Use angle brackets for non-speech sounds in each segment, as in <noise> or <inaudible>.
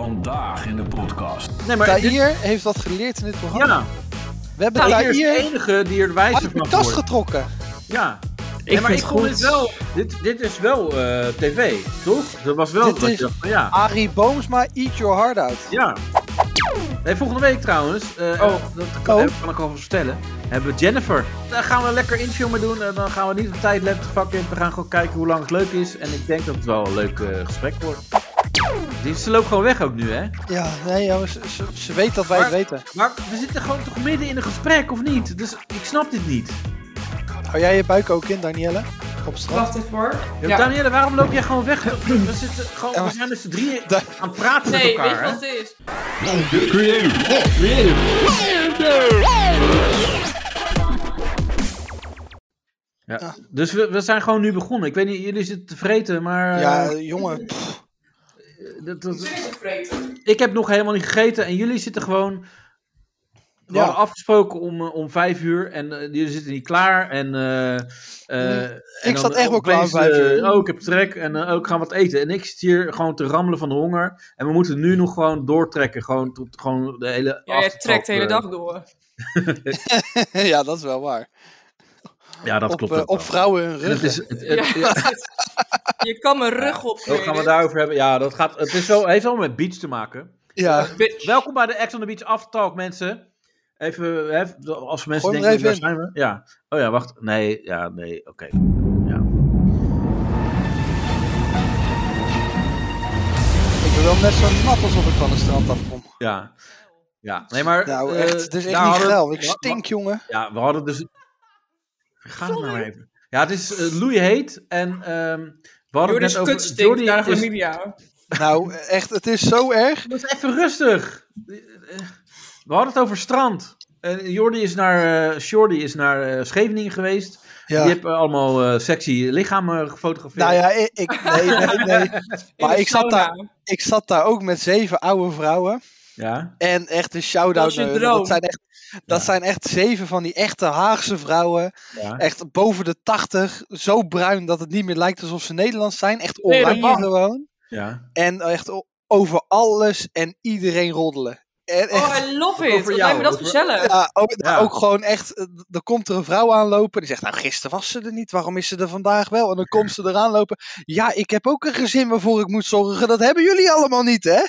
Vandaag in de podcast. Nee, maar dit- Tahir heeft wat geleerd in dit programma. ja, We hebben nou, hier is de Tahir enige die er wijzer uit van de tas wordt. getrokken. Ja. Nee, maar vind ik het vond goed. dit wel... Dit, dit is wel eh, tv, toch? Dat was wel Dit dat je is- dacht van ja. Arie Boomsma, eat your heart out. Ja. Nee, volgende week trouwens, eh, Oh. dat kan, Oh. kan ik al vertellen, hebben we Jennifer. Daar gaan we lekker infilmen doen en dan gaan we niet op tijdlapse vakken in. We gaan gewoon kijken hoe lang het leuk is en ik denk dat het wel een leuk eh, gesprek wordt. Die, ze loopt gewoon weg ook nu, hè? Ja, nee jongens, ze, ze- ze weet dat wij het Maar- weten. Maar we zitten gewoon toch midden in een gesprek, of niet? Dus ik snap dit niet. Hou jij je buik ook in, Danielle? Op straat. Wacht even hoor. Ja. Ja. Danielle, waarom loop jij gewoon weg? We, zitten gewoon, we maar- zijn met z'n drieën Da- aan het praten Nee, met weet je elkaar, wat hè? het is? De Creative. Ja. Dus we, we zijn gewoon nu begonnen. Ik weet niet, jullie zitten te vreten, maar... Ja, eh, jongen. pff, <laughs> dat, Het dat, is het vreten. ik heb nog helemaal niet gegeten en jullie zitten gewoon. We Ja. hadden afgesproken om, eh, om vijf uur en eh, jullie zitten niet klaar. En, eh, eh, en dan Mm, zat echt wel klaar om opeens, vijf uur. eh, oh, ik heb trek en eh, oh, ik ga wat eten. En ik zit hier gewoon te rammelen van de honger. En we moeten nu nog gewoon doortrekken. Gewoon, tot, gewoon de hele Ja, jij avond, trekt de hele eh, dag door. ja, dat is wel waar. Ja, dat op, klopt. eh, ook op wel. vrouwen hun En het rug. is, het- het- Ja, Je kan mijn rug Hoe opgeven. gaan we daarover hebben? Ja, dat gaat, het is wel, heeft wel met beach te maken. Ja, Bitch. Welkom bij de Act on the Beach Aftertalk, mensen. Even, hè, als mensen Gooi denken, hem er waar even zijn we? Ja. Oh ja, wacht. Nee, ja, nee, oké. Ja. ik ben wel net zo nat alsof ik van het strand afkom. ja. Ja, nee, maar... Nou eh, echt, het is echt daar niet hadden- geil. Ik wa- wa- stink, jongen. Ja, we hadden dus... Ga er nou maar even. Ja, het is eh, Louis heet en ehm, we hadden Jordi het net is over... kutstinkt naar de is- familie. Nou, echt, het is zo erg. Dat is even rustig. We hadden het over strand. En Jordi is naar, eh Jordi is naar eh, Scheveningen geweest. Die Ja. hebben allemaal eh, sexy lichamen gefotografeerd. Nou ja, ik, ik, nee, nee, nee. Maar ik zat, daar, ik zat daar ook met zeven oude vrouwen. Ja. En echt een Dat shout-out. is je naar hun, want droom. Dat, zijn echt, dat Ja. zijn echt zeven van die echte Haagse vrouwen. ja. Echt boven de tachtig. Zo bruin dat het niet meer lijkt alsof ze Nederlands zijn. Echt Nee, dat oranje mag. gewoon. ja. En echt o- over alles en iedereen roddelen. En echt, Oh, I love it. Over Wat jou, lijkt me dat over- gezellig. ja, ook, nou, Ja. ook gewoon echt. eh, Er komt er een vrouw aanlopen. Die zegt: Nou, gisteren was ze er niet. Waarom is ze er vandaag wel? En dan komt ze eraan lopen. Ja, ik heb ook een gezin waarvoor ik moet zorgen. Dat hebben jullie allemaal niet, hè?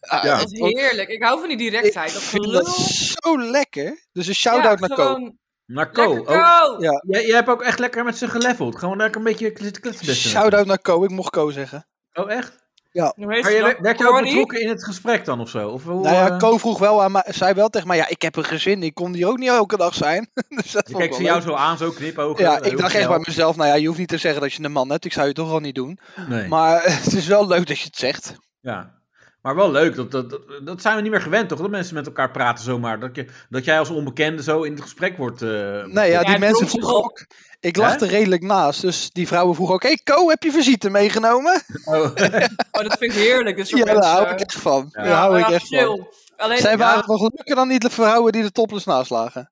Ah, Ja. Dat is heerlijk. Ik hou van die directheid. Dat Ik vind dat gelul. zo lekker. Dus een shout-out naar Ko. gewoon Maar Ko, Lekker ook- Ko. Ja. jij, jij hebt ook echt lekker met ze geleveld. Gewoon lekker een beetje zitten klitsen. Shout-out naar Ko, ik mocht Ko zeggen. Oh, echt? Hoe heet Maar ze jij, dan? werd- werd je ook Corny? betrokken in het gesprek dan of zo? Of hoe, nou ja, eh, Ko vroeg wel aan mij, zei wel tegen mij, ja, ik heb een gezin, ik kon die ook niet elke dag zijn. <laughs> dus dat Ik vond ik kijk wel ze jou leuk. zo aan, zo knipogen. Ja, Eh, ik hoe dacht echt bij snel? mezelf, nou ja, je hoeft niet te zeggen dat je een man hebt, ik zou je toch al niet doen. Nee. Maar eh, het is wel leuk dat je het zegt. Ja. Maar wel leuk, dat, dat, dat, dat zijn we niet meer gewend toch? Dat mensen met elkaar praten zomaar. Dat, je, dat jij als onbekende zo in het gesprek wordt. eh, Nee, ja, betrokken. die het mensen klonk zich vroegen op. ook, ik lag Hè? er redelijk naast, dus die vrouwen vroegen ook, hey Ko, heb je visite meegenomen? Oh. <laughs> Oh, dat vind ik <laughs> heerlijk. Dit soort Ja, daar mensen. hou ik echt van. Ja, Daar hou ik maar echt van. eh, Ah, chill. Alleen, Zij ja, waren nog leuker dan die vrouwen die de topless naast lagen.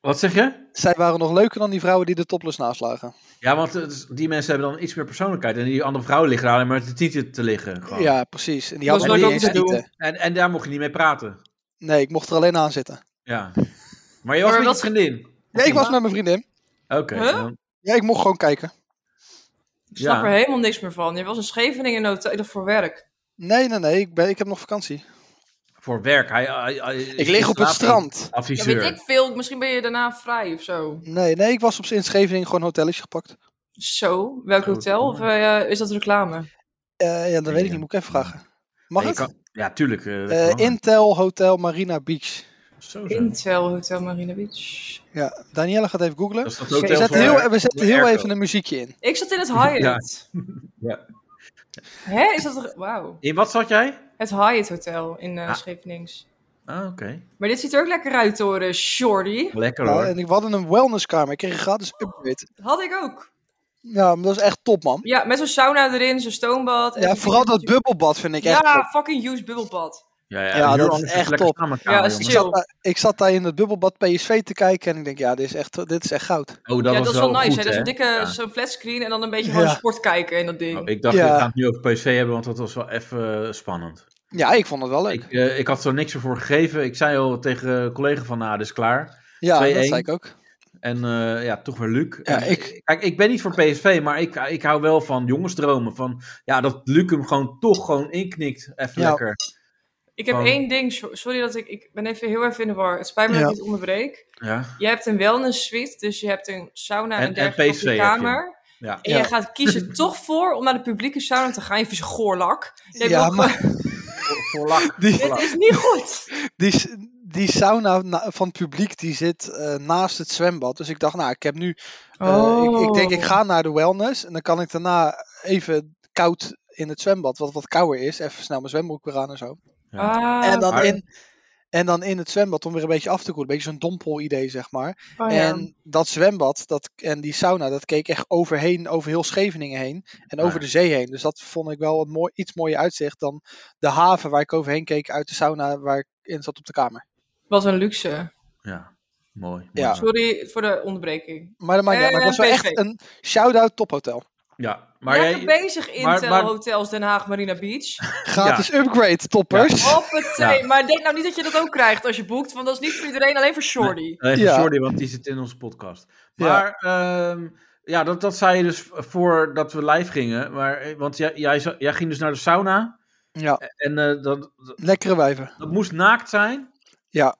Wat zeg je? Zij waren nog leuker dan die vrouwen die de topless naslagen. Ja, want het is- die mensen hebben dan iets meer persoonlijkheid. En die andere vrouwen liggen daar alleen maar te tieten te liggen. gewoon. Ja, precies. En die Dat hadden is me wat niet ik eens ook zou tieten. En, en daar mocht je niet mee praten. Nee, ik mocht er alleen aan zitten. Ja. Maar je was Maar met dat- je vriendin. Nee, ik was Ja. met mijn vriendin. Oké. Huh? dan- Ja, ik mocht gewoon kijken. Ik snap Ja. er helemaal niks meer van. Je was in Scheveningen in een hotel ik dacht voor werk. Nee, nee, nee. Ik, ben, ik heb nog vakantie. Voor werk. Hij, hij- hij- Ik lig op het slaap- strand. Ja, Adviseur. weet ik veel. Misschien ben je daarna vrij of zo. Nee, nee. Ik was op in Scheveningen gewoon een hotelletje gepakt. Zo, welk Oh, hotel? Of eh, is dat reclame? Eh, ja, dat weet ik Ja. niet. Moet ik even vragen. Mag Nee, het? je kan- ja, tuurlijk. eh, dat Eh, kan. Intel Hotel Marina Beach. Zo, zo. Intel Hotel Marina Beach. Ja, Danielle gaat even googlen. Dat is dat Oké, hotel We zetten voor- heel, we zetten voor heel airco. even een muziekje in. Ik zat in het Hyatt. Ja. Hè, is dat... er- Wauw. In wat zat jij? Het Hyatt Hotel in eh Ah. Schevenings. Ah, oké. Maar dit ziet er ook lekker uit hoor, eh, Shorty. Lekker Ja, hoor. Nou, en ik we hadden een wellnesskamer. Ik kreeg een gratis upgrade. Had ik ook. Ja, maar dat is echt top, man. Ja, met zo'n sauna erin, zo'n stoombad. en Ja, zo'n- vooral dat bubbelbad vind ik echt top. Ja, fucking huge bubbelbad. Ja, ja, ja, hier dat is anders echt dus lekker top. samenkamer, Ja, is jongens. Ik chill. zat, daar, ik zat daar in het bubbelbad PSV te kijken en ik denk, ja, dit is echt, dit is echt goud. Oh, dat ja, was dat is wel nice. goed, hè? Dat is een dikke Ja. zo'n flatscreen en dan een beetje gewoon Ja. sport kijken in dat ding. Oh, ik dacht, Ja. we gaan het nu over PC hebben, want dat was wel even eh, spannend. Ja, ik vond het wel leuk. Ik, eh, ik had zo niks ervoor gegeven. Ik zei al tegen eh, een collega van, nou, dit is klaar. Ja, 2-1. dat zei ik ook. En eh, ja, toch weer Luc. Ja, En, ik- Kijk, ik ben niet voor PSV, maar ik, ik hou wel van jongensdromen. Van, ja, dat Luc hem gewoon toch gewoon inknikt. Even Ja. lekker. Ik heb Van- één ding. so- Sorry dat ik... Ik ben even heel even in de war. Het spijt me dat Ja. ik niet onderbreek. Ja. Je hebt een wellness suite. Dus je hebt een sauna en, En- en dergelijke op PC heb je je. kamer. Ja. En Ja. je <laughs> gaat kiezen toch voor om naar de publieke sauna te gaan. Je schoorlak. Je hebt Ja, ook maar- gewoon- Voor, voor lak. Voilà. Die, Dit is niet goed. die, s- die sauna na- van het publiek die zit eh, naast het zwembad. Dus ik dacht, nou, ik heb nu. <laughs> eh, ik, ik Oh. denk, ik ga naar de wellness. En dan kan ik daarna even koud in het zwembad, wat wat kouder is. Even snel mijn zwembroek weer aan en zo. Ah, en, dan maar- in, en dan in het zwembad om weer een beetje af te koelen. Een beetje zo'n dompel-idee, zeg maar. oh ja. En dat zwembad dat, en die sauna, dat keek echt overheen, over heel Scheveningen heen. En Ja. over de zee heen. Dus dat vond ik wel een mooi, iets mooier uitzicht dan de haven waar ik overheen keek uit de sauna waar ik in zat op de kamer. Wat een luxe. Ja, mooi. Ja. mooi. Sorry voor de onderbreking. Maar dat maakt niet uit. Maar het was wel Eh, echt een shout-out tophotel. Ja, maar Lekker jij... bezig in maar- maar- hotels Den Haag <laughs> Marina Beach. Gratis upgrade, toppers. Hoppatee. Ja. Maar denk nou niet dat je dat ook krijgt als je boekt. Want dat is niet voor iedereen, alleen voor Shorty. Eh, Ja. Sorry, want die zit in onze podcast. Ja. Maar ehm, ja, dat, dat zei je dus voordat we live gingen. Maar, eh, want jij, jij, zou- jij ging dus naar de sauna. <laughs> Ja, En eh, dat, dat, lekkere wijven. dat moest naakt zijn. Ja.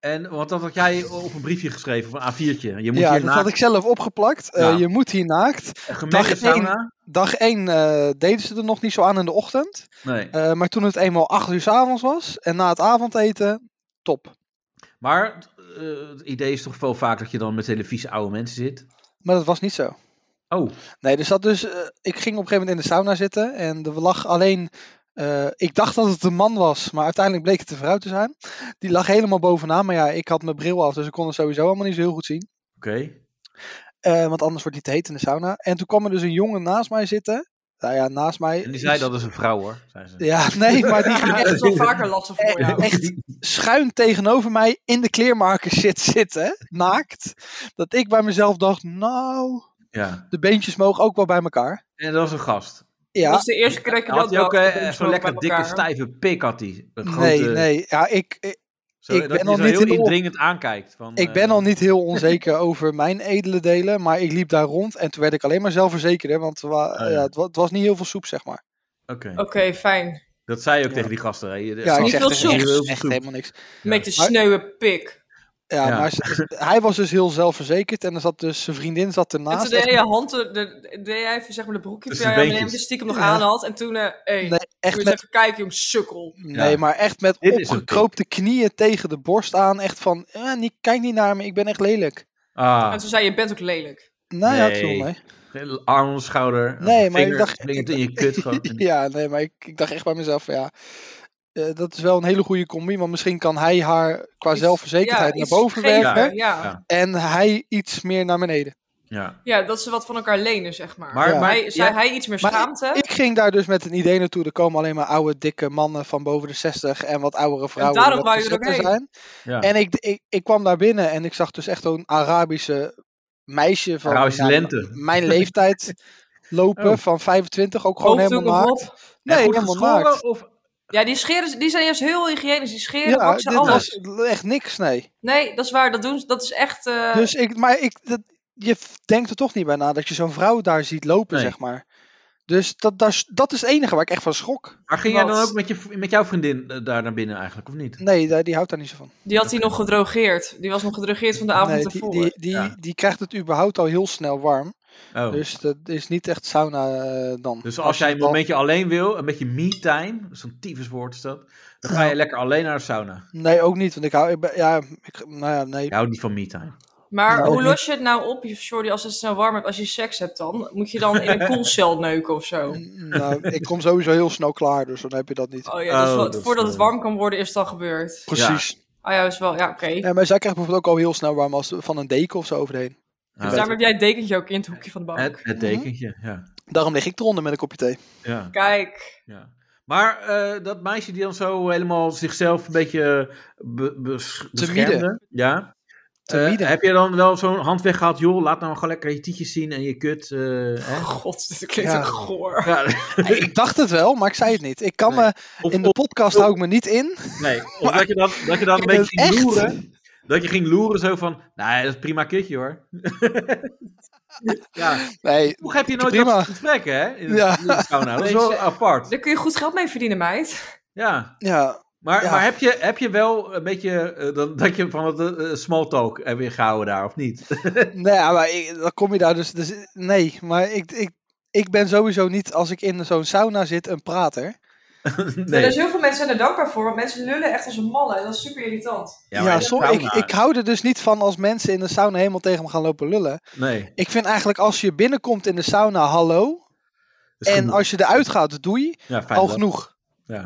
En, want dat had jij op een briefje geschreven, op een A4'tje. Je moet Ja, hier dat had naakt, ik zelf opgeplakt. Eh, Ja. je moet hier naakt. een gemengde dag één. sauna. Dag 1 deden ze er nog niet zo aan in de ochtend. Nee. Eh, maar toen het eenmaal 8 uur 's avonds was en na het avondeten, top. Maar eh, het idee is toch wel vaak dat je dan met hele vieze oude mensen zit. Maar dat was niet zo. Oh, Nee, dus dat dus. eh, ik ging op een gegeven moment in de sauna zitten en er lag alleen. eh, ik dacht dat het een man was, maar uiteindelijk bleek het een vrouw te zijn. Die lag helemaal bovenaan, maar ja, ik had mijn bril af, dus ik kon het sowieso allemaal niet zo heel goed zien. oké. Eh, want anders wordt die te heet in de sauna. En toen kwam er dus een jongen naast mij zitten. Nou ja, naast mij. En die zei iets- dat is een vrouw hoor, zei ze. Ja, nee, maar die <laughs> ging <laughs> Dat echt is wel vaker lastig voor Eh, jou. echt schuin tegenover mij in de kleermaker shit zitten, naakt. Dat ik bij mezelf dacht, nou, ja. de beentjes mogen ook wel bij elkaar. En dat was een gast. Dat Ja, was de eerste keer dat ik had dat hij ook dacht. eh, Ik ben zo'n lekker bij dikke, elkaar. stijve pik had hij. Een grote, nee, nee. Ja, ik, ik, Zo, Ik dat ben hij nog zo niet in heel de op- indringend aankijkt. Van, ik ben eh, al niet heel onzeker <laughs> over mijn edele delen, maar ik liep daar rond en toen werd ik alleen maar zelfverzekerder, want er wa- Ah, ja. ja, het, wa- het was niet heel veel soep, zeg maar. Oké, Oké, fijn. dat zei je ook Ja. tegen die gasten. Hè. Je- de- Ja, ik niet zeg veel echt, soep. echt, Heel echt soep. helemaal niks. Met de Maar- sneuwe pik. Ja, Ja. maar ze- hij was dus heel zelfverzekerd en er zat dus zijn vriendin zat En ernaast. toen deed je hand, de, de- deed hij even zeg maar de broekje Dus van jou de aan en beentjes. stiekem nog Ja. aan had. En toen, eh, hey, Nee, moet echt je met eens even kijken, jong sukkel. Nee, Ja. maar echt met Dit is een opgekroopte knieën tegen de borst aan. Echt van, eh, niet, kijk niet naar me, ik ben echt lelijk. En Ah, toen zei je, je bent ook lelijk. Nou ja, het Nee. viel mee. geen arm om de schouder. Nee, een maar ik vinger, dacht- slingert in je kut gewoon. <laughs> <laughs> Ja, nee, maar ik, ik dacht echt bij mezelf van, ja, eh, dat is wel een hele goede combi. Want misschien kan hij haar qua Iets- zelfverzekerdheid ja, naar iets boven geven, werken. Ja. Ja. Ja. En hij iets meer naar beneden. Ja. dat ze wat van elkaar lenen, zeg maar. Maar- Ja. maar- hij, zei ja. hij iets meer Maar- schaamte? Ik ging daar dus met een idee naartoe. Er komen alleen maar oude, dikke mannen van boven de 60 en wat oudere vrouwen. daarom wat wou je er ook gezetter heen. zijn. Ja. En ik, ik, ik kwam daar binnen en ik zag dus echt zo'n Arabische meisje van Arabische nou, lente. mijn leeftijd <laughs> lopen Oh. van 25, ook gewoon Hoofddoek helemaal nog naakt. op? Nee, En goed helemaal geschoren, naakt. Of, Ja, die, scheren, ze- die zijn juist heel hygiënisch. Die scheren, Ja, dit waksen, alles. was echt niks, nee. Nee, dat is waar. Dat doen ze. Dat is echt... eh, Dus ik, maar ik, dat, je f- denkt er toch niet bij na dat je zo'n vrouw daar ziet lopen, Nee. zeg maar. Dus dat, dat, is- dat is het enige waar ik echt van schrok. maar ging jij dan Wat? ook met, je, met jouw vriendin eh, daar naar binnen eigenlijk, of niet? Nee, daar- die houdt daar niet zo van. die had hij nog gedrogeerd. Die was nog gedrogeerd van de avond Nee, die, ervoor. die, die, Ja. die krijgt het überhaupt al heel snel warm. Oh. Dus, Dus dat is niet echt sauna eh, dan. als jij een het al- momentje alleen wil, een beetje me-time, zo'n tyfuswoord is dat, dan ga je lekker alleen naar de sauna. Nee, ook niet. Want ik hou... Ik ben- ja, ik, nou ja, nee. Je houdt niet van me-time. Maar Nou, hoe ook los je het nou op, Jordi, als het snel warm hebt? Als je seks hebt dan? Moet je dan in een <laughs> koelcel neuken of zo? Nou, ik kom sowieso heel snel klaar, dus dan heb je dat niet. Oh ja, dus Oh, wat- dat is voordat wel- het warm kan worden is het al gebeurd. Precies. Ah ja, is wel, ja, oké. Ja, maar zij krijgt bijvoorbeeld ook al heel snel warm als van een deken of zo overheen. Dus Ah. daarom heb jij het dekentje ook in het hoekje van de bank. Het, het dekentje, ja. Daarom lig ik eronder met een kopje thee. ja. <laughs> Kijk, ja. Maar eh, dat meisje die dan zo helemaal zichzelf een beetje eh, be- bes- Te beschermde, midden. ja, te Eh, bieden. heb je dan wel zo'n hand weggehaald? Joh, laat nou gewoon lekker je tietjes zien en je kut. eh, hè? God, dit klinkt Ja. echt goor. <laughs> Ja, Ik- Ik dacht het wel, maar ik zei het niet. Ik kan Nee. me, of- in de podcast of- hou ik me niet in. Nee, <laughs> of dat je dan, dat je dan een Maar beetje dat ging is echt. loeren. Dat je ging loeren zo van, nou, dat is een prima kitje hoor. <laughs> ja, Nee, toch heb je nooit Prima. dat soort gesprekken, hè? In de, Ja. in de sauna. Dat is wel Deze- apart. Daar kun je goed geld mee verdienen, meid. Ja, ja, maar, Ja. maar heb, je, heb je wel een beetje eh, dat, dat je van het eh, small talk hebt ingehouden daar, of niet? <laughs> nee, ja, maar ik- dan kom je daar dus. dus nee, maar ik, ik, ik ben sowieso niet, als ik in zo'n sauna zit, een prater. Er zijn nee. heel veel mensen zijn er dankbaar voor, want mensen lullen echt als een malle. En dat is super irritant. Ja, maar in de sorry, ik, sauna. ik hou er dus niet van als mensen in de sauna helemaal tegen me gaan lopen lullen. Nee. Ik vind eigenlijk als je binnenkomt in de sauna, hallo. dat is En genoeg. als je eruit gaat, doei. Ja, fijn Al dat- genoeg.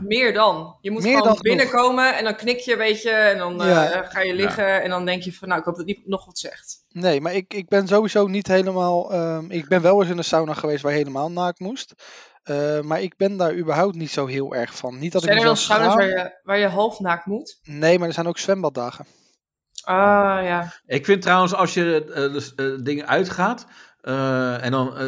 Meer dan. Je moet Meer dan gewoon genoeg. binnenkomen en dan knik je een beetje en dan eh, Ja. ga je liggen. En dan denk je van, nou, ik hoop dat die nog wat zegt. Nee, maar ik, ik ben sowieso niet helemaal. ehm, ik ben wel eens in een sauna geweest waar je helemaal naakt moest. Eh, maar ik ben daar überhaupt niet zo heel erg van. Niet dat zijn ik er wel mezelf saunas waar schaam. je, waar je half naakt moet? Nee, maar er zijn ook zwembaddagen. Ah, ja. Ik vind trouwens, als je eh, dus, eh, dingen uitgaat. eh, en dan, eh,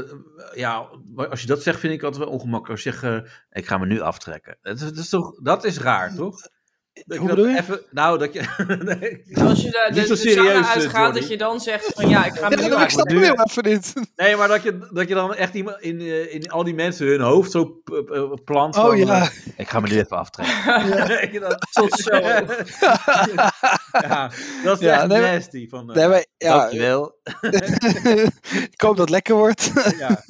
ja, als je dat zegt, vind ik dat wel ongemakkelijk. Als je zegt, eh, ik ga me nu aftrekken. Dat is, dat is, toch, dat is raar, toch? Dat Hoe dat bedoel je? Even, nou, dat je... <laughs> nee, Als je de, de, Niet zo de serieus, sauna eh, uitgaat, Jordi. dat je dan zegt van, ja, ik ga Ja, dat me nu ik eigenlijk snap nu- het heel even niet. nee, maar dat je, dat je dan echt iemand in, eh, in al die mensen hun hoofd zo p- p- plant. Oh van, ja. eh, ik ga me nu even aftrekken. <laughs> <laughs> Weet je dat? tot zo. <laughs> ja, dat is Ja, echt nee, maar- nasty. Van, eh, Nee, maar, ja Dankjewel. <laughs> ik hoop dat het lekker wordt. <laughs> Ja.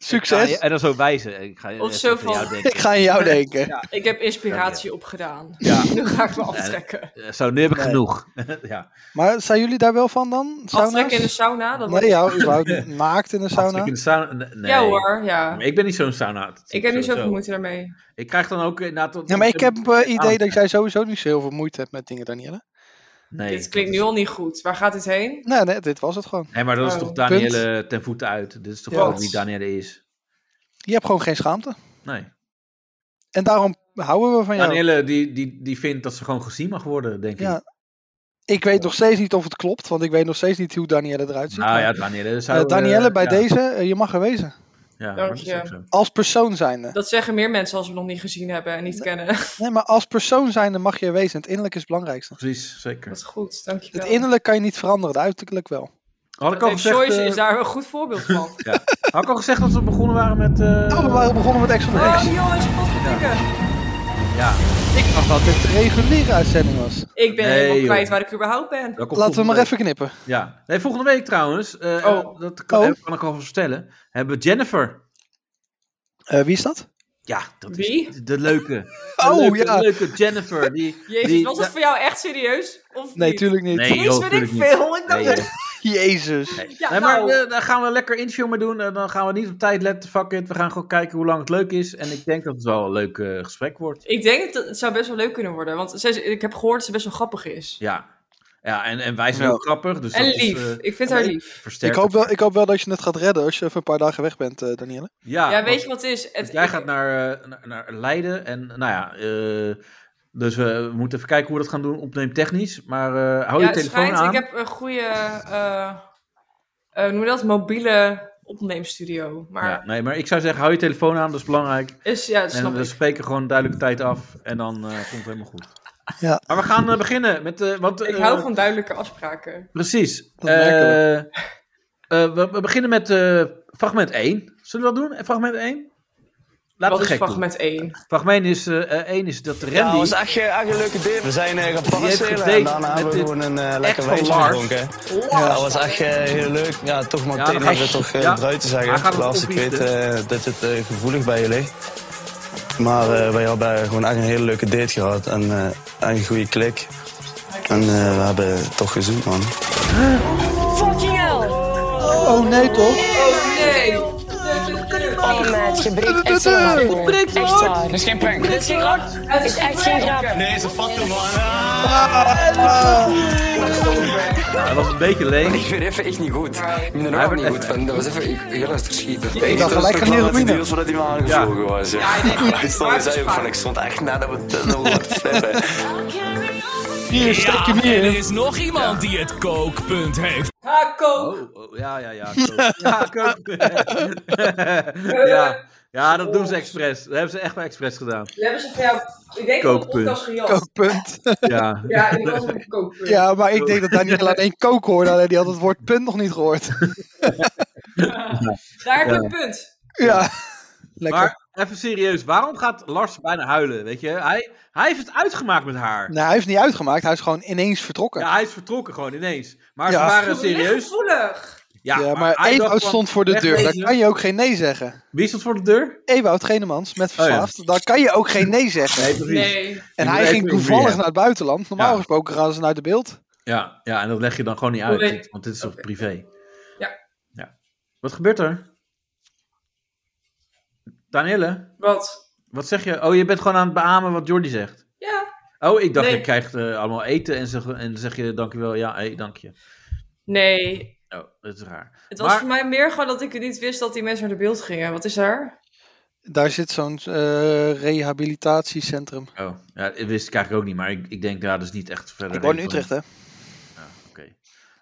Succes. En dan zo wijzen. Ik ga Of eh, zo aan jou van- denken. Ik ga aan jou denken. Ik heb inspiratie opgedaan. Ja. Nu ga ik me aftrekken. Eh, Zo, nu heb ik Nee. genoeg. <laughs> ja. Maar zijn jullie daar wel van dan? Sauna's? Aftrekken in de sauna? Dat Nee, jou überhaupt <laughs> niet. naakt in de Als ik sauna. in de sauna... Nee. Ja hoor, ja. Maar Ik ben niet zo'n sauna. Ik heb niet zoveel moeite. moeite daarmee. Ik krijg dan ook inderdaad... dat- Ja, maar ik heb eh, het idee Ah. dat jij sowieso niet zo heel veel moeite hebt met dingen, Danielle. Nee, dit klinkt dat nu is- al niet goed. Waar gaat dit heen? Nee, nee, dit was het gewoon. Nee, maar dat is Oh, toch punt. Danielle ten voeten uit. Dit is toch Ja. ook wie Danielle is. Je hebt gewoon geen schaamte. Nee. En daarom houden we van jou. Danielle die, die, die vindt dat ze gewoon gezien mag worden, denk Ja, ik. Ik weet nog steeds niet of het klopt, want ik weet nog steeds niet hoe Danielle eruit ziet. Nou maar, ja, Danielle eh, zou... Danielle, eh, bij ja, deze, eh, je mag er wezen. Ja, Dank dat is je. ook zo. Als persoon zijnde. Dat zeggen meer mensen als we nog niet gezien hebben en niet kennen. <laughs> Nee, maar als persoon zijnde mag je er wezen. Het innerlijk is het belangrijkste. Precies, Dat zeker. is goed, Het dankjewel. innerlijk kan je niet veranderen, het uiterlijk wel. Had ik, al Dave gezegd, Joyce eh, is daar een goed voorbeeld van. had ik al gezegd dat we begonnen waren met... eh, Nou, we waren begonnen met Ex on Oh X. Ah. jongens, potverdikke. Ja, Ik dacht dat dit de reguliere uitzending was. Ik ben Nee, helemaal joh. kwijt waar ik überhaupt ben. dat komt Laten we volgende maar week. even knippen. Ja, nee, volgende week trouwens, eh, Oh. dat kan, Oh. kan ik al vertellen, hebben we Jennifer. Eh, wie is dat? Ja, dat Wie? is de, de <laughs> leuke. De Oh, leuke, ja. leuke Jennifer. Die, <laughs> Jezus, die, was dat voor jou echt serieus? Of Nee, niet? tuurlijk niet. Nee, Eens joh, weet tuurlijk ik niet. veel. Ik dacht Nee, dat- joh. Jezus. Ja, nee, maar nou. eh, daar gaan we lekker interview mee doen. eh, dan gaan we niet op tijd letten. Fuck it. We gaan gewoon kijken hoe lang het leuk is. En ik denk dat het wel een leuk eh, gesprek wordt. Ik denk dat het zou best wel leuk kunnen worden. Want ze is- ik heb gehoord dat ze best wel grappig is. Ja, ja en, en wij zijn Ja. ook grappig. Dus en dat is, lief. eh, ik vind haar ik- lief. Ik versterkt hoop, wel, elkaar. ik hoop wel dat je het gaat redden als je even een paar dagen weg bent, eh Danielle. Ja, ja, weet want- je wat het is? want Het, jij gaat naar, eh, naar, naar Leiden. En nou ja, eh, dus eh, we moeten even kijken hoe we dat gaan doen. Opneem technisch. Maar eh, hou je het telefoon schijnt, aan. Ik heb een goede, eh eh, noem je dat, mobiele opneemstudio. Maar Ja, nee, maar ik zou zeggen, hou je telefoon aan. Dat is belangrijk. is, ja, dat En snap we ik. spreken gewoon duidelijke tijd af en dan eh, komt het helemaal goed. Ja. Maar we gaan eh, beginnen met. eh, want, Ik eh, hou van duidelijke afspraken. Precies. Dat merken Eh, eh, we, we beginnen met eh, fragment 1. Zullen we dat doen? Eh, Fragment 1? Laten Wat we gek is doen. fragment 1? Fragment is, eh, eh, 1 is dat Randy. Ja, was echt, eh, echt een leuke dip. We zijn eh, gaan paracelen gedate en daarna met hebben we dit gewoon een eh, lekker van wijntje Lars. gedronken. Ja, dat was echt eh, heel leuk. Ja, toch maar Ja, meteen dan ga even je- toch eh, ja. eruit te Hij gaat zeggen. het Lars, ik weet opbiechten. eh, dat het eh, gevoelig bij je ligt. Maar eh, wij hebben gewoon echt een hele leuke date gehad en eh, echt een goede klik. En eh, we hebben toch gezoend, man. Fucking hell! Oh nee toch? Oh nee! Oh, het breekt echt zo hard. Het breekt echt hard. Dit is geen prank. Het is geen grap. Het is echt geen grap. Nee, ze fucking man. Ja, hij was een beetje leeg. Ik weet even echt niet goed. Ik ben er ook niet goed van. Dat was even ik- heel erg verschieten. Ik dacht gelijk aan Dat heroïne. deels voordat hij me aangevlogen was. Ja, <laughs> ik stond er zelf van. Ik stond echt nadat we het nog wat flippen. Hier, stek je en meer er in. is nog iemand die het kookpunt heeft. Ha, kook. Oh, oh, ja, ja, ja. <laughs> kook. Ja, kook. <laughs> ja. ja, dat doen ze expres. Dat hebben ze echt wel expres gedaan. We hebben ze van jou, ik denk van de Kookpunt. podcast gejat. Kookpunt. <laughs> Ja. Ja, ik was een kookpunt. Ja, maar ik denk dat daar niet alleen één kook hoorde. Alleen die had het woord punt nog niet gehoord. Daar heb je Ja. een punt. <laughs> Ja, lekker. Maar even serieus, waarom gaat Lars bijna huilen? Weet je, hij, hij heeft het uitgemaakt met haar. Nou, hij heeft het niet uitgemaakt. Hij is gewoon ineens vertrokken. Ja, hij is vertrokken gewoon ineens. Maar Ja. ze waren Licht serieus. gevoelig. Ja, Ja, maar maar hij dacht Ewout van, stond voor de deur. Daar wegwezen. kan je ook geen nee zeggen. Wie stond voor de deur? Ewout Genemans met Oh ja. verslaafd. Daar kan je ook geen nee zeggen. Nee, precies. Nee. En Je hij moet ging even toevallig rehab. naar het buitenland. Normaal Ja. gesproken gaan ze naar de beeld. Ja, ja, en dat leg je dan gewoon niet uit, Oké. dit- want dit is toch Oké. privé. Ja. ja. Wat gebeurt er? Danielle, Wat? wat zeg je? Oh, je bent gewoon aan het beamen wat Jordi zegt. Ja. Oh, ik dacht, Nee. je krijgt eh, allemaal eten en, zeg, en zeg je dankjewel. Ja, hé, dank je. Nee. Oh, dat is raar. Het was Maar- voor mij meer gewoon dat ik niet wist dat die mensen naar de beeld gingen. Wat is er? Daar zit zo'n eh, rehabilitatiecentrum. Oh, ja, dat wist ik eigenlijk ook niet, maar ik, ik denk, ja, dat is niet echt verder. Ik woon in relevant. Utrecht, hè? Ja, oké.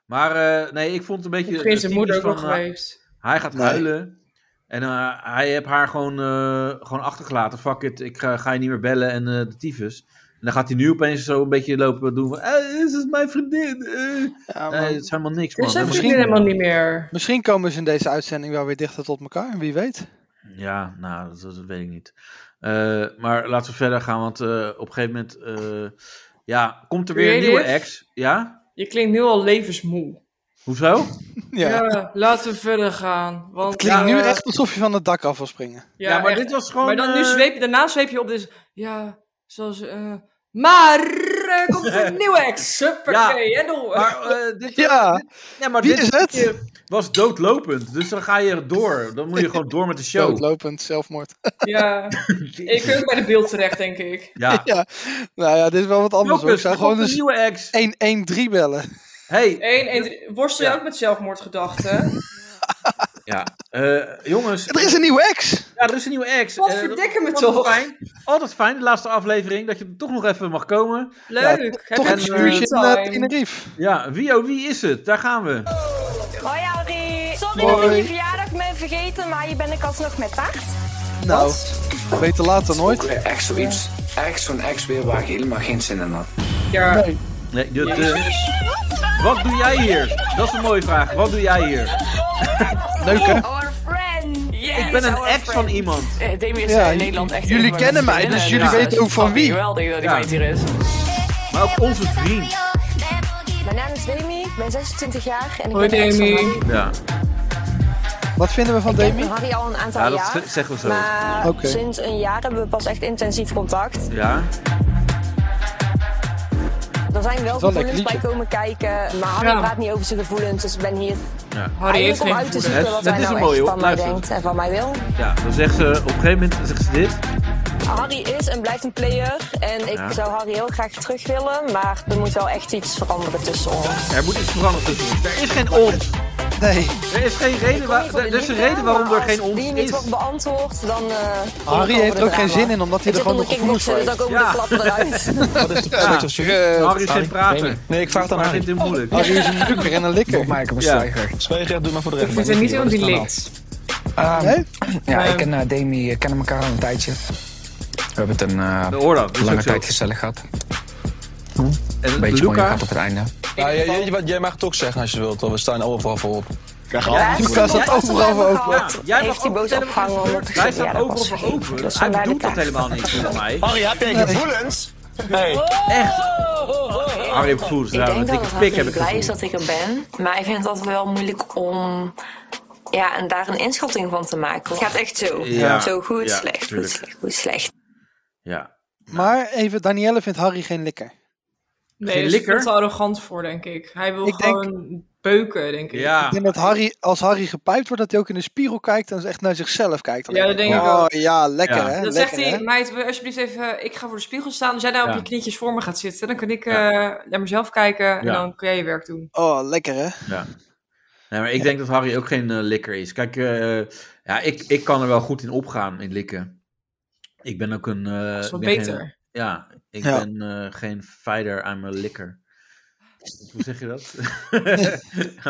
Maar eh, nee, ik vond het een beetje. Ik vind het zijn moeder ook typisch wel van, eh, geweest. Hij gaat Nee. huilen. En eh, hij heeft haar gewoon, eh, gewoon achtergelaten. Fuck it, ik ga, ga je niet meer bellen en eh, de tyfus. En dan gaat hij nu opeens zo een beetje lopen doen van... eh, dit is mijn vriendin. eh." Ja, nee, maar het is helemaal niks, man. Dus zijn Dat misschien- vriendin helemaal niet meer. Misschien komen ze in deze uitzending wel weer dichter tot elkaar. Wie weet. was- Ja, nou, dat, dat weet ik niet. Eh, maar laten we verder gaan, want eh, op een gegeven moment... eh, ja, komt er weer een Creative. nieuwe ex. Ja? Je klinkt nu al levensmoe. Hoezo? Ja. Ja, laten we verder gaan. Want, Het klinkt ja, nu eh, echt alsof je van het dak af wil springen. Ja, maar echt. dit was gewoon... Maar dan, nu eh, zweep, daarna zweep je op dus... Ja, zoals... eh, maar er komt een nieuwe ex. Superkee, en door. Maar, eh, dit, Ja, nee, maar wie dit is het? was doodlopend. Dus dan ga je door. Dan moet je gewoon door met de show. Doodlopend, zelfmoord. <laughs> Ja, ik kun ook bij de beeld terecht, denk ik. Ja. ja. <laughs> Nou ja, dit is wel wat anders hoor. Ik Focus, zou er komt gewoon een nieuwe ex. eens 113 bellen. Hey. Eén, één, drie. Worstel je Ja. ook met zelfmoordgedachten? Ja. eh, jongens, Er is een nieuwe ex! ja, er is een nieuwe ex. Wat Eh, verdikken me dat- altijd toch. Fijn. Altijd fijn, de laatste aflevering, dat je er toch nog even mag komen. Leuk. Heb Toch je een een, eh, spuurtje in screentime? eh, Tenerife. Ja, wie oh wie is het? Daar gaan we. Hoi Arie. Sorry dat Hoi. ik je verjaardag ben vergeten, maar je bent ik alsnog met taart. Nou, beter laat dan nooit. Echt zoiets. Echt zo'n ex weer waar ik helemaal geen zin in had. Ja. Nee. Nee, de, de- wat doe jij hier? Dat is een mooie vraag. Wat doe jij hier? Leuk hè? Our friend. Ik ben een ex van iemand. Eh, Damien is Ja, eh, in Nederland echt. jullie een van de kennen mij, vriendinnen, dus jullie weten het is ook van wie. Geweldig dat die Ja. meid hier is. Maar ook onze vriend. Mijn naam is Demi, ik ben 26 jaar en ik Hoi, ben de ex Demi. van Harry. Ja, Wat vinden we van Ik ken Demi? Harry al een aantal ja dat jaar. z- zeggen we zo. Maar Oké. sinds een jaar hebben we pas echt intensief contact. Ja. Er zijn wel wel een lekker gevoelens bij liedje. komen kijken, maar Harry Ja. praat niet over zijn gevoelens, dus ik ben hier Harry heeft eigenlijk om geen uit te gevoelens. zoeken gevoelens. wat Het hij is een nou echt mooie, van mij luister. denkt en van mij wil. Ja, dan zegt ze op een gegeven moment zegt ze dit. Harry is en blijft een player en ik Ja. zou Harry heel graag terug willen, maar er moet wel echt iets veranderen tussen ons. Er moet iets veranderen tussen ons. Er is geen ons. Nee. Er is geen reden, Kom waar, niet voor er de is een liefde, dus reden waarom er maar geen als ons die niet is. wordt beantwoord, dan... eh Harry heeft er ook geen zin in, omdat hij er gewoon de nog gevoelens kickboxen, voor dus dan komen Ja. de klappen eruit. <laughs> Wat is de als Nou, je? eh, Harry is geen praten. Nee, ik vraag het aan Maar dit Harry. is moeilijk. eh, Harry is een dukker en een likker. Michael Ja. Zwijgrecht, doe maar voor de We rechter. zitten niet in die Nee? Ja, Ehm. ik en eh, Demi eh, kennen elkaar al een tijdje. We hebben het een eh, De oorlog. dat is Dus ook lange zo. tijd gezellig gehad. Een En beetje mooie Luca, grap op het einde. Ja, ja, weet je wat, jij mag het ook zeggen als je wilt, want we staan overal voor op. Luca staat overal voor open. ja, jij mag Heeft hij ook boos vertellen wat er opgehangen gebeurt. omdat Hij ik zijn staat verjaardag overal was voor open. vergeten. Dus hij vandaar de doet dat taak. helemaal niet volgens mij. Harry, heb jij gevoelens? Hey. Echt. Harry heeft gevoelens. Oh. Ik Nou, een denk dat dikke het pik heb hartstikke ik blij is gevoeld. dat ik er ben. Maar ik vind het altijd wel moeilijk om ja, en daar een inschatting van te maken. Het gaat echt zo. Ja. Zo goed, Ja, slecht, tuurlijk. goed, slecht, goed, slecht. Ja. Maar even, Danielle vindt Harry geen likker. Nee, Geen daar is likker? veel te arrogant voor, denk ik. Hij wil Ik denk- gewoon peuken, denk ik. Ja. Ik denk dat Harry, als Harry gepijpt wordt, dat hij ook in de spiegel kijkt en echt naar zichzelf kijkt. Dan Ja, dat denk ik oh, ook. ja, lekker Ja. hè. Dat lekker, zegt hij, hè? meid, wil je alsjeblieft even, eh, ik ga voor de spiegel staan. Als jij nou Ja. op je knietjes voor me gaat zitten, dan kan ik Ja. eh, naar mezelf kijken en Ja. Eh, dan kun jij je werk doen. Oh, lekker hè. Nee, maar ik denk dat Harry ook geen eh, likker is. Kijk, eh, ja, ik, ik kan er wel goed in opgaan, in likken. Ik ben ook een... eh, Dat is wel ik ben beter. geen- ja, ik Ja. ben eh, geen fighter, I'm a likker. Hoe zeg je <laughs> dat?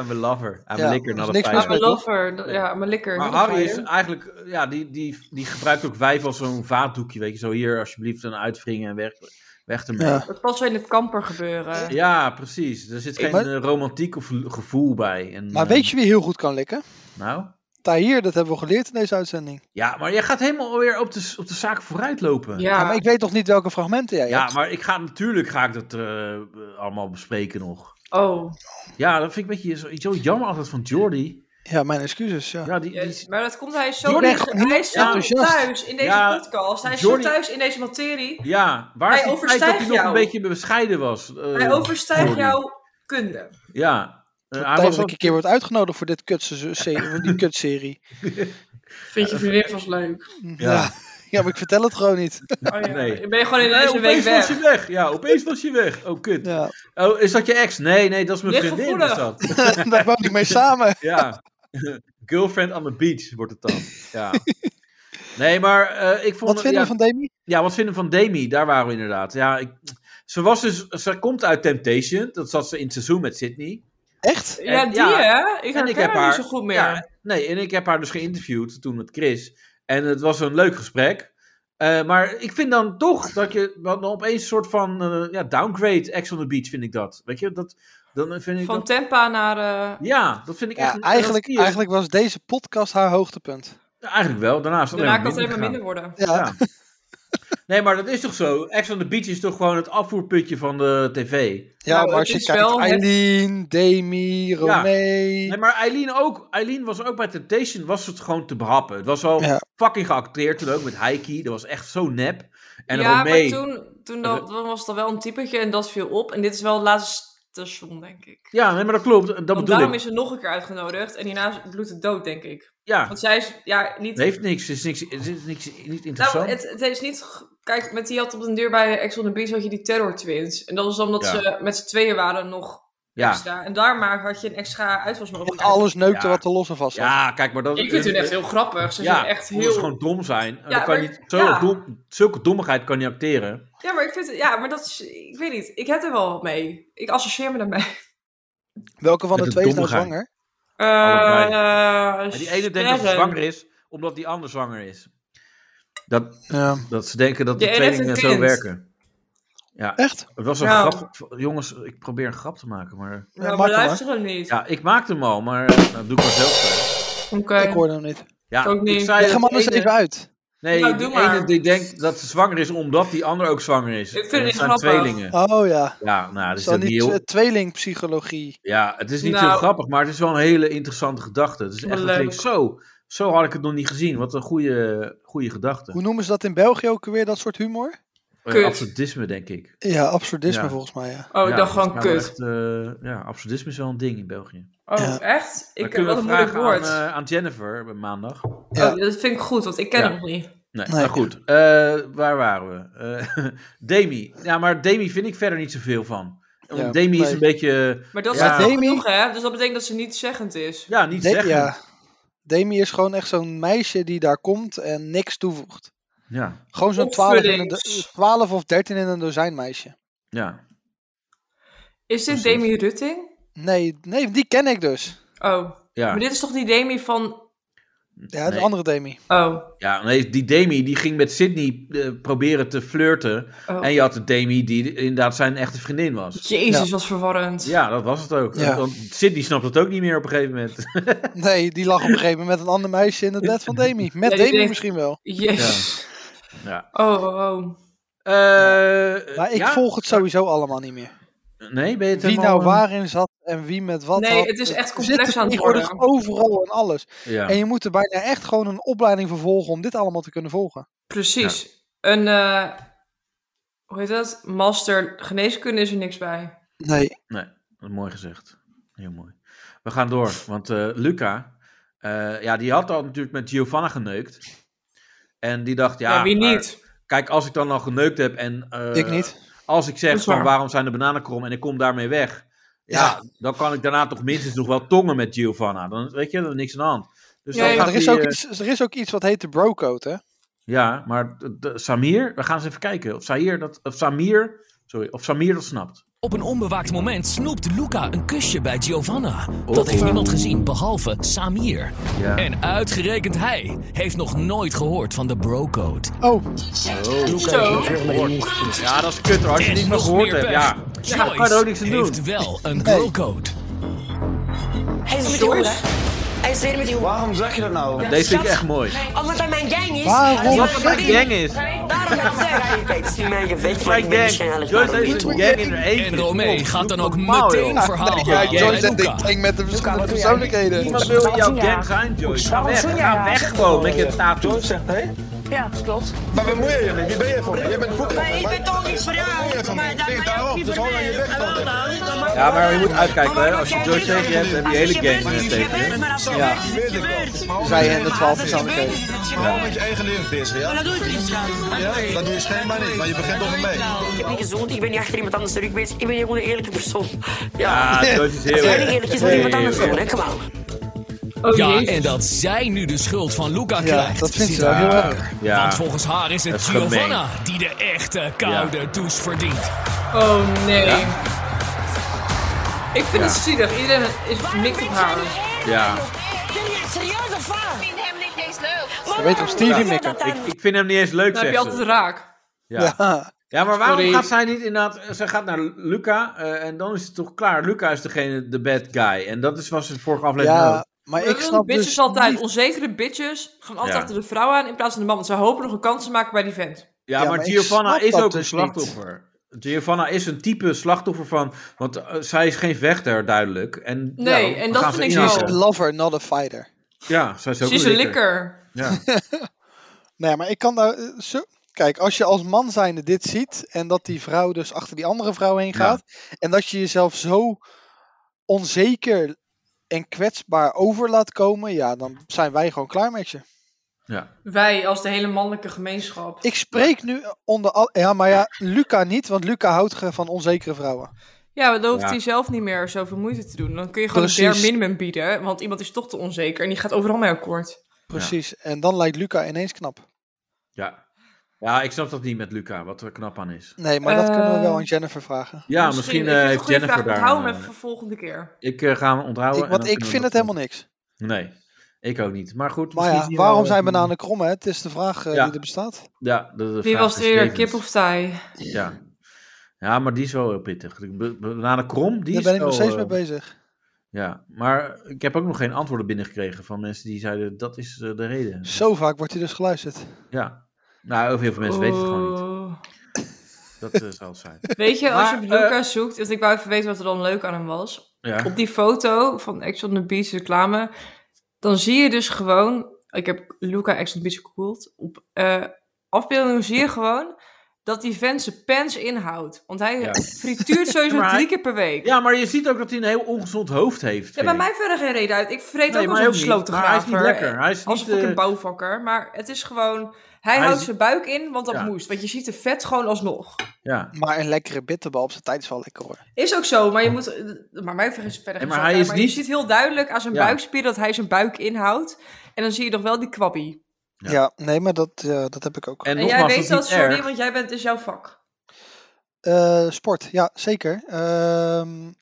I'm a lover, I'm Ja, a likker, er is not a niks mis Ah, fighter. mijn met lover, dat- ja, mijn likker. Maar dat Harry is fire. eigenlijk, eh, ja, die, die, die gebruikt ook wijf als zo'n vaatdoekje, weet je. Zo hier, alsjeblieft, een uitvringen en weg, weg ermee. Ja. Ja. Dat past wel in het kamper gebeuren. precies. Er zit Ik- geen maar- eh, romantiek of gevoel bij. En, Maar eh, weet je wie heel goed kan likken? Nou? Tahir, dat hebben we geleerd in deze uitzending. Ja, maar jij gaat helemaal weer op de, op de zaak vooruit lopen. Ja, Ja, maar ik weet toch niet welke fragmenten jij Ja, hebt? maar ik ga natuurlijk ga ik dat eh, allemaal bespreken nog. oh. Ja, dat vind ik een beetje zo, zo jammer altijd van Jordi. Ja, mijn excuses. Ja. Ja, die, die, Ja, maar dat komt, hij is zo, Jordi is hij gewoon is zo enthousiast. thuis in deze Ja, podcast. Hij is Jordi- zo thuis in deze materie. ja waar Hij is die tijd dat overstijgt hij nog jou. een beetje bescheiden was? Eh, Hij overstijgt Jordi. jouw kunde. Ja. Eh, hij Tijdens was dat ook- ik een keer wordt uitgenodigd voor dit kutse- se- voor die kutserie. Vind je vriendin vast leuk? Ja. Ja. ja, maar ik vertel het gewoon niet. Oh, ja. Nee. Ik ben je gewoon in Nee, deze week opeens was weg. je weg. Ja, opeens was je weg. Oh, kut. Ja. Oh, is dat je ex? Nee, nee, dat is mijn Ligt vriendin. Is gevoelig. dat. <laughs> Daar woon ik mee samen. Ja. <laughs> Girlfriend on the beach wordt het dan. <laughs> Ja. Nee, maar eh, ik vond... Wat vinden ja, we van Demi? Ja, wat vinden we van Demi? Daar waren we inderdaad. Ja, ik, ze, was dus, ze komt uit Temptation. Dat zat ze in het seizoen met Sydney. Echt? Ja, En- die ja. hè? En Ik herken ik heb haar haar- niet zo goed meer. Ja, nee, en ik heb haar dus geïnterviewd toen met Chris. En het was een leuk gesprek. Eh, maar ik vind dan toch dat je dan opeens een soort van eh, ja, downgrade Ex on the Beach vind ik dat. Weet je, dat, dan vind ik Van dat- Tempa naar... eh, ja, dat vind ik echt... Ja, een- eigenlijk, dat is- eigenlijk was deze podcast haar hoogtepunt. Ja, eigenlijk wel. Daarna is het daarna alleen kan maar het alleen maar minder minder worden. Ja. gegaan. Ja. Nou, Nee, maar dat is toch zo? Ex on the Beach is toch gewoon het afvoerputje van de tv? Ja, Nou, maar als het je is kijkt, wel het- Eileen, Demi, Romee. Nee, maar Eileen ook. Eileen was ook bij Temptation was het gewoon te behappen. Het was al Ja. fucking geacteerd toen ook met Heiki. Dat was echt zo nep. En ja, Romee. maar toen, toen dat, dan was dat wel een typetje en dat viel op. En dit is wel het laatste station, denk ik. Ja, nee, maar dat klopt. Dat Want bedoel daarom ik. is ze nog een keer uitgenodigd. En hierna bloedt het dood, denk ik. Ja, Want zij is ja, niet... het heeft niks. Het is niks, het is niks niet nou, interessant. het, het is niet... g- Kijk, met die had op een deur bij Ex on the Beach had je die Terror Twins. En dat was dan omdat Ja. ze met z'n tweeën waren nog ja. extra. En daarmaar had je een extra uitvalsmogelijkheid. Alles neukte Ja. wat er los en vast was. ja, kijk, maar dat Ik vind hun echt heel grappig. Ze ja, zijn echt omdat heel... ze gewoon dom zijn. En dan kan maar- je, zo ja. dom- zulke dommigheid kan je acteren. Ja, maar ik vind... Ja, maar dat is... Ik weet niet. Ik heb er wel mee. Ik associeer <laughs> Oh, me daarmee. Welke van Met de de twee is nou dommigheid. zwanger? Allebei. Eh, En die ene denkt dat ze Sharon. zwanger is, omdat die ander zwanger is. Dat, Ja. dat ze denken dat De de ene heeft tweelingen een zo kind. werken. Ja, Echt? Het was een Ja. grap. Jongens, ik probeer een grap te maken, maar... Ja, Ja, maak maar hem luister hem niet. Ja, ik maakte hem al, maar eh, nou, doe ik maar zelf. wel. Oké. Ik hoorde hem niet. Ja, Ik ook niet. Ik zei Leg dat hem anders die ene- even uit. Nee, Nou, die doe maar. ene die denkt dat ze zwanger is omdat die ander ook zwanger is. Ik vind En het dat niet zijn grappig. tweelingen. Oh ja. Ja, nou, dat Is is dat ook niet niet heel... eh, tweelingpsychologie? Ja, het is niet Nou. heel grappig, maar het is wel een hele interessante gedachte. Het is echt dat ik Leuk. denk, zo, zo had ik het nog niet gezien. Wat een goede, goede gedachte. Hoe noemen ze dat in België ook weer, dat soort humor? Eh, Kut. absurdisme, denk ik. Ja, absurdisme Ja. volgens mij, ja. Oh, ik Ja, dacht dat gewoon is nou kut. echt, eh, ja, absurdisme is wel een ding in België. Oh, Ja. echt? Maar Ik heb kunnen wel we een moeilijk vragen woord. Aan, eh, aan Jennifer bij maandag. Ja. Oh, dat vind ik goed, want ik ken Ja. hem nog niet. Nee, Nee. maar goed. Eh, waar waren we? Eh, <laughs> Demi. Ja, maar Demi vind ik verder niet zoveel van. Want Ja, Demi is nee. een beetje... Maar dat Ja. is wel Demi- genoeg, hè? Dus dat betekent dat ze niet zeggend is. Ja, niet De- zeggen. Ja. ja. Demi is gewoon echt zo'n meisje die daar komt en niks toevoegt. ja, Gewoon zo'n 12, in een Opvullings. do- 12 of 13 in een dozijn meisje. Is dit Precies. Demi Rutting? Nee, nee, die ken ik dus. Oh, ja. maar dit is toch die Demi van... Ja, de Nee. andere Demi. Oh, Ja, nee, die Demi die ging met Sydney eh, proberen te flirten. oh. En je had de Demi die inderdaad zijn echte vriendin was. Jezus, wat verwarrend. Ja, dat was het ook. Ja. Want Sydney snapt het ook niet meer op een gegeven moment. <laughs> Nee, die lag op een gegeven moment met een ander meisje in het bed van <laughs> Demi. Met Ja, die Demi denkt- misschien wel. Jezus. Ja. Oh, oh, oh. Eh, Maar ik ja? volg het sowieso allemaal niet meer. Nee, ben je het Wie helemaal- nou waarin zat en wie met wat Nee, had. het is echt Er complex zitten aan het tegenwoordig worden. overal en alles. Ja. En je moet er bijna echt gewoon een opleiding voor volgen om dit allemaal te kunnen volgen. Precies. Een, eh, hoe heet dat? Master geneeskunde is er niks bij. Nee, Nee, dat is mooi gezegd. Heel mooi. We gaan door, want eh, Luca, eh, ja, die had al natuurlijk met Giovanna geneukt. En die dacht, ja, Ja, wie maar niet? kijk, als ik dan al geneukt heb en eh, Ik niet. als ik Dat zeg is van waar. waarom zijn de bananenkrom en ik kom daarmee weg, ja, Ja. dan kan ik daarna toch minstens nog wel tongen met Giovanna. Dan weet je, dan is niks aan de hand. Dus Ja, dan ja. gaat Maar er is, die, ook eh, iets, er is ook iets wat heet de brocode, hè? ja, maar de- de- Samir, we gaan eens even kijken of Samir dat, of Samir, sorry, of Samir dat snapt. Op een onbewaakt moment snoept Luca een kusje bij Giovanna. Dat Oh. heeft niemand gezien behalve Samir. Ja. En uitgerekend hij heeft nog nooit gehoord van de brocode. Oh, Zo. Ja, dat is kut hoor, als je En niet van nog gehoord meer hebt. pech. Ja, ja Joyce daar kan je er ook niks aan doen. heeft wel een brocode. Hij is met die hoeren. Hij is weer met die hoeren. Waarom zeg je dat nou? Deze vind ik echt mooi. Omdat hij <laughs> mijn gang is. Waarom? hij Wat is mijn voor vriendin. gang is. Daarom wil ik zeggen. Kijk, het is niet mijn gevecht, maar ik Mijn ben gang. waarschijnlijk Joyce waarom heeft niet. een gang in haar eentje. En Romee Kom, gaat dan doe ook normaal, joh. meteen verhaal ja, halen Joyce bij en ik Luca. denk met de verschillende wat doe jij? persoonlijkheden. Niemand wil in jouw gang zijn, Joyce. Ga weg, ga weg gewoon met je tattoo. zegt hé? Ja, klopt. Maar waar moet je je mee? Wie ben je voor mij? Jij bent poep. Maar ik ben toch niet voor jou. Maar dat ben je ook niet voor mij. Ja, maar je moet uitkijken hè. Als je Joyce tegen je hebt, heb je hele gang eh, tegen je. Maar als het Ja. gebeurt, is het gebeurd. Zij en de twaalf Als het gebeurd is, persoonlijkheden. is het Gewoon gebeurd. met je eigen leven bezig, ja? Maar Oh, dat doe ik niet, schat. Ja, dat doe je schijnbaar niet, maar je begint toch mee. Ik heb niet gezoend, ik ben niet achter iemand anders de rug bezig. Ik ben gewoon een eerlijke persoon. Ja. Ja, Joyce is heel Als erg. jij niet eerlijk is met iemand Heel anders, erg. dan hè, kom aan. Oh Ja, jee. en dat zij nu de schuld van Luca Ja, krijgt. dat vindt ze ziet wel hij heel niet. erg. Ja. Want volgens haar is Dat het is gemeen. Giovanna die de echte koude douche verdient. Oh nee. Ik vind het zielig. Iedereen is mikt op haar. Ja. Ben je serieus of wat? vind hem niet eens leuk. Je weet toch Stevie Micker? mikken. Ik, ik vind hem niet eens leuk, Dan heb je zegt altijd ze. raak. Ja. Ja. ja, maar waarom Sorry. gaat zij niet inderdaad... Zij gaat naar Luca eh, en dan is het toch klaar. Luca is degene, de bad guy. En dat is, was in de vorige aflevering ook. Ja, maar ik snap bitches dus altijd. niet- Onzekere bitches gaan altijd Ja. achter de vrouw aan in plaats van de man. Want ze hopen nog een kans te maken bij die vent. Ja, Ja, maar, maar ik Giovanna snap is dat ook een dus slachtoffer. Giovanna is een type slachtoffer van. Want eh, zij is geen vechter, duidelijk. En, Nee, ja, en we dat gaan vind ze ik inhaken. wel. She's a lover, not a fighter. Ja, zij is ook Ze is een likker. Ja. Nee, maar ik kan daar... eh, Zo... Kijk, als je als man zijnde dit ziet... en dat die vrouw dus achter die andere vrouw heen Ja. gaat... en dat je jezelf zo onzeker en kwetsbaar over laat komen... ja, dan zijn wij gewoon klaar met je. <laughs> ja. Wij als de hele mannelijke gemeenschap. Ik spreek nu onder al... Ja, maar ja, Luca niet, want Luca houdt ge- van onzekere vrouwen. Ja, maar dan hoeft Ja. hij zelf niet meer zoveel moeite te doen. Dan kun je gewoon een Precies. bare minimum bieden. Want iemand is toch te onzeker en die gaat overal mee akkoord. Precies. En dan lijkt Luca ineens knap. Ja. ja, ik snap dat niet met Luca, wat er knap aan is. Nee, maar dat kunnen we wel Eh, aan Jennifer vragen. Ja, misschien, ik eh, vind het een heeft goede Jennifer vraag. daar. eh, Onthouden een, we even voor volgende keer. eh, ik eh, ga hem onthouden. Ik, en want dan kunnen ik we vind dat- het helemaal niks. Nee, ik ook niet. Maar goed, Maar misschien ja, zien we waarom wel zijn even- bananen krom, hè? Het is de vraag eh, Ja. die er bestaat. Ja, de, de Wie vraag was er is eerder, levend. kip of tij? Ja. ja, maar die is wel heel pittig. De b- Bananen krom, die Daar is ben ik nog wel, steeds eh, mee bezig. Ja, maar ik heb ook nog geen antwoorden binnengekregen van mensen die zeiden dat is eh, de reden. Zo vaak wordt hij dus geluisterd. Ja. Nou, heel veel mensen weten het gewoon Oh. niet. Dat eh, zal het zijn. Weet je, als je Maar, op Luca zoekt, want ik wou even weten wat er dan leuk aan hem was. Ja. Op die foto van Ex on the Beach reclame, dan zie je dus gewoon, ik heb Luca Ex on the Beach gegoogeld, op eh afbeeldingen zie je gewoon dat die vent zijn pens inhoudt. Want hij Ja. frituurt <laughs> sowieso Maar- drie keer per week. Ja, ja, maar je ziet ook dat hij een heel ongezond hoofd heeft. vind bij ik. mij verder geen reden uit. Ik vreet Nee, ook maar als een ook niet. Maar hij is niet slotengraver. lekker. Hij is Als een niet, fucking eh, bouwvakker. Maar het is gewoon... Hij, Hij houdt is- zijn buik in, want dat Ja. moest. Want je ziet de vet gewoon alsnog. Ja. Maar een lekkere bitterbal op zijn tijd is wel lekker hoor. Is ook zo, maar je moet. Maar mij vergis verder. Nee, geen maar zak hij uit, is maar niet- Je ziet heel duidelijk aan zijn Ja. buikspier dat hij zijn buik inhoudt. En dan zie je nog wel die kwabbie. Ja. Ja, nee, maar dat, ja, dat heb ik ook. En, En, jij nogmaals, weet dat, dat, is niet sorry, erg. want jij bent is jouw vak. Eh, sport, ja, zeker. Ehm,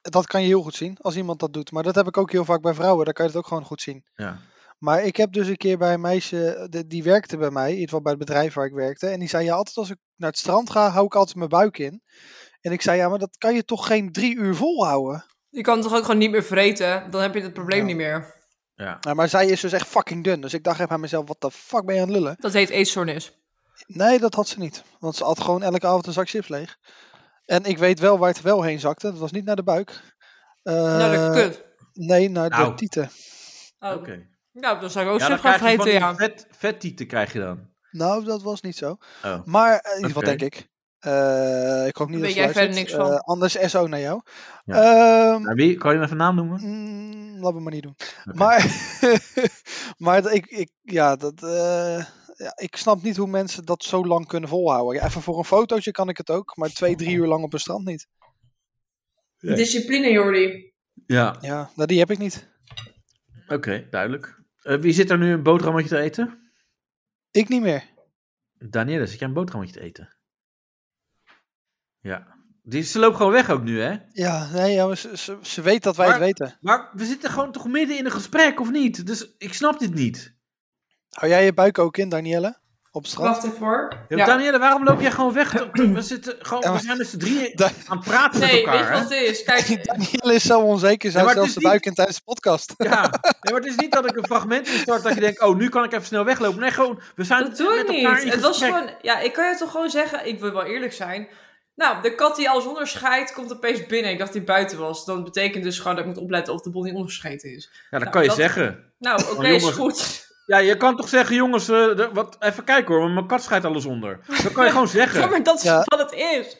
dat kan je heel goed zien als iemand dat doet. Maar dat heb ik ook heel vaak bij vrouwen. Daar kan je het ook gewoon goed zien. Ja. Maar ik heb dus een keer bij een meisje, de- die werkte bij mij, in ieder geval bij het bedrijf waar ik werkte. En die zei, ja, altijd als ik naar het strand ga, hou ik altijd mijn buik in. En ik zei, ja, maar dat kan je toch geen drie uur volhouden? Je kan toch ook gewoon niet meer vreten? Dan heb je het probleem Ja. niet meer. Ja. Nou, maar zij is dus echt fucking dun. Dus ik dacht even aan mezelf, wat de fuck ben je aan het lullen? Dat heet eetstoornis. Nee, dat had ze niet. Want ze had gewoon elke avond een zak chips leeg. En ik weet wel waar het wel heen zakte. Dat was niet naar de buik. Eh, nou, dat kut. Nee, naar Nou. de tieten. Oh. Oké. Nou, dan zou ik ook Ja, dan zeggen gaan krijg je vreten, van ja. die vet, vettieten krijg je dan. Nou, dat was niet zo. Oh. Maar, eh, in ieder geval Oké. denk ik. Eh, ik hoop niet Weet dat ze jij verder luistert. niks van? Eh, anders SO naar jou. Ja. Ehm, Naar wie? Kan je even naam noemen? Mm, laat me maar niet doen. Oké. Maar, <laughs> maar dat ik, ik, ja, dat, eh, ja, ik snap niet hoe mensen dat zo lang kunnen volhouden. Ja, even voor een fotootje kan ik het ook, maar twee, drie uur lang op een strand niet. Nee. Discipline, Jordi. Ja, Ja, nou, die heb ik niet. oké, duidelijk. Eh, wie zit er nu een boterhammetje te eten? Ik niet meer. Danielle, zit jij een boterhammetje te eten? Ja. Die, ze loopt gewoon weg ook nu, hè? Ja, nee, ja, maar ze, ze, ze weet dat wij Maar- het weten. Maar we zitten gewoon toch midden in een gesprek, of niet? Dus ik snap dit niet. Hou jij je buik ook in, Danielle? Op het strand? Wacht even hoor. Ja. Danielle, waarom loop jij gewoon <clears throat> weg? We, zitten gewoon, Ja, we maar- zijn met z'n <laughs> drieën Da- aan het praten met Nee, weet elkaar, je hè? wat het is? <laughs> Kijk, <laughs> Danielle is zo onzeker, ze Ja, maar het houdt zelfs is de niet- buik in tijdens de podcast. <laughs> Ja, nee, maar het is niet dat ik een fragment instart dat je denkt, oh, nu kan ik even snel weglopen. Nee, gewoon, we zijn dat doe ik met elkaar in niet. Het was gesprek. gewoon, ja, ik kan je toch gewoon zeggen, ik wil wel eerlijk zijn. Nou, de kat die alles onderscheidt, komt opeens binnen. Ik dacht die buiten was. Dat betekent dus gewoon dat ik moet opletten of de bol niet onderscheiden is. Ja, dat Nou, kan je dat- zeggen. Nou, oké, Oh, jongens. is goed. <laughs> Ja, je kan toch zeggen, jongens, eh, de- wat, even kijken hoor, want mijn kat scheidt alles onder. Dat kan je <laughs> gewoon Ja, zeggen. maar dat is Ja. wat het is.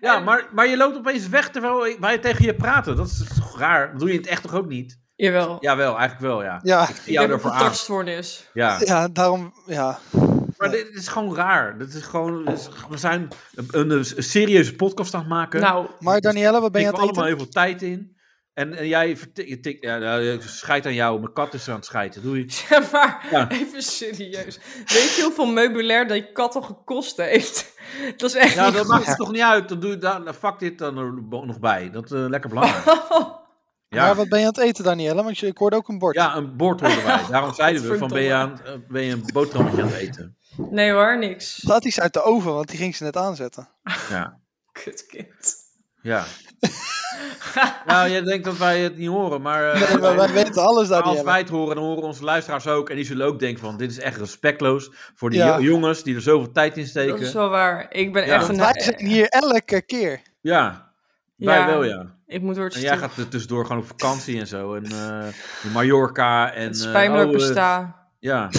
Ja, maar, maar je loopt opeens weg terwijl wij tegen je praten. Dat is toch raar? Dat doe je in het echt toch ook niet? Jawel. Jawel, eigenlijk wel, ja. Ja, Ik zie ik dus. jou heb een daarvoor aan. contactstoornis. Ja. ja daarom, ja. Maar dit is gewoon raar. Dit is gewoon, dit is- we zijn een, een, een serieuze podcast aan het maken. Nou, <laughs> Maar Danielle, wat ben je Ik aan heb het eten? allemaal heel veel tijd in. En, en jij verti- je tikt, ja, nou, ik scheid aan jou, mijn kat is aan het scheiden. Doei. <laughs> ja, maar Ja. even serieus. Weet je hoeveel meubilair dat je kat al gekost heeft? <laughs> Dat is echt Ja, niet dat goed. maakt het toch niet uit. Dan doe je daar, nou, fuck dit dan er bo- nog bij. Dat is lekker belangrijk. <laughs> Oh. Maar Ja, wat ben je aan het eten, Danielle? Want je- ik hoorde ook een bord. ja een bord horen <laughs> wij. Daarom zeiden we van ben je, aan, Godverdomme. eh, ben je een boterhammetje aan het eten. Nee hoor, niks. Laat iets uit de oven, want die ging ze net aanzetten. Ja. Kutkind. <laughs> ja. Nou, jij denkt dat wij het niet horen, maar... eh, Nee, maar wij weten alles, Maar als Danielle. wij het horen, dan horen onze luisteraars ook. En die zullen ook denken van, dit is echt respectloos voor die Ja. jo- jongens die er zoveel tijd in steken. Dat is wel waar. Ik ben eh, Ja. echt een... Wij zijn hier elke keer. Ja, wij Ja. wel ja. Ik moet door het En jij stof. gaat er tussendoor gewoon op vakantie en zo. En eh, in Mallorca en... Het eh, spijt me dat ik oh, eh, besta. ja.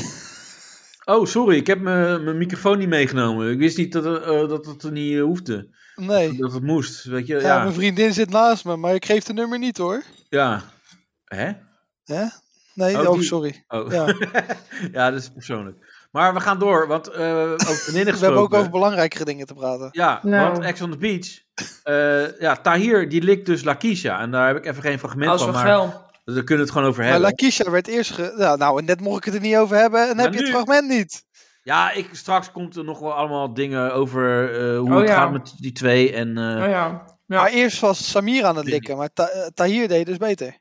Oh, sorry, ik heb mijn mijn microfoon niet meegenomen. Ik wist niet dat, eh, eh, dat het er niet eh, hoefde. Nee. Dat het moest, weet je. Ja, Ja, mijn ja. vriendin zit naast me, maar ik geef de nummer niet hoor. Hè? Hè? Nee, Oh, oh, die- sorry. Oh. Ja. <laughs> Ja. dat is persoonlijk. Maar we gaan door, want eh over vriendinnen <laughs> We hebben ook gesproken. over belangrijkere dingen te praten. Ja, Nou. want Ex on the Beach. eh, ja, Tahir die likt dus Lakisha. En daar heb ik even geen fragment Als van, we maar wel. we kunnen het gewoon over Maar hebben. Lakisha werd eerst ge... Nou, nou, en net mocht ik het er niet over hebben en heb je nu- het fragment niet. Ja, ik, straks komt er nog wel allemaal dingen over eh, hoe Oh, het ja. gaat met die twee. En, eh, Oh ja. Maar ja. eerst was Samir aan het likken, maar Ta- eh, Tahir deed dus beter.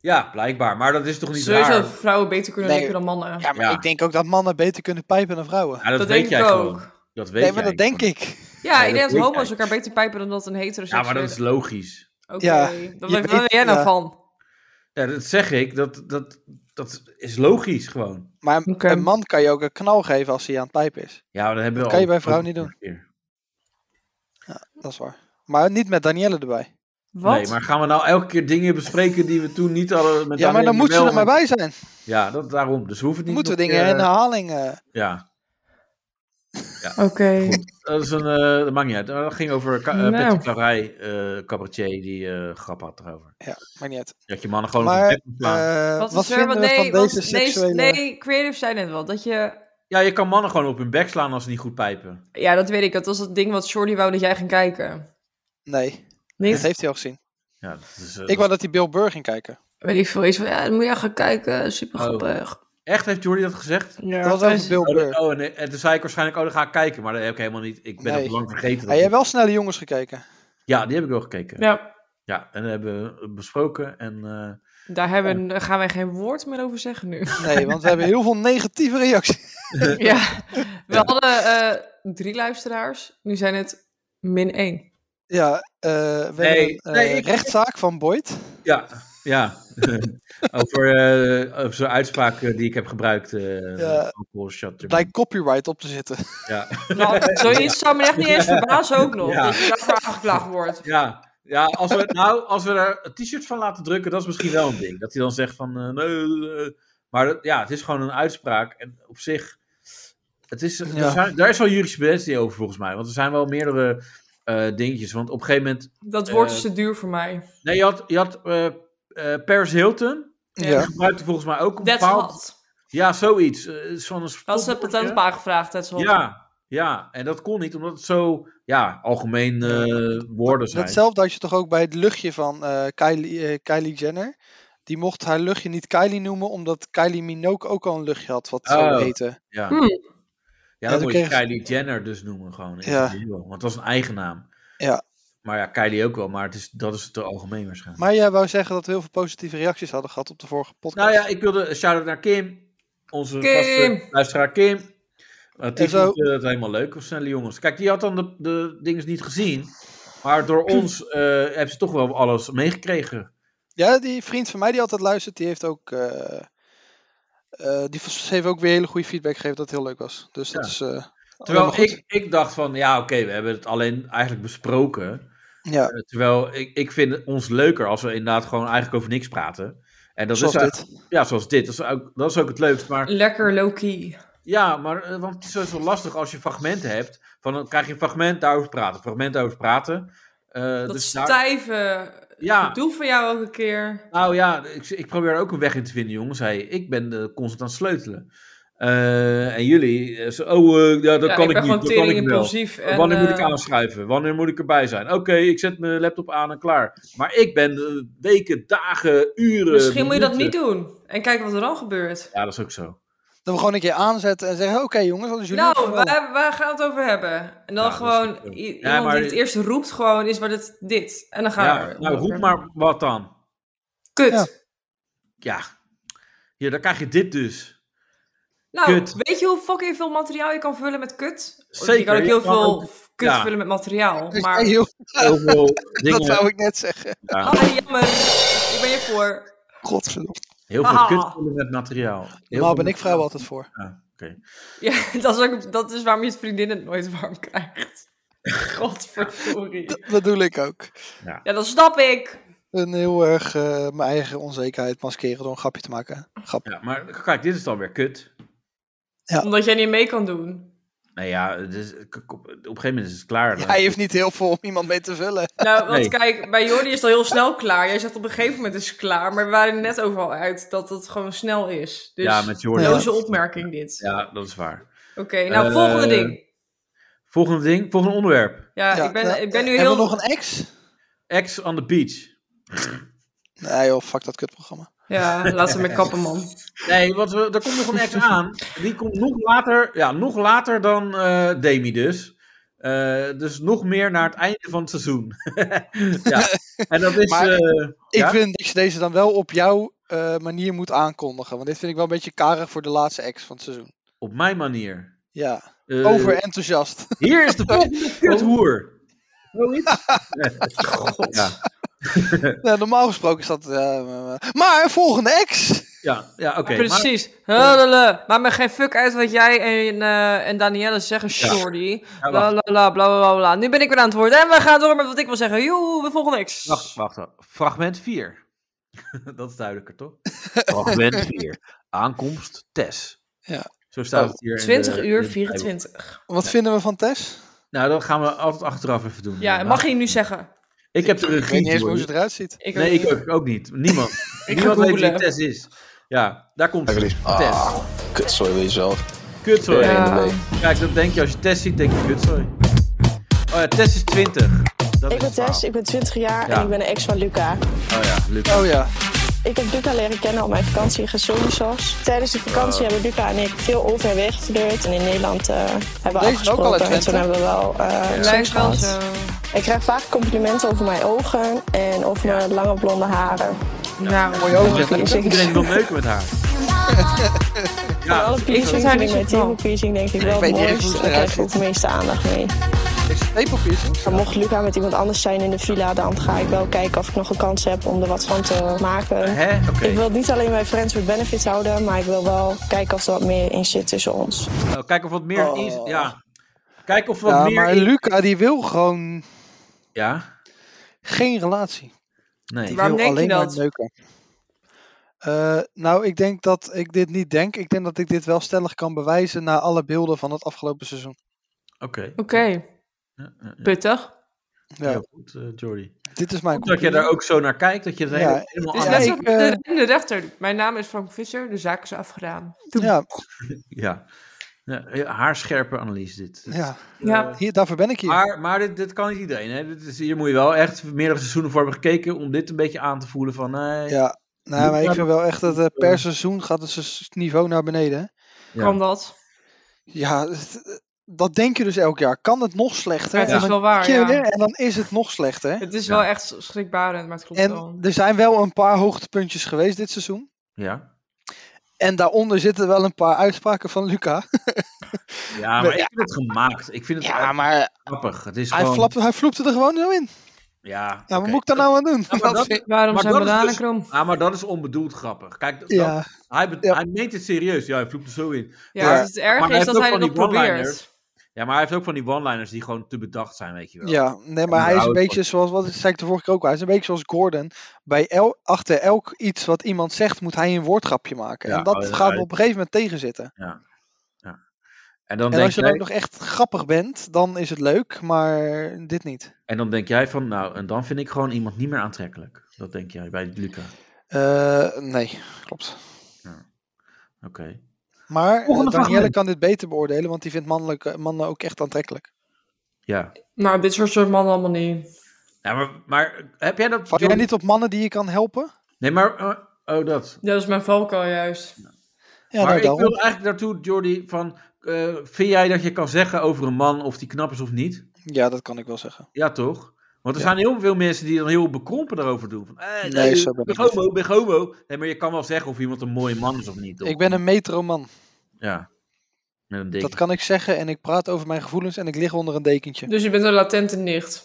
ja, blijkbaar. Maar dat is toch niet Sowieso raar? dat vrouwen beter kunnen Nee. likken dan mannen. Ja, maar Ja. ik denk ook dat mannen beter kunnen pijpen dan vrouwen. Ja, dat, dat weet denk jij ik gewoon. ook. Dat weet Nee, maar jij dat denk gewoon. ik. Ja, Ja, dat ik denk dat weet homo's jij. elkaar beter pijpen dan dat een Ja, dus heteroseksuele... maar dat is logisch. Oké, Ja, dan je weet- waar weet- ben jij nou ja. van? Ja, dat zeg ik. Dat, dat, dat is logisch gewoon. Maar Oké. een man kan je ook een knal geven als hij aan het pijpen is. Ja, maar dat hebben we kan al- je bij vrouwen niet doen. keer. Dat is waar. Maar niet met Danielle erbij. Wat? Nee, maar gaan we nou elke keer dingen bespreken die we toen niet hadden? Met Ja, maar dan Daniel moet ze er Mel- maar bij zijn. Ja, dat, daarom. Dus we hoeven het Dan niet moeten we nog dingen een in keer- herhaling... eh, Ja, Oké. dat, is een, eh, dat maakt niet uit. Maar Dat ging over ka- eh, Nou. Patrick Larrey, eh, cabaretier, die eh, grap had erover. Ja, maakt niet uit. Oh, Dat je mannen gewoon op Maar, de bek moet slaan. eh, Wat, wat, is er? vinden Want we nee, van want deze nee, seksuele... nee, creatives zijn het wel. Dat je... Ja, je kan mannen gewoon op hun bek slaan als ze niet goed pijpen. Ja, dat weet ik. Dat was het ding wat Jordi wou dat jij ging kijken. Nee, dat Niet? heeft hij al gezien. Ja, dat is, eh, Ik wou dat hij Bill Burr ging kijken. Weet ik veel. Iets van, ja, dan moet jij gaan kijken. Super grappig. Echt, heeft Jordi dat gezegd? Ja, Oh. dat was over Bill Oh, Burr. dat- oh, en, en toen zei ik waarschijnlijk, oh, dan ga ik kijken. Maar dat heb ik helemaal niet. Ik ben Nee. het lang vergeten. Hij dat heeft ik- wel snelle jongens gekeken. Ja, die heb ik wel gekeken. Ja, Ja, en dat hebben we besproken. En eh, daar hebben, daar gaan wij geen woord meer over zeggen nu. Nee, want we hebben heel veel negatieve reacties. <laughs> ja, we hadden eh, drie luisteraars. Nu zijn het min één. Ja, eh, we Nee, hebben een nee, eh, ik- rechtszaak van Boyd. ja, ja. <laughs> over, eh, over zo'n uitspraak eh, die ik heb gebruikt. eh Ja. alcohol shot Er your blijkt copyright op te zitten. Ja, Nou, zoiets zou me echt niet eens verbazen ook nog. Ja. Dat je daarvoor aangeklaagd wordt. ja. ja, ja als, we, nou, als we er een t-shirt van laten drukken, dat is misschien wel een ding. Dat hij dan zegt van, eh, nee, eh, maar dat- ja, het is gewoon een uitspraak. En op zich, Het is, er Ja. zijn- daar is wel jurisprudentie over volgens mij. Want er zijn wel meerdere eh, dingetjes. Want op een gegeven moment. Dat woord Eh, is te duur voor mij. Nee, je had, je had eh, eh, Paris Hilton. Ja. Die gebruikte volgens mij ook een That's bepaald. hot. Ja, zoiets. Eh, is van een Dat is het spotwoordje. patent op aangevraagd, that's hot. Ja, ja, en dat kon niet, omdat het zo ja, algemeen eh, woorden zijn. Hetzelfde had je toch ook bij het luchtje van eh, Kylie, eh, Kylie Jenner. Die mocht haar luchtje niet Kylie noemen, omdat Kylie Minogue ook al een luchtje had wat Oh. zo heette. Ja, Hmm. ja dan dan moet je kreeg- Kylie Jenner dus noemen gewoon. Ja. Ja. Want dat is een eigen naam. Ja. Maar ja, Kylie ook wel, maar het is, dat is te algemeen waarschijnlijk. Maar jij wou zeggen dat we heel veel positieve reacties hadden gehad op de vorige podcast. Nou ja, ik wilde een shout-out naar Kim. Onze Kim. vaste luisteraar Kim. Het die En zo. vond eh, het helemaal leuk, of snelle jongens. Kijk, die had dan de, de dingen niet gezien. Maar door Hm. ons eh hebben ze toch wel alles meegekregen. Oh, Ja, die vriend van mij die altijd luistert, die heeft ook. eh, eh, die v- heeft ook weer hele goede feedback gegeven dat het heel leuk was. Dus dat Ja. is. eh, allemaal Terwijl goed. ik, ik dacht van, ja oké, we hebben het alleen eigenlijk besproken. Ja, Eh, Terwijl ik, ik vind het ons leuker als we inderdaad gewoon eigenlijk over niks praten. En dat zoals is dit. eigenlijk- Ja, zoals dit. Dat is ook, dat is ook het leukst. Maar Lekker low-key. ja, maar, eh, want het is sowieso lastig als je fragmenten hebt. Van, dan krijg je een fragment daarover praten, fragment daarover praten. Eh, Dat dus daar- stijve ja, gedoe van jou ook een keer. nou ja, ik, ik probeer er ook een weg in te vinden, jongens. Hey, ik ben eh, constant aan het sleutelen. Eh, en jullie, eh, zo, oh, eh, ja, dat Ja, kan ik, ben niet, gewoon dat kan tering ik wel. impulsief. En, Wanneer moet ik eh, aanschuiven? Wanneer moet ik erbij zijn? Oké, ik zet mijn laptop aan en klaar. Maar ik ben eh, weken, dagen, uren. Misschien moet je dat minuten- niet doen. En kijken wat er dan gebeurt. Ja, dat is ook zo. Dat we gewoon een keer aanzetten en zeggen: oké jongens, wat is jullie Nou, verhaal? waar, waar gaan we het over hebben? En Ja, dan dat gewoon is ook zo. i- Ja, iemand maar- die het eerst roept gewoon is wat het dit. En dan gaan we. Ja, er nou, over. roep maar wat dan. Kut. Ja. Ja. Hier, dan krijg je dit dus. Nou, Kut. weet je hoe fucking veel materiaal je kan vullen met kut? Je Zeker, kan ook je heel kan veel ook- kut ja. vullen met materiaal. Dus, Maar, hey, joh, Heel <laughs> veel dat dingen. wou ik net zeggen. ja, ah, jammer. Ik ben hiervoor. Godverdomme. heel veel Ah. kutvullen met materiaal. Heel Normaal veel Ah, ben ik vrouw altijd voor. <laughs> Ja, dat is, ook, dat is waarom je vriendinnen het nooit warm <laughs> krijgt. Godverdorie. Dat bedoel ik ook. Ja, dat snap ik. Een heel erg eh, mijn eigen onzekerheid maskeren door een grapje te maken. Grap. Ja, maar kijk, dit is dan weer kut. Omdat jij niet mee kan doen. Nou ja, het is- k- k- op een gegeven moment is het klaar. dan. Hij heeft niet heel veel om iemand mee te vullen. Nou, want Nee. kijk, bij Jordi is het al heel snel klaar. Jij zegt op een gegeven moment is het klaar. Maar we waren er net overal uit dat het gewoon snel is. Dus ja, met Jordi. loze opmerking dit. Ja, dat is waar. Oké, nou Eh, volgende ding. Volgende ding, volgende onderwerp. Ja, Ja, ik, ben, nou, ik ben nu Hebben heel... we nog een ex? Ex on the beach. Nee joh, fuck dat kutprogramma. Ja, laat ze me kappen, <laughs> man. Oh, Nee, want we, er komt nog een ex aan. Die komt nog later, ja, nog later dan eh, Demi dus. Eh, dus nog meer naar het einde van het seizoen. <laughs> ja. En dat is... Maar- eh, Ja? Ik vind dat je deze dan wel op jouw eh, manier moet aankondigen. Want dit vind ik wel een beetje karig voor de laatste ex van het seizoen. op mijn manier. Ja, Eh, overenthousiast. Hier is de volgende kuthoer. Zoiets? God. Ja. <laughs> nou, normaal gesproken is dat... eh, maar volgende ex! Ja, ja oké. maar- Precies. Huddelen. Maakt me geen fuck uit wat jij en, eh, en Danielle zeggen, Jordi. ja, Bla wacht, bla bla bla bla bla. Nu ben ik weer aan het woord. En we gaan door met wat ik wil zeggen. Joe, we volgen niks. wacht, wacht, wacht. Fragment 4. <laughs> dat is duidelijker, toch? Fragment 4. Aankomst Tess. Ja. Zo staat Oh, het hier. in de- 20 uur in de- eh, 24. Wat vinden we van Tess? Nou, dat gaan we altijd achteraf even doen. Ja, Nou, mag je nu zeggen? Ik heb de Ik weet regie. niet eens hoe Jordi. ze eruit ziet. Ik nee, ik ook, ook niet. <laughs> Niemand. Niemand ga weet wie googlen. Tess is. Ja, daar komt Even ze. lezen. Tess. Ah. Kutzooi, weet je wel. Kutzooi. Ja. Kijk, dat denk je als je Tess ziet, denk je kutzooi. Oh ja, Tess is 20. Dat Ik is ben het Tess, ik ben 20 jaar Ja. en ik ben een ex van Luca. verhaal. Oh ja, Luc. Oh ja, Ik heb Luca leren kennen op mijn vakantie in Gezoensos. Tijdens de vakantie Oh. hebben Luca en ik veel over en weer geflirt. En in Nederland eh, hebben we Deze is ook al uit afgesproken. En Twente. toen hebben we wel eh seks Lijkt wel gehad. zo. Ik krijg vaak complimenten over mijn ogen en over mijn lange blonde haren. Dus Nou, mooie ogen. Piercings. Iedereen wil neuken met <laughs> haar. Van Ja, alle vind piercings haar vind niet zo ik mijn knap. tepelpiercing denk ik wel weet het niet eens mooiste. hoe ze Daar eruit krijg ik ook de ziet. meeste aandacht mee. Is het tepelpiercing? Maar mocht Luca met iemand anders zijn in de villa, dan ga ik wel kijken of ik nog een kans heb om er wat van te maken. hè? Oké. Ik wil het niet alleen bij Friends with Benefits houden, maar ik wil wel kijken of er wat meer in zit tussen ons. Nou, kijk of wat meer Oh. is. Ja. Kijk of wat Ja, meer maar is. Luca die wil gewoon Ja? geen relatie. Nee. Die Waarom wil denk je alleen maar dat? neuken. Eh, nou, ik denk dat ik dit niet denk. Ik denk dat ik dit wel stellig kan bewijzen na alle beelden van het afgelopen seizoen. Oké. Oké, Ja, ja, ja. pittig. Ja, Heel goed, eh, Jordy. dit is mijn Dat je daar ook zo naar kijkt, dat je het Ja, hele- helemaal Het is Ja, aan... net zo ik, met eh, de, en de rechter. Mijn naam is Frank Visser, de zaak is afgedaan. Ja, Ja. ja. Haarscherpe analyse dit. ja. Ja. Eh, Hier, daarvoor ben ik hier. Maar, maar dit, dit kan niet iedereen. Hè? Dit is, hier moet je wel echt meerdere seizoenen voor hebben gekeken om dit een beetje aan te voelen van... eh, Nee, Ja, nou, maar ik vind wel echt dat eh, per seizoen gaat het s- niveau naar beneden. hè. Ja. Kan dat? Ja, het- eh, dat denk je dus elk jaar. Kan het nog slechter? Ja, het En is dan wel waar, keer ja. weer En dan is het nog slechter. Het is Ja. wel echt schrikbarend, maar het klopt wel. En er zijn wel een paar hoogtepuntjes geweest dit seizoen. ja. En daaronder zitten wel een paar uitspraken van Luca. Ja, maar ik vind het gemaakt. Ik vind het Ja, maar grappig. Het is hij, gewoon... flapte, hij vloepte er gewoon zo in. Ja, Ja, oké. wat moet ik daar nou aan doen? Ja, maar <laughs> Dat dat- vind- Waarom Maar zijn dat is bananen dus- krom? Ja, maar dat is onbedoeld grappig. Kijk, dat- ja. dat- hij, be- Ja. hij meent het serieus. Ja, hij vloept er zo in. Ja, Maar- dus het erg maar hij is heeft dat ook hij van het nog die one-liners. probeert. Ja, maar hij heeft ook van die one-liners die gewoon te bedacht zijn, weet je wel. Ja, nee, maar En hij is een houdt beetje zoals, wat zei ik de vorige keer ook al, hij is een beetje zoals Gordon. Bij el, achter elk iets wat iemand zegt, moet hij een woordgrapje maken. Ja, en dat oh ja, gaat ja. op een gegeven moment tegenzitten. En, dan En denk als je dan jij, ook nog echt grappig bent, dan is het leuk, maar dit niet. en dan denk jij van, nou, en dan vind ik gewoon iemand niet meer aantrekkelijk. Dat denk jij bij Luca. Oké. Eh, nee, klopt. Maar eh, Volgende Danielle fragment. kan dit beter beoordelen, want die vindt mannelijke, mannen ook echt aantrekkelijk. Ja. Nou, dit soort soort mannen allemaal niet. ja maar, maar heb jij dat... Val jij Jordi? niet op mannen die je kan helpen? Nee, maar... eh, oh, dat. Dat is mijn valkuil juist. maar Ja, nou, ik wil daarom. eigenlijk naartoe, Jordi, van... eh, vind jij dat je kan zeggen over een man of die knap is of niet? Ja, dat kan ik wel zeggen. Ja, toch? Want er zijn heel veel mensen die dan heel bekrompen daarover doen. Van, eh, nee, Nee, zo ben ik ik ben homo, ben homo. Nee, maar je kan wel zeggen of iemand een mooie man is of niet. toch? Ik ben een metroman. Ja. Met een dik. Dat kan ik zeggen en ik praat over mijn gevoelens en ik lig onder een dekentje. Dus je bent een latente nicht.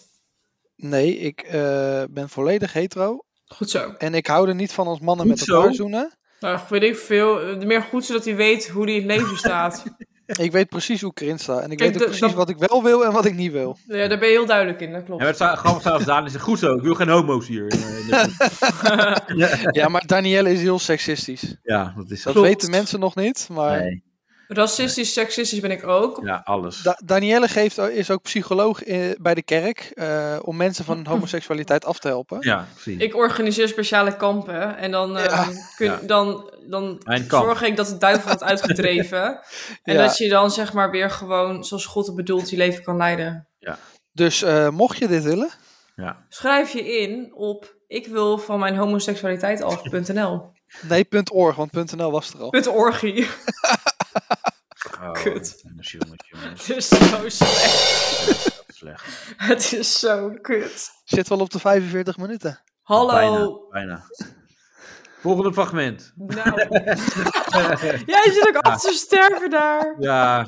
Nee, ik eh, ben volledig hetero. Goed zo. En ik hou er niet van als mannen Goed met zo. elkaar zoenen. Nou, weet ik veel. Eh, Meer goed zodat hij weet hoe hij in het leven <laughs> staat. Ik weet precies hoe ik erin sta. En ik Kijk, weet ook dat- precies dat- wat ik wel wil en wat ik niet wil. ja, daar ben je heel duidelijk in, dat En klopt. het zou- grappig zou als Daan is goed zo, ik wil geen homo's hier. Eh, in <laughs> de- Ja, maar Danielle is heel seksistisch. ja, dat is Dat zo. weten mensen nog niet. Maar Nee, Racistisch, seksistisch ben ik ook. ja, alles. Da- Danielle geeft, is ook psycholoog eh, bij de kerk. eh, om <laughs> mensen van hun homoseksualiteit af te helpen. ja, precies. Ik organiseer speciale kampen en dan, eh, kun, Ja. dan, dan Mijn kamp. zorg ik dat de duivel wordt <laughs> uitgedreven. En Ja. dat je dan zeg maar weer gewoon, zoals God het bedoelt, je leven kan leiden. Dus eh, mocht je dit willen. Ja. Schrijf je in op ik wil van mijn homoseksualiteit af.nl. Nee, .org, want .nl was er al. Met orgie. <laughs> Oh, Kut. Jongens, jongens, jongens. Het is zo slecht. Slecht. Het is zo kut. Zit wel op de 45 minuten. Hallo. Bijna, bijna. Volgende fragment. Nou. <laughs> <laughs> Jij zit ook af te sterven daar. <laughs> Ja,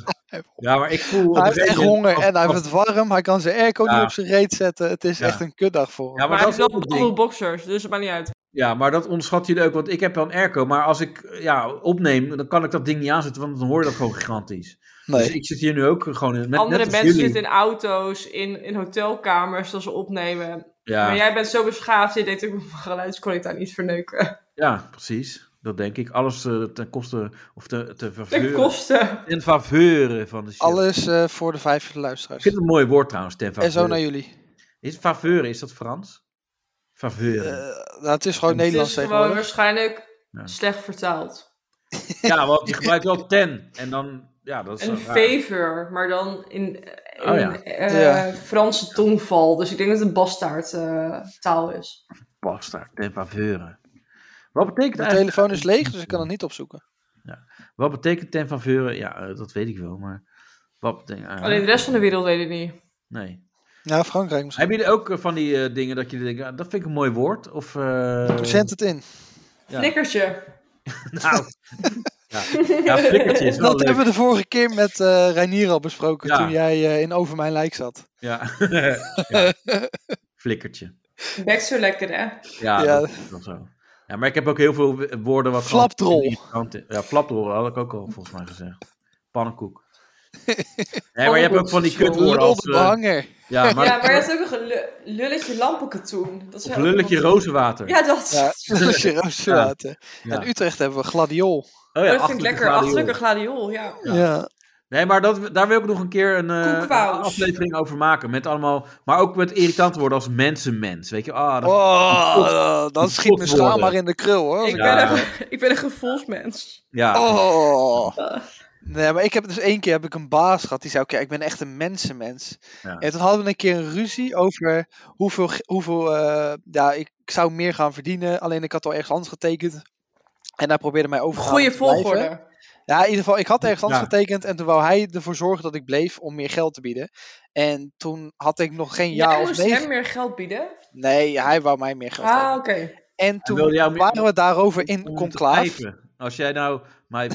ja maar ik voel... op Hij een heeft echt gegeven moment- honger en hij heeft het warm. Hij kan zijn airco Oh. Ja. niet op zijn reet zetten. Het is Ja. echt een kutdag voor hem. Ja, Maar maar hij dat is heeft ook wel een ding. allemaal boxers, dus het maakt niet uit. Ja, maar dat onderschat jullie ook, want ik heb wel een airco, maar als ik ja, opneem, dan kan ik dat ding niet aanzetten, want dan hoor je dat gewoon gigantisch. Dus nee. ik zit hier nu ook gewoon in, met, Andere net als mensen jullie. zitten in auto's, in, in hotelkamers dat ze opnemen. Ja, Maar jij bent zo beschaafd, je denkt ik moet <laughs> mijn geluidskwaliteit niet verneuken. <laughs> ja, precies. Dat denk ik. Alles eh, ten koste, of te, te Ten faveuren. koste. Ten faveuren van de shit. Alles eh, voor de vijf Ik luisteraars. vind het een mooi woord trouwens, ten En zo faveuren. naar jullie. Is faveuren, is dat Frans? Faveuren. Eh, nou, het is gewoon Het Nederlands is gewoon tegenwoordig. waarschijnlijk Ja. slecht vertaald. Eh. Ja, want <laughs> je gebruikt wel ten. En dan, ja, dat is Een raar. favor, maar dan in, in Oh ja. eh, Ja. Franse tongval. Dus ik denk dat het een bastaard eh, taal is. Bastard, ten faveuren. Wat betekent Mijn eigenlijk... telefoon is leeg, dus ik kan het niet opzoeken. Wat betekent ten faveuren? Ja, eh, dat weet ik wel, maar... Wat betekent... ah, Alleen de rest van de wereld weet het niet. Nee. Ja, Nou, Frankrijk misschien. Hebben jullie ook eh, van die eh, dingen dat jullie denken, ah, dat vind ik een mooi woord? Of... eh, Zend het in. Ja. Flikkertje. <laughs> <laughs> Nou... ja, ja, flikkertje is wel Dat leuk. hebben we de vorige keer met eh Reinier al besproken Ja. toen jij eh, in Over Mijn Lijk zat. <laughs> Ja. ja. Flikkertje. Bek zo lekker, hè? Ja, Ja. dat is wel zo. Ja, maar ik heb ook heel veel w- woorden wat... gewoon Flapdrol. <laughs> irritant is. Ja, flapdrol had ik ook al volgens mij gezegd. Pannenkoek. Nee, maar je hebt ook van die kutwoorden als... eh, Lullenbehanger. ja, Ja, maar maar je hebt ook nog een lu- lulletje lampenkatoen. Dat is of wel ook lulletje nog- rozenwater. Ja, dat. <laughs> Ja, <laughs> Rozenwater. Ja. In Utrecht hebben we gladiool. Oh ja, dat vind ik achterlijke lekker. radio. Achterlijk een gladiool, ja. Ja. Nee, maar dat, daar wil ik nog een keer een eh, Koekwous. een aflevering over maken. Met allemaal, maar ook met irritant worden als mensenmens. Weet je, ah, dat- Oh, dan schiet mijn schaal Potwoorden. maar in de krul hoor. Ik, Ja. ben een, ik ben een gevoelsmens. ja. Oh. Nee, maar ik heb dus één keer heb ik een baas gehad die zei: Oké, ik ben echt een mensenmens. Ja. En toen hadden we een keer een ruzie over hoeveel. ge- hoeveel eh, ja, ik zou meer gaan verdienen. Alleen ik had al ergens anders getekend. En hij probeerde mij over te halen Goede te blijven. volgorde. Ja, in ieder geval, ik had ergens anders Ja. getekend. En toen wou hij ervoor zorgen dat ik bleef om meer geld te bieden. En toen had ik nog geen ja Jij of moest nee. hem meer geld bieden. Nee, hij wou mij meer geld Ah, hebben. oké. En toen wilde jou meer- waren we daarover in Om te conclaaf. pijpen. Als jij nou, <laughs> maar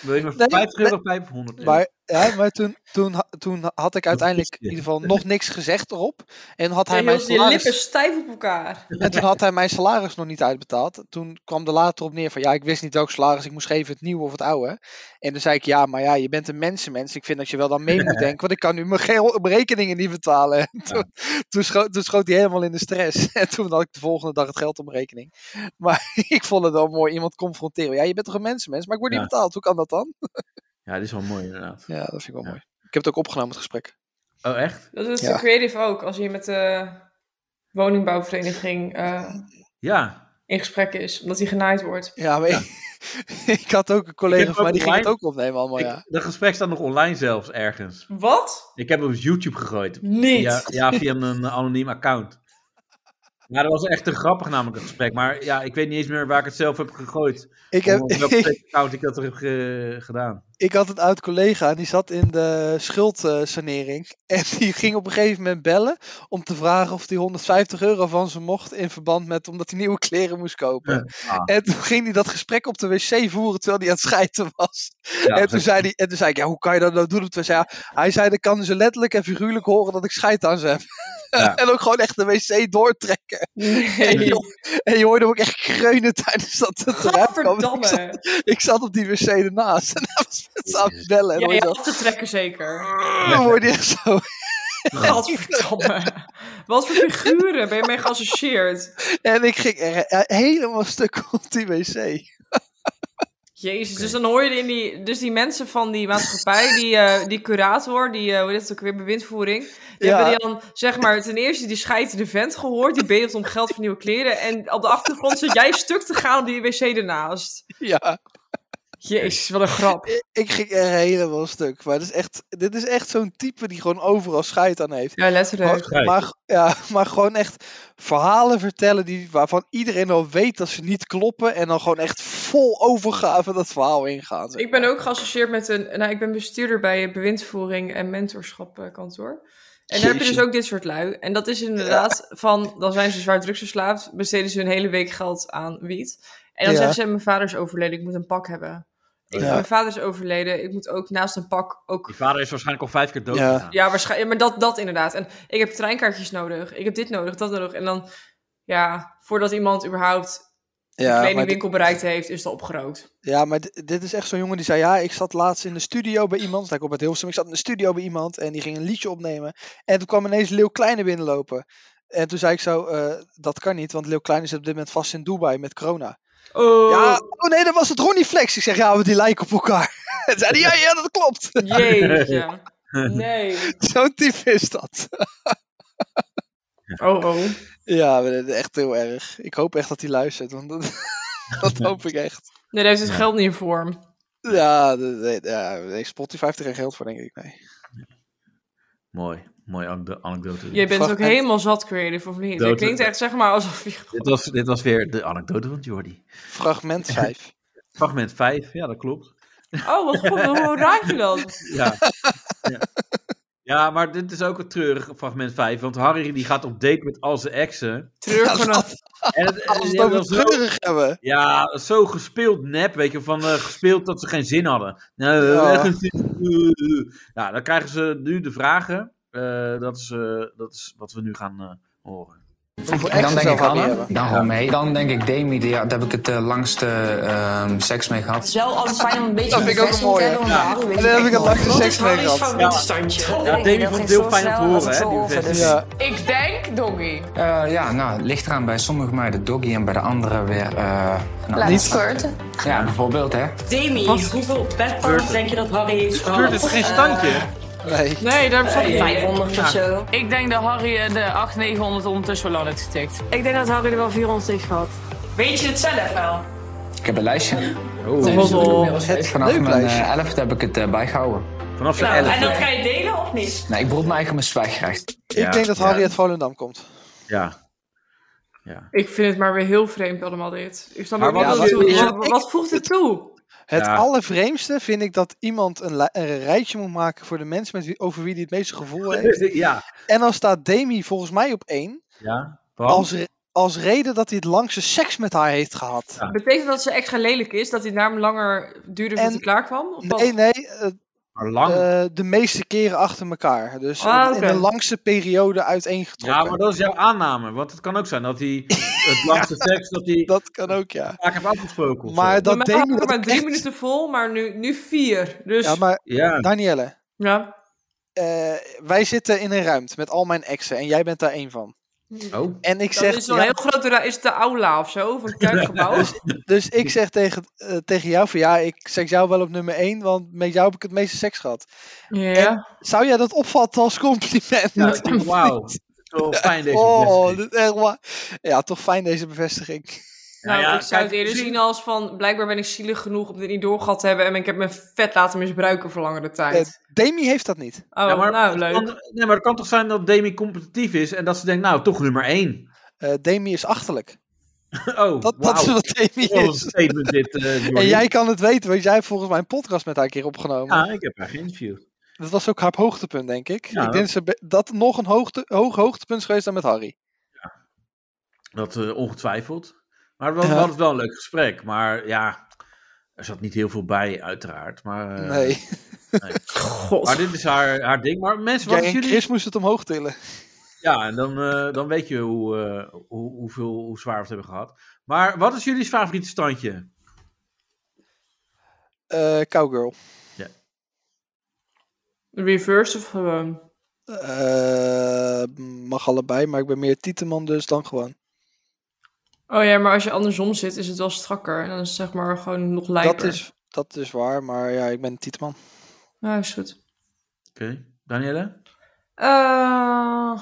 wil je me Nee, 50 nee. euro pijpen of 100 euro? Maar, ja, maar toen, toen, ha- toen had ik uiteindelijk wist in je. ieder geval nog niks gezegd erop. En had hij Je mijn hield je lippen salaris, stijf op elkaar. en toen had hij mijn salaris nog niet uitbetaald. Toen kwam er later op neer van ja, ik wist niet welk salaris ik moest geven, het nieuwe of het oude. En toen zei ik ja, maar ja, je bent een mensenmens. Ik vind dat je wel dan <laughs> mee moet denken, want ik kan nu mijn, gel- mijn rekeningen niet betalen. En Toen, toen, scho- toen schoot hij helemaal in de stress. <laughs> En toen had ik de volgende dag het geld op mijn rekening. Maar <laughs> ik vond het wel mooi, iemand confronteren. Ja, je bent toch een mensenmens, maar ik word niet Ja. betaald. Hoe kan dat dan? Ja, dit is wel mooi inderdaad. Ja, dat vind ik wel Ja. mooi. Ik heb het ook opgenomen, het gesprek. Oh, echt? Dat is Ja. de creative ook. Als je met de woningbouwvereniging eh, Ja. in gesprek is. Omdat hij genaaid wordt. Ja, maar ik, ik <laughs> had ook een Ik collega heb van mij, die ook ging het ook online- opnemen allemaal, Ik- Oh, ja. Dat gesprek staat nog online zelfs ergens. Wat? Ik heb hem op YouTube gegooid. Niet. Ja, ja, via een eh, anoniem account. Maar dat was echt te grappig namelijk, het gesprek. Maar ja, ik weet niet eens meer waar ik het zelf heb gegooid. Ik, heb, Of <laughs> op welk ik, account Oh, ik dat heb eh, gedaan. had een oud collega, en die zat in de schuldsanering. <laughs> En die ging op een gegeven moment bellen om te vragen of hij 150 euro van ze mocht in verband met omdat hij nieuwe kleren moest kopen. Ah. En toen ging hij dat gesprek op de wc voeren terwijl hij aan het schijten was. Ja, en, toen zei hij, en toen zei ik, ja, hoe kan je dat nou doen op de wc? Ja, hij zei, dan kan ze letterlijk en figuurlijk horen dat ik scheid aan ze heb. Ja. <laughs> en ook gewoon echt de wc doortrekken. En Nee. je, en je hoorde hem ook echt kreunen tijdens dat het eruit kwam. Ik zat, Gadverdamme. ik zat op die wc ernaast en hij was met z'n aan het bellen. En Ja, hoor je je af te trekken zeker. zo- dan hoorde je echt zo. Gadverdamme. Wat voor figuren ben je mee geassocieerd? En ik ging er eh, helemaal stuk op die wc. Jezus, dus dan hoor je in die, dus die mensen van die maatschappij, die, eh, die curator, die, eh, hoe heet het ook weer, bewindvoering. Die Ja. hebben die dan, zeg maar, ten eerste die scheidende vent gehoord, die bedelt om geld voor nieuwe kleren. En op de achtergrond zit jij stuk te gaan op die wc ernaast. Ja, Jezus, wat een grap. ik ging er helemaal stuk. Maar dit is echt, dit is echt zo'n type die gewoon overal scheid aan heeft. Ja, letterlijk. Maar, maar, ja, maar gewoon echt verhalen vertellen die, waarvan iedereen al weet dat ze niet kloppen. En dan gewoon echt vol overgave dat verhaal ingaan. zeg Ik ben maar. ook geassocieerd met een. Nou, ik ben bestuurder bij het bewindvoering en mentorschap eh, kantoor. En daar heb je Jeetje. dus ook dit soort lui. En dat is inderdaad van. Dan zijn ze zwaar drugsverslaafd, besteden ze hun hele week geld aan wiet. En dan Ja. zeggen ze: Mijn vader is overleden, ik moet een pak hebben. Ik, Ja. Mijn vader is overleden, ik moet ook naast een pak ook. Je vader is waarschijnlijk al vijf keer dood Ja. gegaan. Ja, waarschijnlijk. Maar dat, dat inderdaad. En ik heb treinkaartjes nodig, ik heb dit nodig, dat nodig. En dan, ja, voordat iemand überhaupt de ja, maar kledingwinkel bereikt heeft, is het al opgerookt. Ja, maar di- dit is echt zo'n jongen die zei: Ja, ik zat laatst in de studio bij iemand. Daar komt het heel stom. Ik zat in de studio bij iemand en die ging een liedje opnemen. En toen kwam ineens Leeuw Kleine binnenlopen. En toen zei ik zo: eh, Dat kan niet, want Leeuw Kleine zit op dit moment vast in Dubai met corona. Oh, Ja, oh nee, dat was het Ronnie Flex. Ik zeg: Ja, want die lijken op elkaar. <laughs> En zei hij: Ja, ja, dat klopt. <laughs> jeetje. Nee. Zo'n type is dat. Oh, oh. Ja, maar dit is echt heel erg. Ik hoop echt dat hij luistert, want dat, <laughs> dat hoop ik <laughs> echt. Nee, daar heeft het Ja. geld niet voor. hem. Ja, de- de- ja, nee, Spotify heeft er geen geld voor, denk ik. Nee. Mooi, mooie ane- anekdote. Jij bent ook Fragment. helemaal zat creative, of niet? Dat- Het klinkt echt zeg maar alsof je... Dit was, dit was weer de anekdote van Jordi. Fragment 5. Fragment 5, ja, dat klopt. Oh, wat goed, hoe raad je <laughs> dat? Ja. ja. ja, maar dit is ook een treurig fragment 5. Want Harry die gaat op date met al zijn exen. Treurig genoeg. En het, Als en we het over dat was zo- treurig hebben. ja, zo gespeeld nep, weet je, van eh, gespeeld dat ze geen zin hadden. Nou, we Ja. hebben geen zin. <laughs> Nou, dan krijgen ze nu de vragen. Eh, dat, is, eh, dat is wat we nu gaan eh, horen. En dan denk ik Hanne, hebben. dan Romee. Dan denk ik Demi, die- ja, daar heb ik het eh, langste ehm, seks mee gehad. wel altijd fijn om een beetje Dat vind ik ook een bevestiging mooie. te hebben, want Ja. Harry weet En het daar heb echt ik het nooit. langste Wat is seks mee Harry's gehad. favorietstandje? Ja. Oh, Ja, ik Davy denk vond het dat heel fijn zo om te snel horen, was hè, het die zo Ja. over. Ik denk doggy. Eh, ja, nou, het ligt eraan bij sommige meiden doggy en bij de andere weer... eh nou, Laat niet. squirten. Ja, bijvoorbeeld hè. Dus- Demi, hoeveel petpaals denk je dat Harry heeft gehad? Gebeurt het geen standje? Nee. Nee, daar heb ik Nee, 500 of zo. Ik denk dat Harry eh, de 800, 900 ondertussen wel aan heeft getikt. Ik denk dat Harry er wel 400 heeft gehad. Weet je het zelf wel? Ik heb een lijstje. Oh. Het Vanaf leuk mijn lijstje. eh, elfde heb ik het eh, bijgehouden. Vanaf Nou, en dat ga je delen of niet? Nee, ik broed me eigenlijk mijn zwijgrecht. Ik denk dat Harry uit Volendam komt. Ja. Ik vind het maar weer heel vreemd allemaal dit. Ik snap Maar ook niet wat- wat, het wat- doet. is- wat, wat voegt het toe? Het Ja. allervreemdste vind ik dat iemand een, li- een rijtje moet maken voor de mensen met wie, over wie hij het meeste <laughs> gevoel heeft. Ja. En dan staat Demi volgens mij op één. Ja. want- Als, re- als reden dat hij het langste seks met haar heeft gehad. Betekent dat ze extra lelijk is? Dat die naam langer duurde En- voordat hij klaar kwam? Of wat? Nee, nee. eh, Maar lang. eh, de meeste keren achter elkaar. Dus Ah, in oké. de langste periode uiteengetrokken. Ja, maar dat is jouw aanname. Want het kan ook zijn dat <coughs> hij het langste seks dat hij dat kan ook, ja. vaak heeft afgesproken. of Maar zo. dat Maar Demi we dat hadden maar ik drie echt- minuten vol, maar nu, nu vier. Dus Ja, maar Ja. Danielle, ja. eh, wij zitten in een ruimte met al mijn exen en jij bent daar één van. Oh. En ik Hmm. dat zeg, is wel ja, heel groot. Daar is het de aula of zo, of <laughs> een kerkgebouw. dus ik zeg tegen, eh, tegen jou van ja, ik zeg jou wel op nummer één, want met jou heb ik het meeste seks gehad. ja. Zou jij dat opvatten als compliment? <laughs> Ja, ik denk, Wauw. Zo fijn deze oh, bevestiging. dit is echt waar. Ja, toch fijn deze bevestiging. Nou, ja, ik zou kijk, het eerder zie- zien als van... Blijkbaar ben ik zielig genoeg om dit niet doorgehad te hebben... en ik heb mijn vet laten misbruiken voor langere tijd. Eh, Demi heeft dat niet. Oh, Ja, maar nou, het leuk. kan- nee, maar het kan toch zijn dat Demi competitief is en dat ze denkt, nou, toch nummer één. <laughs> Eh, Demi is achterlijk. Oh, Dat, wauw. Oh, dat is wat Demi Wel een is. statement dit, eh, <laughs> En Jordi. jij kan het weten, want jij hebt volgens mij een podcast met haar een keer opgenomen. Ja, ik heb haar geïnterviewd. Dat was ook haar hoogtepunt, denk ik. Ja, ik denk dat ze be- dat nog een hoogte, hoog hoogtepunt is geweest dan met Harry. Dat eh, ongetwijfeld. Maar we, we Ja. hadden het wel een leuk gesprek. Maar ja, er zat niet heel veel bij, uiteraard. Maar, eh, nee, God. maar dit is haar, haar ding. Maar Dus mensen, wat jij is en jullie... Chris moesten het omhoog tillen. Ja, en dan, eh, dan weet je hoe, eh, hoe, hoeveel, hoe zwaar we het hebben gehad. Maar wat is jullie favoriete standje? Eh, cowgirl. Reverse of gewoon... Eh, mag allebei, maar ik ben meer tieteman dus dan gewoon. Oh ja, maar als je andersom zit, is het wel strakker. En dan is het zeg maar gewoon nog lijker. Dat is, dat is waar, maar ja, ik ben een tieteman. Ja, is goed. Oké, Danielle? Eh,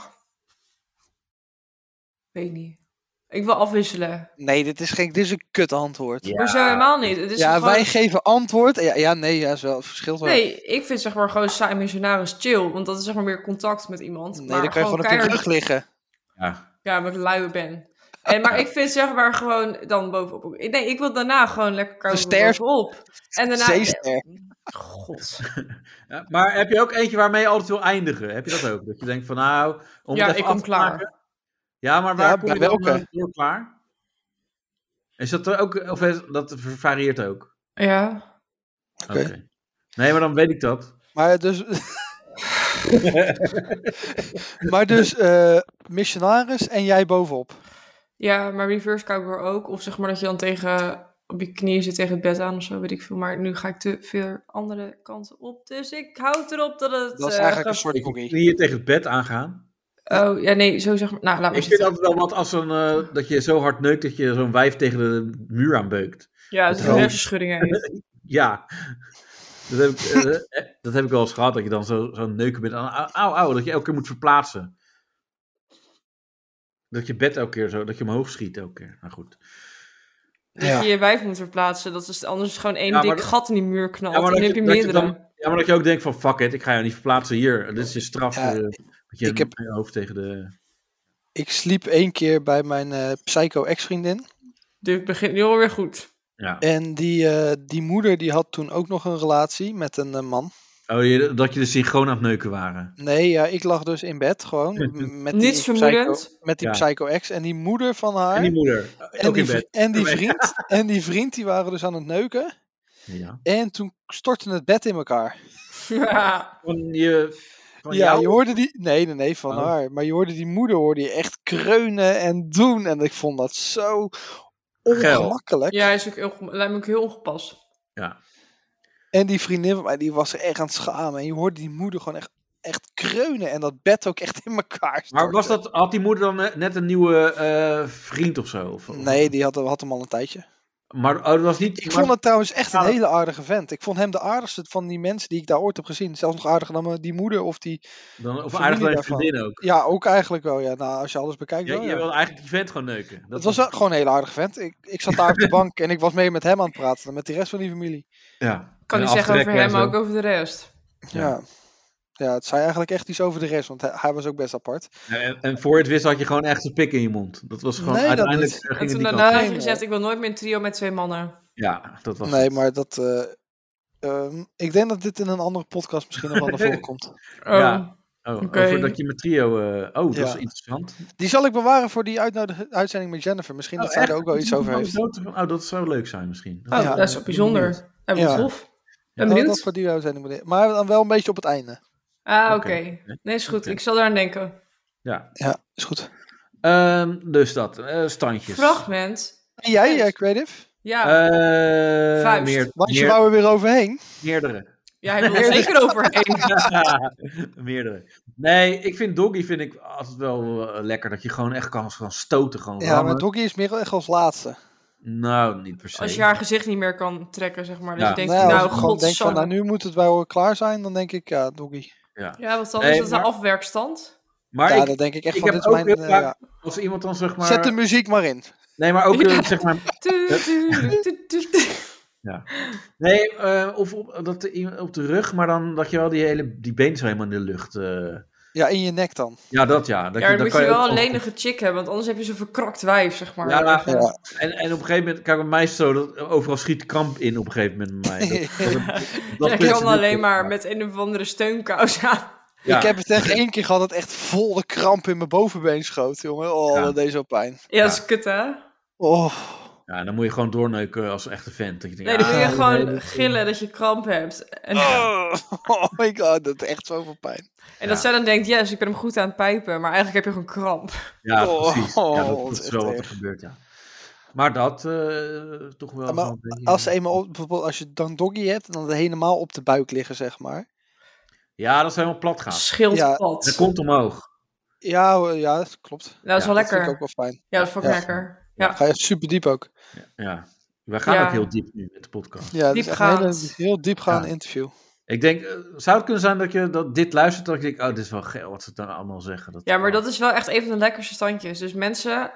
Weet niet. Ik wil afwisselen. Nee, dit is, geen, dit is een kut antwoord. Ja, Maar zo helemaal niet. Het is gewoon... wij geven antwoord. Ja, ja nee, ja, is wel, het verschilt wel. Nee, ik vind zeg maar gewoon saai missionaris chill. Want dat is zeg maar meer contact met iemand. Nee, maar dan kan je gewoon op je keihard- rug liggen. Ja. Ja, maar ik luie ben. En, <laughs> maar ik vind zeg maar gewoon dan bovenop. ik- Nee, ik wil daarna gewoon lekker koud ster- bovenop. En daarna... Zeester. God. Ja, Maar heb je ook eentje waarmee je altijd wil eindigen? Heb je dat ook? Dat je denkt van nou... Om het Ja, even ik af kom te klaar. maken. Ja, maar waar Ja, kom bij je dan welke? eh, door klaar? Is dat er ook... Of is- dat varieert ook? Ja. Oké. Oké. Nee, maar dan weet ik dat. Maar dus. <laughs> maar dus, eh, missionaris en jij bovenop. Ja, maar reverse cowgirl ook. Of zeg maar dat je dan tegen op je knieën zit tegen het bed aan of zo, weet ik veel. Maar nu ga ik te veel andere kanten op. Dus ik houd erop dat het... Dat is eh, eigenlijk een gaat- soort cookie. Hier tegen het bed aangaan. Oh, ja, nee, zo zeg maar... Nou, laat maar Ik vind zitten. altijd wel wat als een, eh, dat je zo hard neukt dat je zo'n wijf tegen de muur aanbeukt. Ja, het is een Oh. hersenschudding heeft. Ja. Dat heb, ik, eh, eh, dat heb ik wel eens gehad, dat je dan zo- zo'n neuken bent. aan- Au, au, au, dat je elke keer moet verplaatsen. Dat je bed elke keer zo, dat je omhoog schiet elke keer. Nou goed. Dat je Ja. je wijf moet verplaatsen. Dat is anders is gewoon één Ja, maar dik dat- gat in die muur knalt. Ja, maar en dan dat heb je je- dat je meerdere. dan- Ja, maar dat je ook denkt van fuck it, ik ga jou niet verplaatsen hier. Dit is je straf. Ja, eh, dat je ik heb- je hoofd tegen de... Ik sliep één keer bij mijn eh, psycho-ex-vriendin. Dit begint nu alweer <laughs> goed. Ja. En die, eh, die moeder die had toen ook nog een relatie met een eh, man. Oh, je, dat je dus synchroon aan het neuken waren. Nee, ja, ik lag dus in bed gewoon. m- Met die Niets vermoedend. psycho- Met die Ja. psycho-ex. En die moeder van haar. En die moeder, en Eh, ook die in vri- bed. <laughs> en die vriend. en die vriend, die waren dus aan het neuken. Ja. En toen stortte het bed in elkaar. Ja. Van je Van ja, jou? je hoorde die. Nee, nee, nee, van Oh. haar. Maar je hoorde die moeder hoorde je echt kreunen en doen. En ik vond dat zo ongemakkelijk. <laughs> Ja, is ook heel, lijkt me ook heel ongepast. Ja. En die vriendin van mij, die was er echt aan het schamen. En je hoorde die moeder gewoon echt, echt kreunen. En dat bed ook echt in elkaar Maar was dat, had die moeder dan net- net een nieuwe eh, vriend of zo? Of- Nee, die had, had hem al een tijdje. Maar oh, dat was niet... Ik vond het trouwens echt een hele aardige vent. Ik vond hem de aardigste van die mensen die ik daar ooit heb gezien. Zelfs nog aardiger dan eh, die moeder of die. Dan, of familie aardig dan je daarvan. vriendin ook. Ja, ook eigenlijk wel. Ja. Nou, als je alles bekijkt. Je, wel, je ja. wilde eigenlijk die vent gewoon neuken. Dat, Dat was wel gewoon een hele aardige vent. Ik, ik zat daar op <laughs> de bank en ik was mee met hem aan het praten. en Met de rest van die familie. Ja. Kan En niet zeggen over aftrekken en hem, maar zo. ook over de rest. Ja. ja. het zei eigenlijk echt iets over de rest. Want hij, hij was ook best apart. En, en voor je het wist had je gewoon echt een pik in je mond. Dat was gewoon Nee, dat uiteindelijk... niet. eh, En ging het toen die kant daarna op. heb je gezegd, ik wil nooit meer een trio met twee mannen. Ja, dat was nee, het. maar dat... eh, ehm, ik denk dat dit in een andere podcast misschien nog wel naar <laughs> voren komt. Ja. Oh, Oké. over dat je met trio... eh, oh, dat Ja. is interessant. Die zal ik bewaren voor die uitnodig- uitzending met Jennifer. Misschien dat zij er ook wel iets over heeft. Oh, dat zou leuk zijn misschien. Oh, Ja. dat is wel bijzonder. En Ja. wat tof. Ben Ja, benieuwd. Oh, Oh, dat voor die uitzending. moet- Maar dan wel een beetje op het einde. Ah, oké. Oké. Nee, is goed. Ik zal daaraan denken. Ja. Ja, is goed. dus dat, eh, standjes. Fragment. En jij, eh, Creative? Ja. Eh, Vuist. meer- Want je meer- wou er weer overheen. Meerdere. ja, hij <laughs> wil er zeker overheen. Meerdere. Nee, ik vind Doggy vind ik altijd wel eh, lekker. Dat je gewoon echt kan gaan stoten. Gewoon Ja, rammen. maar Doggy is meer echt als laatste. Nou, niet per se. Als je haar gezicht niet meer kan trekken, zeg maar. Dat Ja. je denkt, Nou, van, als nou, ik gewoon denk van, nou, godsamme. nu moet het wel klaar zijn, dan denk ik, ja, Doggy. Ja. Ja, want dan Nee, is dat maar- de afwerkstand. Maar Ja, ik, dat denk ik echt ik van, heb dit is ook mijn, heel eh, vaak ja. Als iemand dan zeg maar... Zet de muziek maar in. Nee, maar <laughs> ook eh, zeg maar... Tu, Ja. tu, tu, tu, tu. Ja. Nee, eh, of op, dat, de- iemand op de rug, maar dan dat je wel die hele die been zo helemaal in de lucht... eh, Ja, in je nek dan. ja, dat ja. Dat Ja, dan dat moet kan je wel ook- een lenige chick hebben, want anders heb je zo'n verkrakt wijf, zeg maar. Ja, maar- Ja. En, en op een gegeven moment, kijk bij mij is het zo, dat, overal schiet kramp in op een gegeven moment bij mij. <laughs> Dat, <laughs> dat, dat ik lukt kan niet. alleen maar met een of andere steunkous aan. Ja. Ik heb het echt één keer gehad dat echt vol de kramp in mijn bovenbeen schoot, jongen. Oh, Ja. dat deed zo pijn. Ja, dat is kut, hè? Oh, <laughs> Ja, dan moet je gewoon doorneuken als een echte vent. Dat je denkt, Nee, dan ah, wil je gewoon nee, dat- gillen dat je kramp hebt. En, oh my god, dat deed echt zoveel pijn. en dat zij dan denkt, yes, ik ben hem goed aan het pijpen, maar eigenlijk heb je gewoon kramp. Ja, Oh, precies. Ja, dat, dat dat is is echt wel wat er erg. gebeurt, ja. Maar dat eh, toch wel... maar zo'n beetje- Als ze eenmaal, op- bijvoorbeeld als je dan Doggy hebt, dan helemaal op de buik liggen, zeg maar. Ja, dat ze helemaal plat gaat. Schildpad. Dat komt omhoog. Ja, hoor, ja, dat klopt. Nou, dat is wel dat vind lekker. ik ook wel fijn. Ja, dat vond ik lekker. Ja. Ga je super diep ook. Ja. Wij gaan Ja. ook heel diep nu met de podcast. Ja, dat is echt een hele, Diepgaand. heel diepgaand interview. Ik denk, eh, zou het kunnen zijn dat je dat dit luistert, dat ik denk, oh, dit is wel geil wat ze dan allemaal zeggen. Dat, eh, ja, maar dat is wel echt een van de lekkerste standjes. Dus mensen,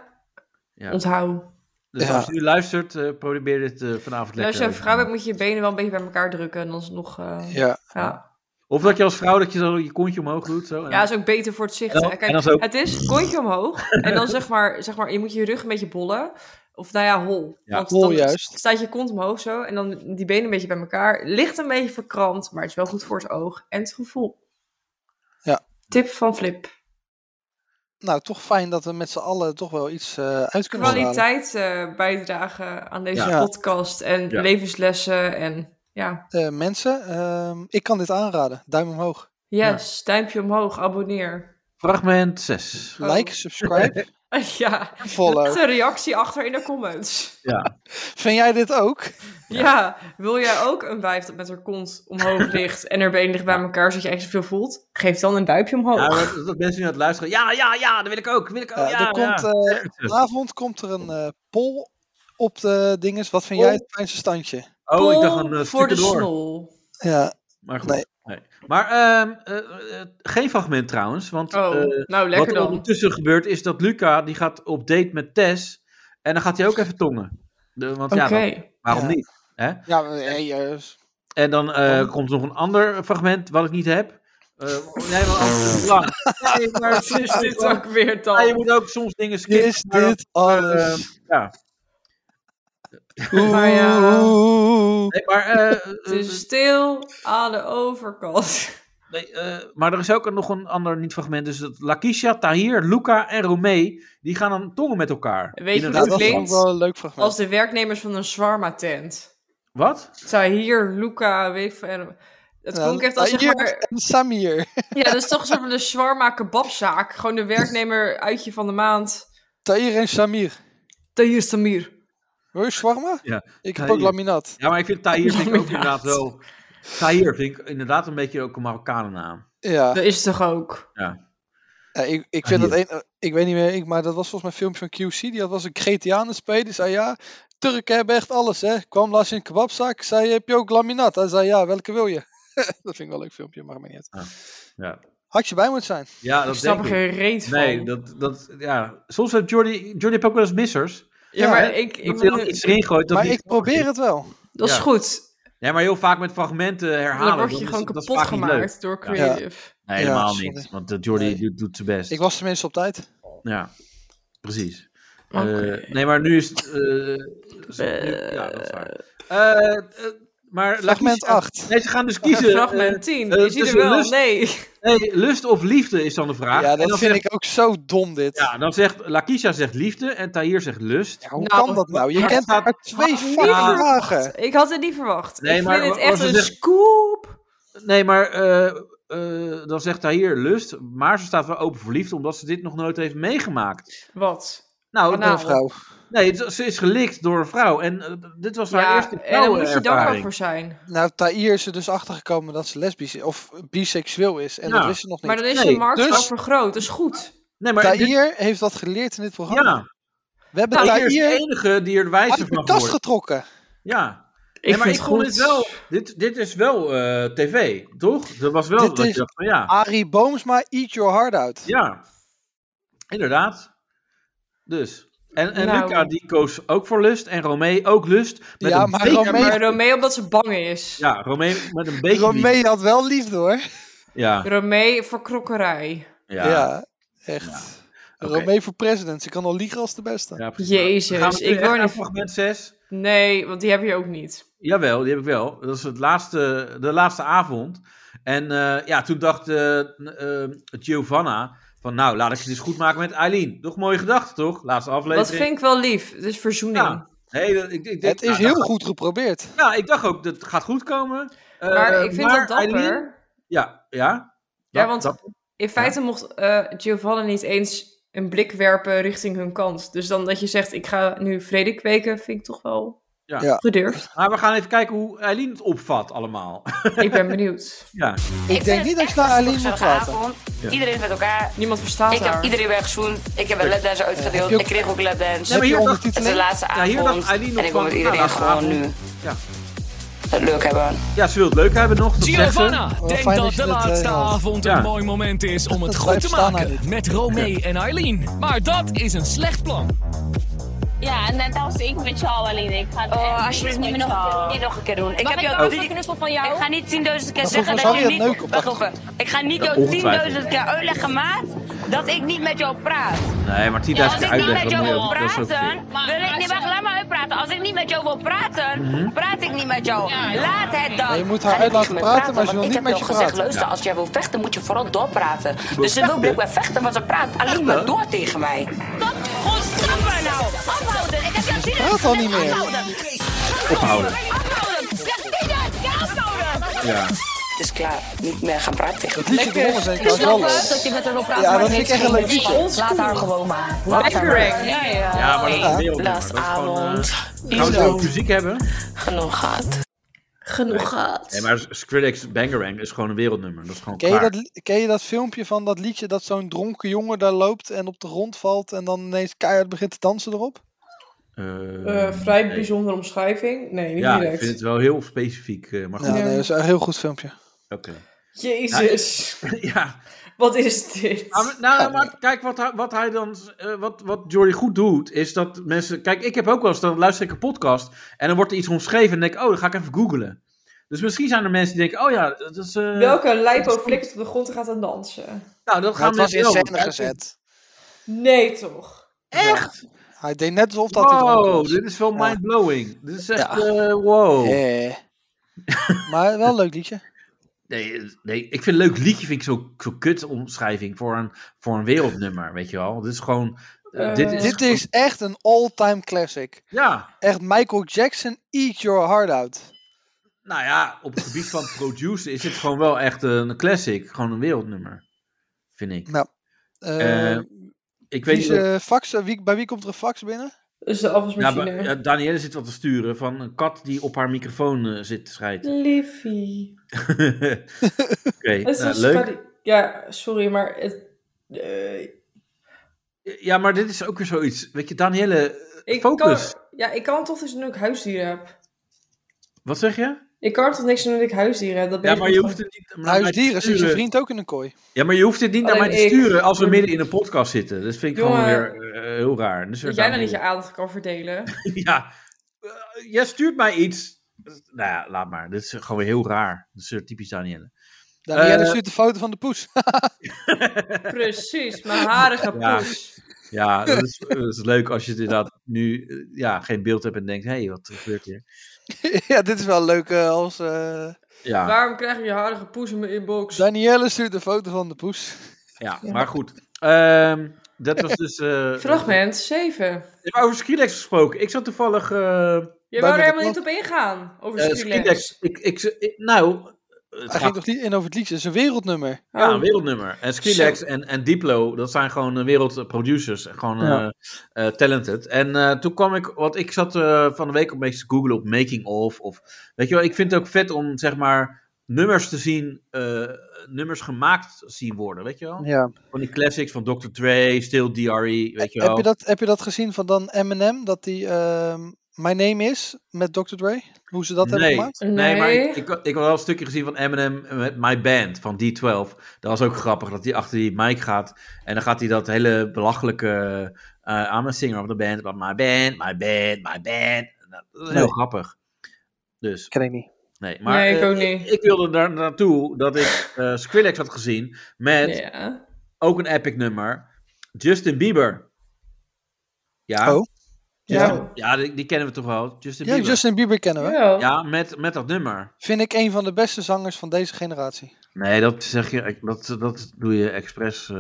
ja. onthouden. Dus Ja. als je nu luistert, eh, probeer dit eh, vanavond lekker. Nou, als je een te vrouw doen. bent, moet je je benen wel een beetje bij elkaar drukken. En dan is het nog... eh, Ja. ja. Of dat je als vrouw dat je zo je kontje omhoog doet. Zo, en- Ja, is ook beter voor het zicht. hè. En dan- Kijk, en dan zo- het is kontje omhoog. En dan zeg maar, zeg maar, je moet je rug een beetje bollen. Of nou ja, hol. Ja, Want hol dan juist. staat je kont omhoog zo. En dan die benen een beetje bij elkaar. Ligt een beetje verkrampt, maar het is wel goed voor het oog en het gevoel. Ja. Tip van Flip. Nou, toch fijn dat we met z'n allen toch wel iets eh, uit kunnen halen. Kwaliteit eh, bijdragen aan deze Ja. podcast. En Ja. levenslessen. En ja, Eh, mensen, ehm, ik kan dit aanraden. Duim omhoog. yes, duimpje omhoog, abonneer. <laughs> Fragment 6. Oh. Like, subscribe, ja, follow. zet <laughs> een reactie achter in de comments. Ja. Vind jij dit ook? Ja, wil jij ook een wijf dat met haar kont <laughs> omhoog ligt en haar been ligt bij elkaar, zodat je echt zoveel voelt? Geef dan een duimpje omhoog. Ja, maar dat- dat mensen nu aan het luisteren. Ja, ja, ja, dat wil ik ook. dat Wil ik ook. Ja, Oh. Ja, er komt, ja. eh, <laughs> vanavond komt er een eh, poll op de dinges. Wat vind jij het fijnste standje? Oh, ik dacht een Pol eh, voor de stukken door. snol. Ja, Maar goed. Nee. Nee. Maar ehm, eh, eh, geen fragment trouwens. Want Oh, eh, nou lekker wat er dan. ondertussen gebeurt is dat Luca die gaat op date met Tess. En dan gaat hij ook even tongen. De- want Oké. ja, dat- waarom Ja. niet? Hè? ja maar, hey, eh, En dan eh, komt nog een ander fragment wat ik niet heb. Eh, nee, maar <laughs> anders lang. Nee, <laughs> maar Wat is dit ook weer dan? Ja, je moet ook soms dingen skippen. is maar dan- dit alles? ja. Oeh, maar ja. oeh, Nee, maar, eh, Het is stil aan de overkant. nee, eh, maar er is ook nog een ander niet-fragment. Dus dat Lakisha, Tahir, Luca en Romee, die gaan dan tongen met elkaar. Weet je In een hoe ja, dat dat is klinkt? ook wel een leuk fragment. Als de werknemers van een zwarma tent. Wat? Zou hier Luca, weet ik veel, en- Het klonk echt als, zeg Ayur maar- en Samir. <laughs> Ja, dat is toch een soort van de shawarma kebabzaak. Gewoon de werknemer uitje van de maand. Tahir en Samir. Tahir Samir. Hoor je shawarma? Ja. Ik heb ook Tahir. laminat. Ja, maar ik vind Tahir vind ik ook inderdaad wel... Tahir vind ik inderdaad een beetje ook een Marokkanen naam. Ja. Dat is toch ook? Ja. Ja, ik, ik vind dat een, ik weet niet meer, ik, maar dat was volgens mij een filmpje van QC. Die had was een GTA aan het spelen. Die zei ja, Turken hebben echt alles hè. Kwam laatst in een kebabzak, zei heb je ook laminat? Hij zei ja, welke wil je? <laughs> dat vind ik wel een leuk filmpje, maar maakt me niet uit. Ja. Had je bij moeten zijn. Ja, dat Ik snap denk er geen reet van. Nee, dat, dat, ja. soms heeft Jordi, Jordi heeft ook wel eens missers. Ja, maar ik- ik dat hij dan bedoel- iets erin gooit. dat maar niet- ik probeer het wel. Dat is Ja. goed. Ja, maar heel vaak met fragmenten herhalen. Dan word je is- gewoon dat is kapot vaak niet leuk. gemaakt door Ja. creative. Nee, helemaal Ja, niet. Want eh, Jordi doet, doet zijn best. Ik was tenminste op tijd. Ja, precies. Oké. Eh, nee, maar nu is het... eh, nu- ja, dat is waar. Eh, eh, maar Fragment 8. Nee, ze gaan dus kiezen. Fragment eh, 10. eh, Is hij er tussen wel? lust- Nee. <laughs> nee, lust of liefde is dan de vraag. Ja, En dat dan vind zegt- ik ook zo dom dit. Ja, dan zegt... Lakisha zegt liefde en Tahir zegt lust. Hoe kan dat nou? Je het kent staat- maar twee Niet fucking vragen. verwacht. Ik had het niet verwacht. Nee, ik maar vind het als echt we een zeggen- scoop. Nee, maar eh, eh, dan zegt Tahir lust. Maar ze staat wel open voor liefde, omdat ze dit nog nooit heeft meegemaakt. Wat? Nou, Anaal. dat- Nee, het- ze is gelikt door een vrouw. En eh, dit was haar Ja, eerste en daar moet je dankbaar vrouwenervaring. voor zijn. Nou, Tahir is er dus achtergekomen dat ze lesbisch is, of biseksueel is. En Ja. dat wist ze nog niet. Maar dan is Nee, de markt dus- wel vergroot. Dat is goed. Nee, maar dit- Tahir heeft dat geleerd in dit programma. ja, We hebben Tahir is de Tahir enige die er wijzer uit de van kast wordt. getrokken. Ja. Ik Nee, maar vind ik het vond goed. dit wel... Dit, dit is wel eh, tv, toch? Dat was wel Dit dat je is- Ah. dacht van ja. Arie Boomsma, eat your heart out. Ja, inderdaad. Dus. En, en Nou. Luca die koos ook voor lust. En Romee ook lust. Met Ja, een maar beetje- Romee- Ja, maar Romee omdat ze bang is. Ja, Romee met een beetje... Romee had wel liefde hoor. Ja, Romee voor krokkerij. ja. Ja, echt. Oké. Romee voor president. Ze kan al liegen als de beste. Ja, precies. Jezus, Gaan we ik ik word hoor niet- fragment 6. Nee, want die heb je ook niet. Jawel, die heb ik wel. Dat is het laatste, de laatste avond. En eh, ja, toen dacht eh, eh, Giovanna van nou, laat ik het eens goed maken met Eileen. Toch mooie gedachte, toch? Laatste aflevering. Dat vind ik wel lief. Het is verzoening. Ja. Nee, dat- ik, ik, denk- Het is nou, heel dat- goed geprobeerd. Ja, ik dacht ook, dat gaat goed komen. Eh, maar ik vind maar dat dapper. Eileen- ja, ja. ja, Dat- want dat- in feite mocht eh Giovanna niet eens een blik werpen richting hun kant. Dus dan dat je zegt, ik ga nu vrede kweken, vind ik toch wel ja. Ja. gedurfd. Maar we gaan even kijken hoe Eileen het opvat allemaal. <laughs> ik <laughs> ben benieuwd. ja. Ik denk niet dat je naar Aline moet praten. Ja. Iedereen met elkaar. Niemand verstaat Ik heb haar. iedereen weer gezoend. Ik heb een lapdance uitgedeeld. heb je ook- Ik kreeg ook lapdance. Nee, maar hier dacht, Het is de laatste ja, hier dacht avond. Eileen nog en ik wil van, met nou, iedereen laatste gewoon avond. nu Ja. het leuk hebben. ja, ze wil het leuk hebben nog. Dat zegt ze. Giovanna denkt fijn dat dat je de dit, eh, laatste haalt. avond Ja. een mooi moment <laughs> is om het Dat goed te blijft staan maken eigenlijk. met Romee en Eileen. Maar dat is een slecht plan. Ja, net als ik met jou alleen. Ik ga oh, alsjeblieft niet, nog, niet nog een keer doen. Ik heb jou drie knuffel van jou. Ik ga niet 10.000 keer Dat zeggen was dat Harriet je niet. Neuker op Wacht achter. even. Ik ga Ja, niet jou 10.000 ongetwijfeld. keer uitleggen, "Oh, maat, dat ik niet met jou praat. Nee, maar 10.000 Ja, als keer ik niet uitleggen, met dat jou moet je wil ook- dat is ook veel. praten, wil ik niet. Wacht, laat me uitpraten. Als ik niet met jou wil praten, praat ik niet met jou. Laat het dan. Ja, je moet haar Ga ik uit laten niet met praten, maar ze wil want ik niet met heb jou je gezegd, praten. Luister, als jij wil vechten, moet je vooral doorpraten. Dus ze wil blijkbaar vechten, maar ze praat alleen maar door tegen mij. Stop, gewoon stoppen nou. Ophouden. Ik heb jou tien Praat al niet meer. Ophouden. Ophouden. Ik heb tien keer ophouden. Ja. Het is klaar. Niet meer gaan praten tegen Het liedje begonnen zijn ik wel leuk. je met haar wil praten, Ja, maar dat het vind ik heeft echt een geen leuk zin. liedje. Laat haar gewoon maar. Laat haar Lekker. maar. Ja, Ja, maar dat is Hey, een wereldnummer. Dat is gewoon, Laatstavond. eh, Gaan we Zo. ook muziek hebben? Genoeg gehad. Genoeg gehad. Nee, maar Skrillex Bangarang is gewoon een wereldnummer. Dat is gewoon Ken je, klaar. dat, li- ken je dat filmpje van dat liedje dat zo'n dronken jongen daar loopt en op de grond valt en dan ineens keihard begint te dansen erop? Eh, vrij nee. bijzondere omschrijving. Nee, niet Ja, ik direct. vind het wel heel specifiek. eh, Maar Ja, goed, nee, dat is een heel goed filmpje. oké. <laughs> Jezus, ja, <laughs> wat is dit? nou, nou, maar kijk, wat hij, wat hij dan, eh, wat, wat Jordi goed doet, is dat mensen, kijk, ik heb ook wel eens, dan luister ik een podcast en dan wordt er iets omschreven en denk ik, oh, dan ga ik even googlen. Dus misschien zijn er mensen die denken, oh ja, dat is, eh, Welke lijpo flikkert op de grond en gaat aan dansen? nou, dat Maar gaan het was mensen in wel scène doen. gezet. Nee, toch? Echt? Hij deed net alsof dat hij dronken Wow, was. dit is wel Ja. mindblowing. Dit is echt, Ja. eh, wow. Eh. <laughs> maar wel een leuk liedje. Nee, nee, ik vind een leuk liedje vind ik zo, zo kut omschrijving voor een, voor een wereldnummer, weet je wel. Dit is gewoon... eh, Eh, dit is, Dit is echt een all-time classic. Ja, Echt Michael Jackson, eat your heart out. Nou ja, op het gebied van produceren is het gewoon wel echt een classic. Gewoon een wereldnummer, vind ik. Nou, Eh, eh, ik wie weet is, niet of- eh, fax, Eh, wie, bij wie komt er een fax binnen? Dus de afwasmachine. eh, Nou, maar, ja, Danielle zit wat te sturen van een kat die op haar microfoon eh, zit te schijten. Liefie. <laughs> Oké, <laughs> Het is nou, een leuk. spaghetti- Ja, sorry, maar het, eh, Ja, maar dit is ook weer zoiets. Weet je, Danielle, ik focus. kan, ja, ik kan toch niks doen dat ik huisdieren heb. Wat zeg je? Ik kan toch niks doen dat ik huisdieren heb. Dat ben Ja, ik maar je gewoon- hoeft het niet... maar Huisdieren, zit je sturen. vriend ook in een kooi? Ja, maar je hoeft dit niet naar mij Alleen te ik. sturen als we midden in een podcast zitten. Dat vind ik gewoon Jongen. weer eh, heel raar. Dus Dat daar- jij dan niet je aandacht kan verdelen. <laughs> <laughs> ja, Eh, jij stuurt mij iets. Nou ja, laat maar. Dit is gewoon weer heel raar. Dat is eh, typisch Danielle. Danielle Eh, stuurt de foto van de poes. <laughs> Precies, mijn harige Ja. poes. Ja, dat is, dat is leuk als je het inderdaad nu eh, ja, geen beeld hebt en denkt, hé, hey, wat gebeurt hier? ja, dit is wel leuk eh, als... eh, Ja, Waarom krijg je je harige poes in mijn inbox? Danielle stuurt een foto van de poes. ja maar goed. Ehm, dat was dus... eh, Fragment 7. We hebben over Skrillex gesproken. Ik zat toevallig... eh Je wou er helemaal niet op ingaan, over eh, Skrillex. Ik, ik, ik- nou, het Hij gaat ging toch niet in over het liedje? Het is een wereldnummer. Ja, Oh, een wereldnummer. En Skrillex en, en Diplo, dat zijn gewoon eh, wereldproducers. Gewoon eh, Ja. eh, talented. En eh, toen kwam ik, want ik zat eh, van de week op te googlen op making of. Of, weet je wel, ik vind het ook vet om zeg maar nummers te zien, eh, nummers gemaakt te zien worden, weet je wel? Ja. Van die classics van Dr. Dre, Still DRE, weet je wel. Heb, je dat, heb je dat gezien van dan Eminem? Dat die ehm My Name Is met Dr. Dre? Hoe ze dat hebben nee, gemaakt? nee, maar ik, ik, ik had wel een stukje gezien van Eminem met My Band van D12. Dat was ook grappig, dat hij achter die mic gaat. En dan gaat hij dat hele belachelijke eh aan me zingen op de band. But my band, my band, my band. Nou, Dat is heel Nee. grappig. Dus, Ken ik niet. nee, maar Nee, ik eh, ook niet. ik wilde daar naartoe dat ik eh Skrillex had gezien met Ja. ook een epic nummer. Justin Bieber. Ja. Oh. Justin- Ja. ja, die, die kennen we toch wel. Justin Ja, Bieber. Justin Bieber kennen we. Ja, met, met dat nummer. Vind ik een van de beste zangers van deze generatie. Nee, dat zeg je, dat, dat doe je expres eh,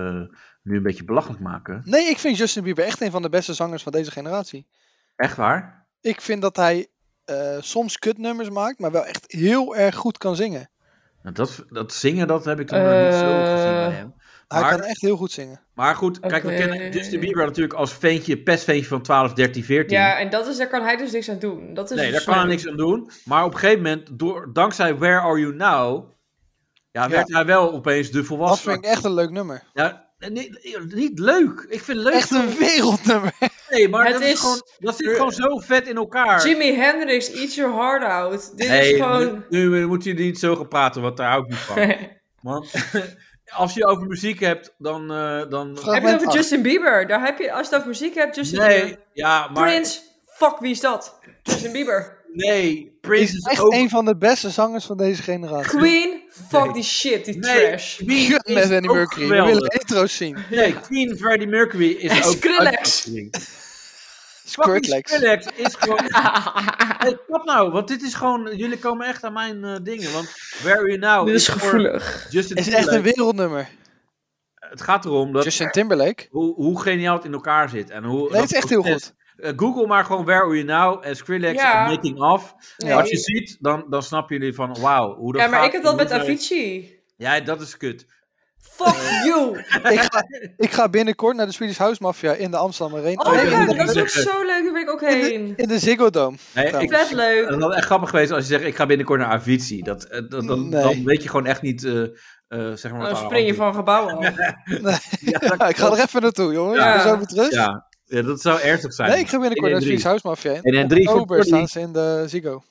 nu een beetje belachelijk maken. Nee, ik vind Justin Bieber echt een van de beste zangers van deze generatie. Echt waar? Ik vind dat hij eh, soms kutnummers maakt, maar wel echt heel erg goed kan zingen. Nou, Dat, dat zingen, dat heb ik toen nog niet zo Eh, gezien bij hem. Hij Maar, kan echt heel goed zingen. maar goed, kijk, we Oké. kennen Justin Bieber natuurlijk als ventje, pestveentje van 12, 13, 14. ja, en dat is, daar kan hij dus niks aan doen. Dat is nee, daar het kan hij slim. niks aan doen. Maar op een gegeven moment, door, dankzij Where Are You Now, ja, werd hij wel opeens de Dat volwassen. vind ik echt een leuk nummer. Ja, niet, niet leuk. Ik vind het leuk. Echt een wereldnummer. Nee, maar Het dat, is... is- gewoon, dat zit gewoon zo vet in elkaar. Jimi Hendrix, eat your heart out. Dit Hey, is gewoon... <laughs> nu, nu moet je niet zo gaan praten, want daar hou ik niet van. Want <laughs> als je over muziek hebt, dan... eh, dan... Heb je het over Justin Bieber? Daar heb je, als je het over muziek hebt, Justin Nee, Bieber. ja, maar... Prince, fuck, wie is dat? Justin Bieber. Nee, Prince is Echt ook... een van de beste zangers van deze generatie. Queen, fuck die shit, die Nee, trash. Queen Kut <laughs> met is Annie ook Mercury. We geweldig. willen intro's zien. Nee, Queen Freddie Mercury is En <laughs> ook... Skrillex. fucking Skrillex. Skrillex is <laughs> gewoon... hey, kap nou, want dit is gewoon... Jullie komen echt aan mijn eh, dingen, want... Where Are You Now... Dit is voor gevoelig. Justin Het is echt een Timberlake. wereldnummer. Het gaat erom dat... Justin Timberlake. hoe, hoe geniaal het in elkaar zit. En hoe, Nee, het is dat echt heel proces- Eh, Google maar gewoon Where Are You Now en Skrillex Ja. en Making Of. Nee. Als je ziet, dan, dan snappen jullie van wauw. Hoe dat Ja, maar gaat, ik heb dat hoe met Avicii. Ja, dat is kut. Fuck you. <laughs> Ik ga, ik ga binnenkort naar de Swedish House Mafia in de Amsterdam Arena. Oh Nee, in, ja, de, dat is ook zo leuk. Daar ben ik ook <laughs> heen. in de Ziggo Dome. Nee, ik, Vet leuk. dat had echt grappig geweest als je zegt ik ga binnenkort naar Avicii. Dat, eh, dat, dan, Nee. dan weet je gewoon echt niet eh, eh, zeg maar wat Dan aan spring je de hand van gebouwen af. <laughs> Ja, ik ga er even naartoe, jongens. Ja. Ja. Zo met is. rust. Ja. ja, dat zou ernstig zijn. Nee, ik ga binnenkort naar de Swedish House Mafia. En in drie In voor oktober Corrie. staan ze in de Ziggo.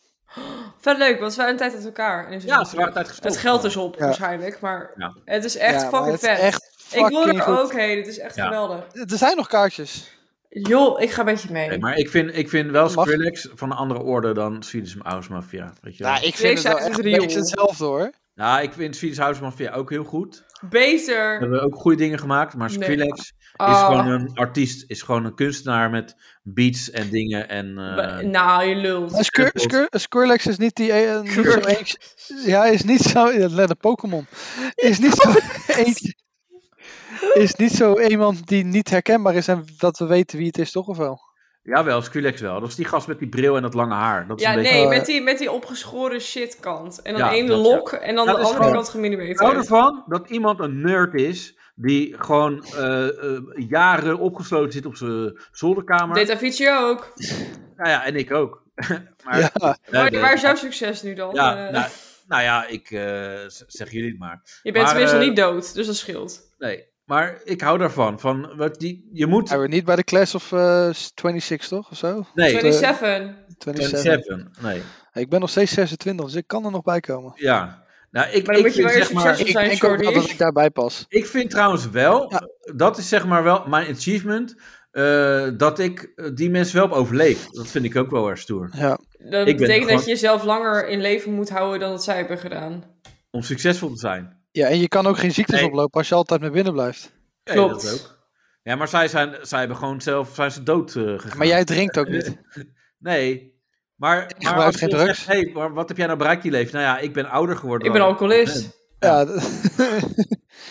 Vet leuk, want ze waren een tijd uit elkaar. En nu zijn Ja, weer ze waren terug. tijd gestopt. Het geld is op Oh, Ja. waarschijnlijk, maar Ja. het is echt Ja, maar fucking het is vet. echt ik wil fucking er goed. ook heen, het is echt Ja. geweldig. Eh, Er zijn nog kaartjes. Joh, ik ga met je mee. Nee, maar ik vind, ik vind wel Mag. Skrillex van een andere orde dan Swedish House Mafia. Weet je wel? Nou, ik Deze vind het wel uit echt de riool. niks hetzelfde hoor. Nou, ik vind Swedish House Mafia ook heel goed. We Beter. hebben ook goede dingen gemaakt, maar Nee. Skrillex is Ah. gewoon een artiest, is gewoon een kunstenaar met beats en dingen en eh, Ba- nou, je lult. Maar Skr- Skrillex. Skr- Skrillex is niet die... eh, niet zo Skrillex. eentje. Ja, is niet zo... ja, Let op Pokémon. Is niet zo eentje. Is niet zo iemand die niet herkenbaar is en dat we weten wie het is, toch of wel? Jawel, Skrillex wel. Dat is die gast met die bril en dat lange haar. Dat is Ja, een beetje... eh, nee, met die, met die opgeschoren shitkant. En dan Ja, één dat, lok ja. en dan Dat de is andere gewoon- kant Ik gemillimeterd. hou ervan dat iemand een nerd is die gewoon eh, eh, jaren opgesloten zit op zijn zolderkamer. Deed Avicii ook. Nou ja, en ik ook. <laughs> maar, eh, Waar, de- waar is jouw succes nu dan? Ja, Eh, nou, nou ja, ik eh, z- zeg jullie het maar. je bent Maar, tenminste eh, niet dood, dus dat scheelt. Nee, maar ik hou daarvan. Van, wat die, je moet... Zijn we niet bij de Class of eh, 26, toch? Of zo? Nee. 27. 27. 27, nee. Ik ben nog steeds 26, dus ik kan er nog bij komen. Ja. Nou, ik, Maar dan ik moet je vind, wel eerst zeg maar, succesvol zijn, ik, Ik hoop wel Jordi. dat ik daarbij pas. ik vind trouwens wel, dat is zeg maar wel mijn achievement, eh, dat ik eh, die mensen wel heb overleefd. Dat vind ik ook wel erg stoer. Ja. Dat Ik ben betekent dat gewoon- je jezelf langer in leven moet houden dan dat zij hebben gedaan. Om succesvol te zijn. Ja, en je kan ook geen ziektes Nee. oplopen als je altijd naar binnen blijft. Nee, Klopt. dat ook. Ja, maar zij, zijn, zij hebben gewoon zelf zijn ze dood eh, gegaan. Maar jij drinkt ook niet. Nee. Maar, maar gebruik als geen je drugs. Zegt, hey, maar wat heb jij nou bereikt in je leven? Nou ja, ik ben ouder geworden. Ik ben dan- alcoholist. Ja. <laughs>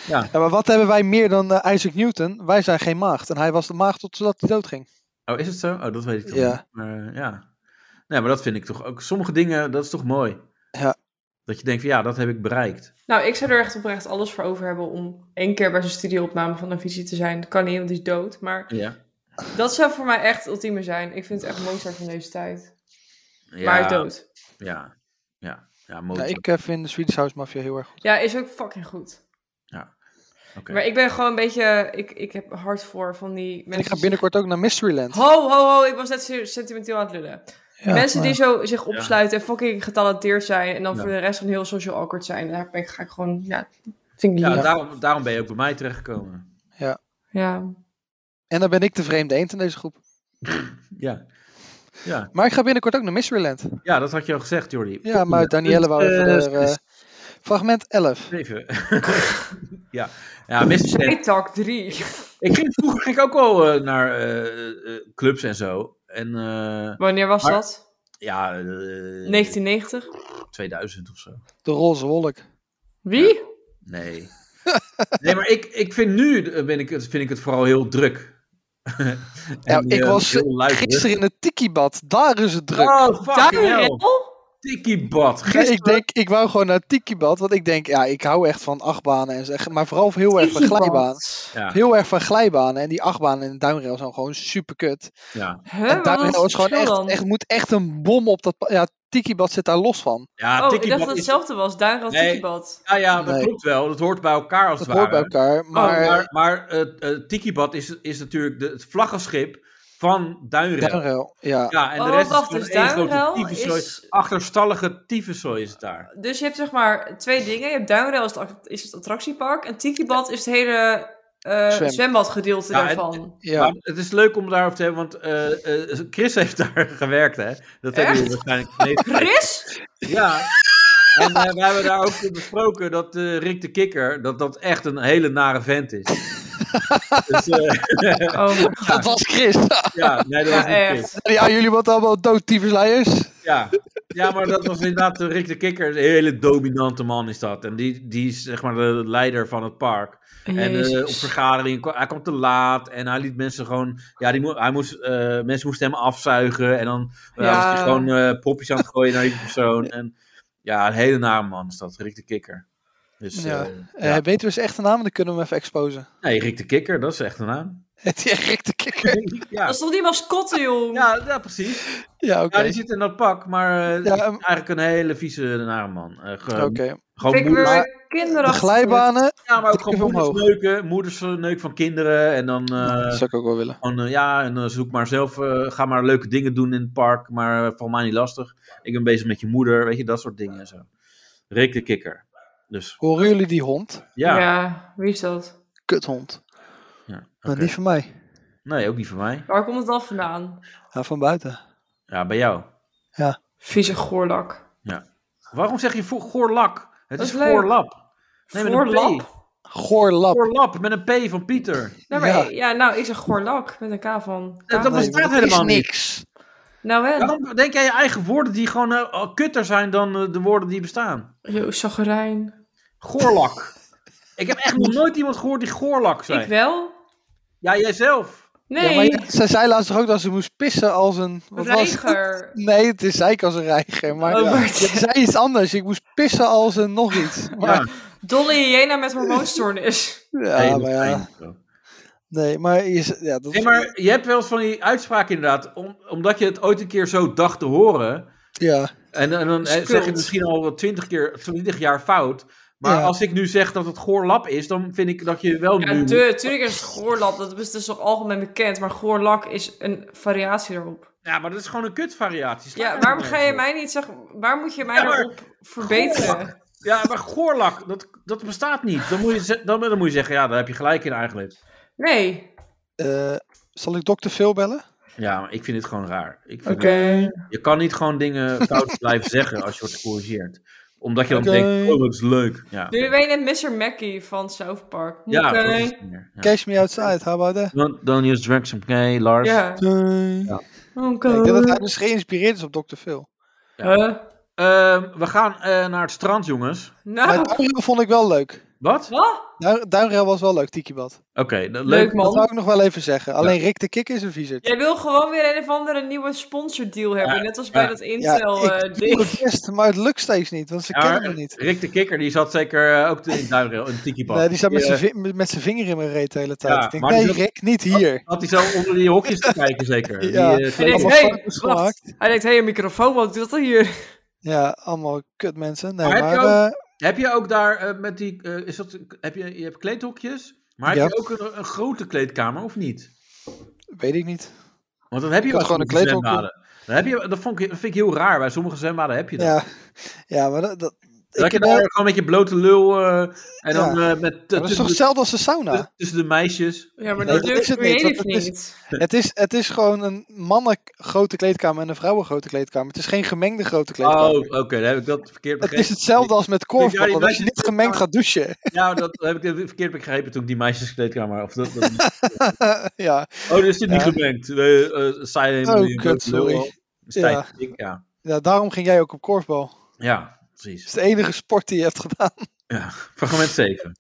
ja. maar wat hebben wij meer dan eh, Isaac Newton? Wij zijn geen maagd. En hij was de maagd totdat hij doodging. Oh, is het zo? Oh, dat weet ik toch Ja. niet. Maar, eh, ja. Nee, maar dat vind ik toch ook. Sommige dingen, dat is toch mooi. Ja. Dat je denkt van ja, dat heb ik bereikt. Nou, ik zou er echt oprecht alles voor over hebben om één keer bij zijn studieopname van Avicii te zijn. Dat kan niet, want die is dood. Maar Ja. dat zou voor mij echt ultieme zijn. Ik vind het echt Mozart van deze tijd. ja. Maar hij is dood. Ja. Ja. Ja, Ja, mooi. ik eh, vind de Swedish House Mafia heel erg goed. Ja, is ook fucking goed. Ja. Oké. Maar ik ben gewoon een beetje... Ik, ik heb hart voor van die mensen... En ik ga die binnenkort ook naar Mysteryland. Ho, ho, ho, ik was net se- sentimenteel aan het lullen. Ja, Mensen maar- die zo zich opsluiten en fucking getalenteerd zijn en dan Ja. voor de rest van heel social awkward zijn, daar ben ik, ga ik gewoon, ja, vind ik ja, lief. daarom, daarom ben je ook bij mij terechtgekomen. Ja. Ja. En dan ben ik de vreemde eend in deze groep. Ja. Ja. Maar ik ga binnenkort ook naar Mysteryland. ja, dat had je al gezegd, Jordi. Ja, maar Danielle wou even Eh, er, eh, Fragment 11. Even. <laughs> ja. ja, Mr. Talk 3. Ik ging, vroeger ging ik ook wel eh, naar eh, eh, clubs en zo. En, eh, Wanneer was maar- dat? Ja, eh, 1990? 2000 of zo. De roze wolk. Wie? Nee. nee, maar ik, ik vind nu eh, ben ik, het- vind ik het vooral heel druk. <laughs> En, Ja, Nou, ik eh, was heel luid gisteren druk. in het Tikibad. Daar is het druk. Oh, fucking hell. Oh, Tikibad. Ja, Gisteren ik, denk, ik wou gewoon naar Tikibad, want ik denk, ja, ik hou echt van achtbanen. En, zeg- maar vooral heel erg van Tikibad. glijbanen. Ja. Heel erg van glijbanen. En die achtbanen en duinrail zijn gewoon super kut. Ja, Huh? en Wat was duinrail het is gewoon verschil echt, dan? echt, moet echt een bom op dat... pa- Ja, Tikibad zit daar los van. ja oh, ik Tikibad dacht dat het is- hetzelfde was. Duinrad Nee. Tikibad. Ja, ja, dat Nee. klopt wel. Dat hoort bij elkaar als Dat het ware. hoort bij elkaar. Maar, Maar, maar, het eh, Tikibad is, is natuurlijk de, het vlaggenschip van Duinrel. duinrail, ja. Ja, en de Oh, rest wacht, is dus gewoon één Duinrel grote tyfuszooi. is- Achterstallige tyfuszooi is het daar. Dus je hebt zeg maar twee dingen. Je hebt Duinrail is het, act- is het attractiepark en Tikibad is het hele eh, Zwem. zwembadgedeelte Ja, en- daarvan. Ja. Maar het is leuk om daarover te hebben, want eh, eh, Chris heeft <laughs> daar gewerkt, hè? Dat hebben jullie waarschijnlijk meegekregen. <laughs> Chris? Ja. En eh, we hebben daar ook besproken dat eh, Rick de Kikker, dat dat echt een hele nare vent <laughs> is. dus, eh, <laughs> Oh, mijn <laughs> God. Dat was Chris. <laughs> ja, nee, dat was Ja, niet echt. Chris. ja, jullie wat allemaal dood, tyfusleiers. Ja. ja, maar dat was inderdaad eh, Rick de Kikker. Een hele dominante man is dat. En die, die is zeg maar de leider van het park. En eh, Jezus. op vergadering, kwa- hij kwam te laat. En hij liet mensen gewoon... Ja, die mo- hij moest, eh, mensen moesten hem afzuigen. En dan eh, Ja. was hij gewoon eh, popjes aan het gooien naar die persoon. En ja, een hele nare man is dat. Rick de Kikker. Dus, Ja. eh, Eh, weten we zijn echte naam? Dan kunnen we hem even exposen. <laughs> Nee, Rick de Kikker, dat is echt een naam. Het is echt de kikker. Ja, Dat is toch die mascotte, joh? ja, ja precies. <laughs> Ja, oké. Ja, die zit in dat pak, maar eh, Ja, het is ehm. eigenlijk een hele vieze nare man. Eh, ge- Oké. Gewoon Vind ik moeders, weer De kinderachtig. glijbanen, ja, maar ook Even gewoon moeders omhoog. neuken, moeders eh, neuk van kinderen. En dan eh, dat zou ik ook wel willen. gewoon, eh, ja, en eh, zoek maar zelf, eh, ga maar leuke dingen doen in het park, maar eh, val mij niet lastig. Ik ben bezig met je moeder, weet je, dat soort dingen en zo. Rick de kikker. Dus Horen jullie die hond? ja, Ja, wie is dat? Kuthond. Ja, Maar oké. niet van mij. nee, ook niet van mij. Waar komt het dan vandaan? Ja, van buiten. Ja, bij jou. Ja. Vieze goorlak. Waarom zeg je voor goorlak? Het Dat is is leuk. goorlap. Nee, met een P. Goorlap? Goorlap. Goorlap, met een P van Pieter. Nou, maar, Ja. ja. nou, ik zeg goorlak met een K van. Ja, dat K- was- maar bestaat helemaal is niet. niks. Nou, en? Waarom denk jij je eigen woorden die gewoon eh, al kutter zijn dan eh, de woorden die bestaan? Yo, chaggerijn. Goorlak. ik heb echt nog nooit iemand gehoord die goorlak zei. Ik wel. Ja, jijzelf. Nee. Ja, maar ja, ze zei laatst toch ook dat ze moest pissen als een... wat was het? Reiger. Nee, het is zeker als een reiger. Maar Oh, ja, Bart. je zei iets anders. Ik moest pissen als een nog iets. Maar, Dolle hyena met hormoonstoornis. ja, maar ja. Nee, maar... Je, z- ja, dat Nee, maar je hebt wel eens van die uitspraak inderdaad, om- omdat je het ooit een keer zo dacht te horen. Ja. En, en dan eh, Schuld. zeg je het misschien al wel twintig keer, twintig jaar fout. Maar Ja. als ik nu zeg dat het goorlap is, dan vind ik dat je wel Ja, nu... de, tuurlijk is het goorlap. Dat is dus toch algemeen bekend. Maar goorlak is een variatie daarop. Ja, maar dat is gewoon een kutvariatie. Sla- Ja, waarom ga je mij niet zeggen... Waar moet je mij Ja, maar- daarop verbeteren? Goorlak. Ja, maar goorlak, dat, dat bestaat niet. Dan moet, je, ze- dan, dan moet je zeggen, ja, daar heb je gelijk in eigenlijk. Nee. eh, zal ik dokter Phil bellen? Ja, maar ik vind het gewoon raar. Ik vind Oké. Je kan niet gewoon dingen <laughs> fout blijven zeggen als je wordt gecorrigeerd. Omdat je dan Oké. denkt, oh, dat is leuk. Ja, Nu ben je net Mr. Mackey van South Park. ja Oké. dat is het meer. Ja. Cash me outside, how about that? Don't, don't use drugs, oké, Lars? Ja. Ja. Oké. Ik denk dat hij dus geïnspireerd is op dokter Phil. Ehm, we gaan eh, naar het strand, jongens. Maar Nou. Duinrail vond ik wel leuk. Wat? Wat? Duin- Duinrail was wel leuk, Tikibad. Oké, dat- leuk. Leuk, Dat man. wou ik nog wel even zeggen. Alleen Rick de Kik is een viezer. Jij wil gewoon weer een of andere nieuwe sponsordeal hebben. net als bij ja. dat Ja, Intel eh ik ding. doe het best, maar het lukt steeds niet, want ze Ja, kennen maar me niet. Rick de Kikker, die zat zeker eh, ook in Duinrail, in Tiki Bar. Nee, die zat met eh, zijn vi- met- met zijn vinger in mijn reet de hele tijd. Ja, ik denk, maar die Oh. nee zat- Rick, niet hier. Had hij zo onder die hokjes te kijken, zeker? <laughs> Ja. Die, eh, Hij denkt, Allemaal hey, foto's wacht. gemaakt. Hij denkt, hé, hey, een microfoon, wat doet dat hier? Ja, allemaal kut mensen. Nee, Maar maar, heb je eh, Heb je ook daar eh, met die. eh, is dat, heb je, je hebt kleedhokjes, maar heb Ja. je ook een, een grote kleedkamer of niet? weet ik niet. Want dat heb je Ik wel had gewoon sommige een kleedhokje. zwembaden. Dat, heb je, dat, vond ik, dat vind ik heel raar. Bij sommige zwembaden heb je dat. Ja, <laughs> ja maar dat, dat, dat ik je heb daar wel- gewoon met je blote lul eh, en dan eh, met, maar dat is tussen, toch hetzelfde als de <laughs> sauna? de, tussen de meisjes. Ja, maar Nee, dat dat lukt is het niet, creative want niet. <laughs> het Het is, het is gewoon een mannen grote kleedkamer en een vrouwen grote kleedkamer. Het is geen gemengde grote Oh, Dus kleedkamer. oké, dan heb ik dat verkeerd het begrepen. is hetzelfde als met Ja, die korfballen. Als je meisjes- niet gemengd gaat douchen. <laughs> Ja, dat heb ik verkeerd begrepen toen ik die meisjeskleedkamer. Of dat, dat- <laughs> ja. oh, dus dit niet Ja. gemengd. Uh, uh, Silent, Oh, die kut, blote lul. sorry. Stijf, Ja. dik, ja. ja, daarom ging jij ook op korfbal. Het ja, precies. is de enige sport die je hebt gedaan. <laughs> Ja, fragment 7.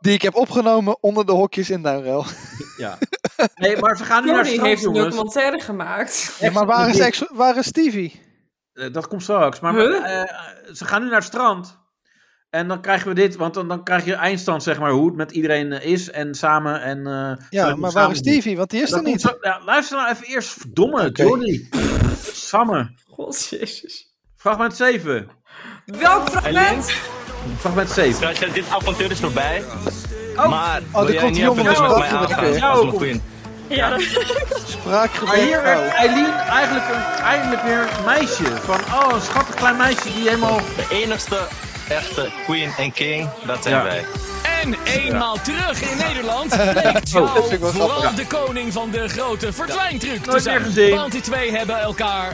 Die ik heb opgenomen onder de hokjes in Duinrel. <laughs> Ja. Nee, maar we gaan nu naar het Jordi strand, heeft een jongens. documentaire gemaakt. <laughs> Ja, maar waar is, ex- waar is Stevie? Eh, Dat komt straks. Maar Huh? eh, ze gaan nu naar het strand. En dan krijgen we dit, want dan, dan krijg je eindstand, zeg maar, hoe het met iedereen eh, is en samen. En, eh, zo Ja, doen we maar waar samen is doen. Stevie? Want die is Dat er komt niet. zo- ja, luister nou even eerst, verdomme, Oké. Jordi. Samme. God, jezus. Fragment 7. Welk fragment? Fragment 7. Luister, dit avontuur is voorbij. Oh. Maar er wil jij komt niet een even jongen met met mij een wapen. aangaan Ja, als ook. Lokwin? Ja, dat Maar Spraakgebrek. hier werd Oh. Eileen eigenlijk, een, eigenlijk weer een meisje. Van, oh, een schattig klein meisje die helemaal... De enigste echte queen en king, dat zijn Ja. wij. En eenmaal terug in <laughs> Nederland Oh, bleek Chao dat vind ik wel grappig. vooral de koning van de grote verdwijntruc Nooit te meer zijn. gezien. Want die twee hebben elkaar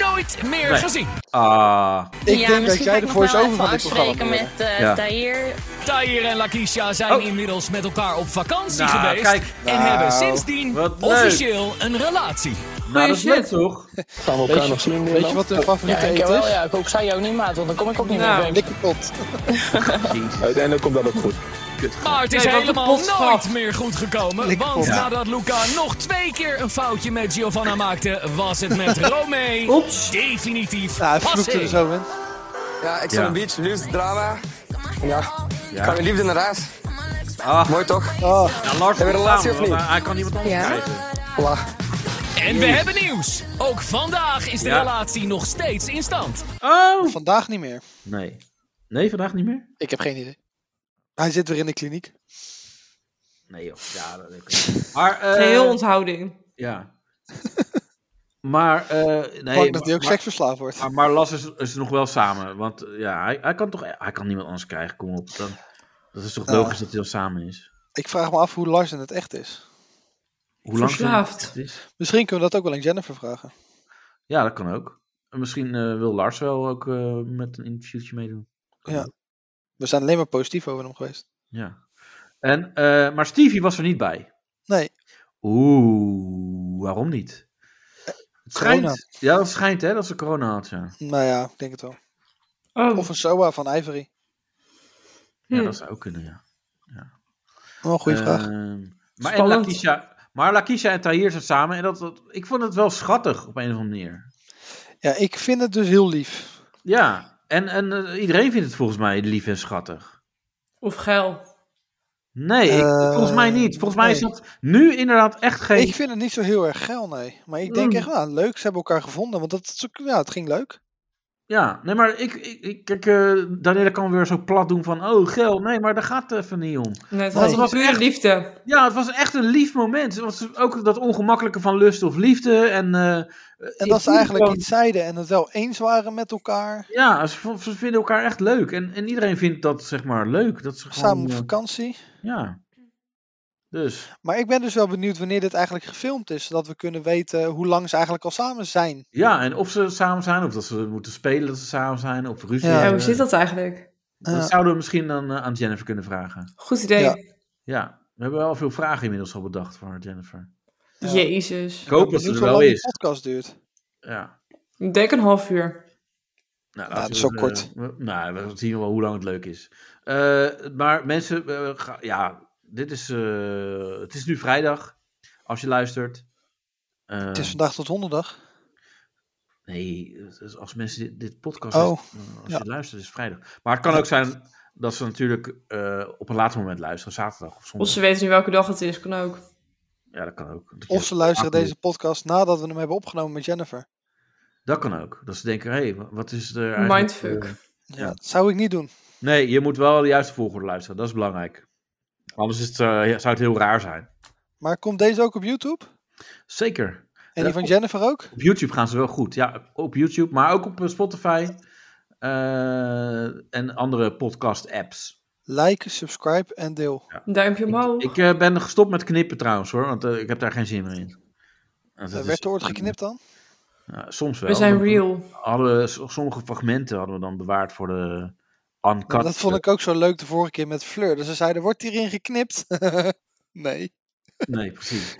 nooit meer Nee. gezien. Ah, Ik Ja, denk dat misschien ga jij ik de nog wel voice-over even van dit programma afspreken moet met worden. eh Ja. Tahir. Tahir en Lakisha zijn Oh. inmiddels met elkaar op vakantie Nou, geweest. kijk. en Nou, hebben sindsdien wat leuk. officieel een relatie. nou, dat is leuk, shit. toch? Gaan we elkaar nog zien? Weet je wat hun favoriete ik eten is? ik hoop zij jou niet maat, want dan kom ik ook niet Nou. bij. Likkerpot. Uiteindelijk komt dat ook goed. Maar het is Nee, wat een helemaal potschap. nooit meer goed gekomen. Lekker Want pot. nadat Luca nog twee keer een foutje met Giovanna maakte, was het met Romee Oeps. definitief Ja, hij vloekte passé. Ah, er zo in. Ja, ik Ja. zal een beach, liefst drama. Ja, Ja. ik ga weer liefde naar huis. Ah, Mooi toch? Oh, ja, Lars Hebben we komt relatie samen, of niet? want Hij hij kan niemand anders krijgen. Voilà. En we hebben nieuws. Ook vandaag is de Ja. relatie nog steeds in stand. Oh! vandaag niet meer. Nee. Nee, vandaag niet meer? Ik heb geen idee. Hij zit weer in de kliniek. Nee, joh. Ja, dat oké. Maar, eh, Geheel onthouding. Ja. Maar, eh Nee, nee. dat hij ook maar, seksverslaafd wordt. maar, maar Las is, is nog wel samen. Want eh, ja, hij, hij kan toch. Hij kan niemand anders krijgen. Kom op. Dan, dat is toch Ja. logisch dat hij dan samen is? Ik vraag me af hoe Lars in het echt is. Hoe lang ze- Verslaafd. het is? Misschien kunnen we dat ook wel aan Jennifer vragen. Ja, dat kan ook. En Misschien eh, wil Lars wel ook eh, met een interviewtje meedoen. Kan Ja. ook. We zijn alleen maar positief over hem geweest. ja. En, eh, maar Stevie was er niet bij. Nee, Oeh, waarom niet? Het schijnt. Corona. Ja, dat schijnt hè, dat ze corona had. Ja, nou ja, ik denk het wel. Oh. Of een SOA van Ivory. ja Hm. dat zou ook kunnen, ja. ja. Wel een goede vraag. Ehm, Maar, en Spannend. Lakisha, maar Lakisha en Tahir zijn samen. En dat, dat, ik vond het wel schattig op een of andere manier. Ja, ik vind het dus heel lief. Ja, en, en eh, iedereen vindt het volgens mij lief en schattig. Of geil. Nee, ik- volgens mij niet. Volgens mij is Eh, nee. dat nu inderdaad echt geen... Ik vind het niet zo heel erg geil, nee. Maar ik denk Mm. echt, nou, leuk, ze hebben elkaar gevonden. Want dat, is ook- ja, het ging leuk. Ja, nee, maar ik, ik, ik- kijk, eh Daniela kan weer zo plat doen van, oh, gel, nee, maar daar gaat het even niet om. Nee, het Want was pure liefde. Ja, het was echt een lief moment. Het was ook dat ongemakkelijke van lust of liefde. En, eh, En ik dat ze vind eigenlijk gewoon- iets zeiden en het wel eens waren met elkaar. Ja, ze, vo- ze vinden elkaar echt leuk. En, en iedereen vindt dat, zeg maar, leuk. Dat ze gewoon, Samen op eh, vakantie. Ja. Dus. Maar ik ben dus wel benieuwd wanneer dit eigenlijk gefilmd is. Zodat we kunnen weten hoe lang ze eigenlijk al samen zijn. ja, en of ze samen zijn, of dat ze moeten spelen dat ze samen zijn, of ruzie Ja, Oh, hoe hebben. zit dat eigenlijk? Dat zouden we misschien dan eh, aan Jennifer kunnen vragen. Goed idee. Ja. Ja, we hebben wel veel vragen inmiddels al bedacht voor Jennifer. Jezus. Ik hoop dat ze er wel is. podcast duurt. Ja. Ik denk een half uur. Nou, dat laten is we- ook kort. we- nou, we zien wel hoe lang het leuk is. Eh, maar mensen, eh, ga- ja, dit is, eh, het is nu vrijdag, als je luistert. Eh, Het is vandaag tot donderdag. Nee, het is als mensen dit, dit podcast Oh, luisteren, eh, als ja. je luistert, is het vrijdag. Maar het kan ook zijn dat ze natuurlijk eh, op een later moment luisteren, zaterdag of Of zondag. ze weten nu welke dag het is, kan ook. Ja, dat kan ook. Dat je- Of ze luisteren Ah, deze podcast nadat we hem hebben opgenomen met Jennifer. Dat kan ook. Dat ze denken, hé, hey, wat is er Mindfuck. eh, Ja, dat zou ik niet doen. Nee, je moet wel de juiste volgorde luisteren. Dat is belangrijk. Anders is het, eh, ja, zou het heel raar zijn. Maar komt deze ook op YouTube? Zeker. Ja, En die van op- Jennifer ook? Op YouTube gaan ze wel goed. Ja, op YouTube, maar ook op eh, Spotify eh, en andere podcast-apps. Like, subscribe en deel. Duimpje omhoog. Ik eh, ben gestopt met knippen trouwens hoor, want eh, ik heb daar geen zin meer in. Want Er het werd is- er ooit geknipt dan? Ja, soms wel. We zijn Want real. Hadden, we- sommige fragmenten hadden we dan bewaard voor de uncut. Maar dat vond ik ook zo leuk de vorige keer met Fleur. Dus ze zeiden, wordt hierin geknipt? <laughs> nee. Nee, precies.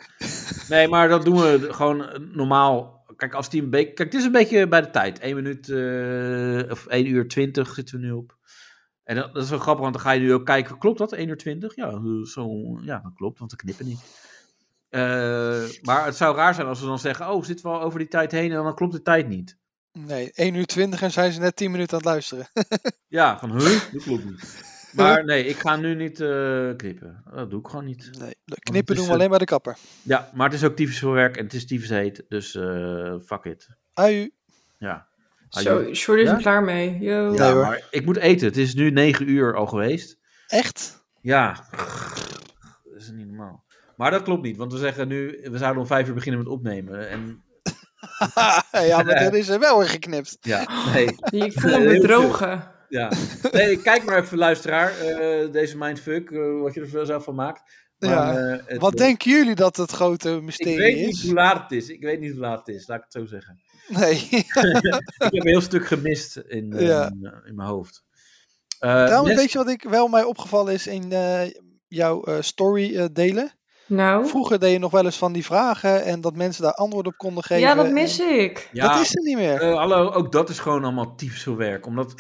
Nee, maar dat doen we gewoon normaal. Kijk, als die een beetje. Kijk, dit is een beetje bij de tijd. 1 minuut eh, of 1 uur 20 zitten we nu op. En dat, dat is wel grappig, want dan ga je nu ook kijken. Klopt dat? 1 uur 20? Ja, eh, zo, ja dat klopt, want we knippen niet. Eh, maar het zou raar zijn als we dan zeggen: Oh, zitten we al over die tijd heen? En dan klopt de tijd niet. Nee, 1 uur 20 en zijn ze net 10 minuten aan het luisteren. Ja, van huh? Dat klopt niet. Maar nee, ik ga nu niet eh, knippen. Dat doe ik gewoon niet. Nee, Want het Knippen is, doen we eh, alleen bij de kapper. Ja, maar het is ook typisch voor werk en het is typisch heet. Dus eh, fuck it. Ui. Ja. Zo, Short is Ah, Ja? er klaar mee. Yo. Ja, maar ik moet eten. Het is nu 9 uur al geweest. Echt? Ja. Dat is niet normaal. Maar dat klopt niet, want we zeggen nu, we zouden om 5 uur beginnen met opnemen. En <laughs> ja, maar <laughs> er is er wel in geknipt. ja, <laughs> nee. <laughs> Ik voel me Heel veel. bedrogen. Ja. Nee, kijk maar even, luisteraar, eh, deze mindfuck, eh, wat je er zelf van maakt. Maar, Ja. eh, het- Wat denken jullie dat het grote mysterie Ik weet is? niet hoe laat het is. Ik weet niet hoe laat het is, laat ik het zo zeggen. <laughs> Nee. Eh, ik heb een heel stuk gemist in, eh, <laughs> Ja. in mijn hoofd. Eh, Trouwens, Nes- weet je wat ik wel mij opgevallen is in eh, jouw eh, story eh, delen? Nou. Vroeger deed je nog wel eens van die vragen en dat mensen daar antwoord op konden geven. Ja, dat mis ik. Ja, Dat is er niet meer. eh, hallo, ook dat is gewoon allemaal tyfselwerk. <laughs> Omdat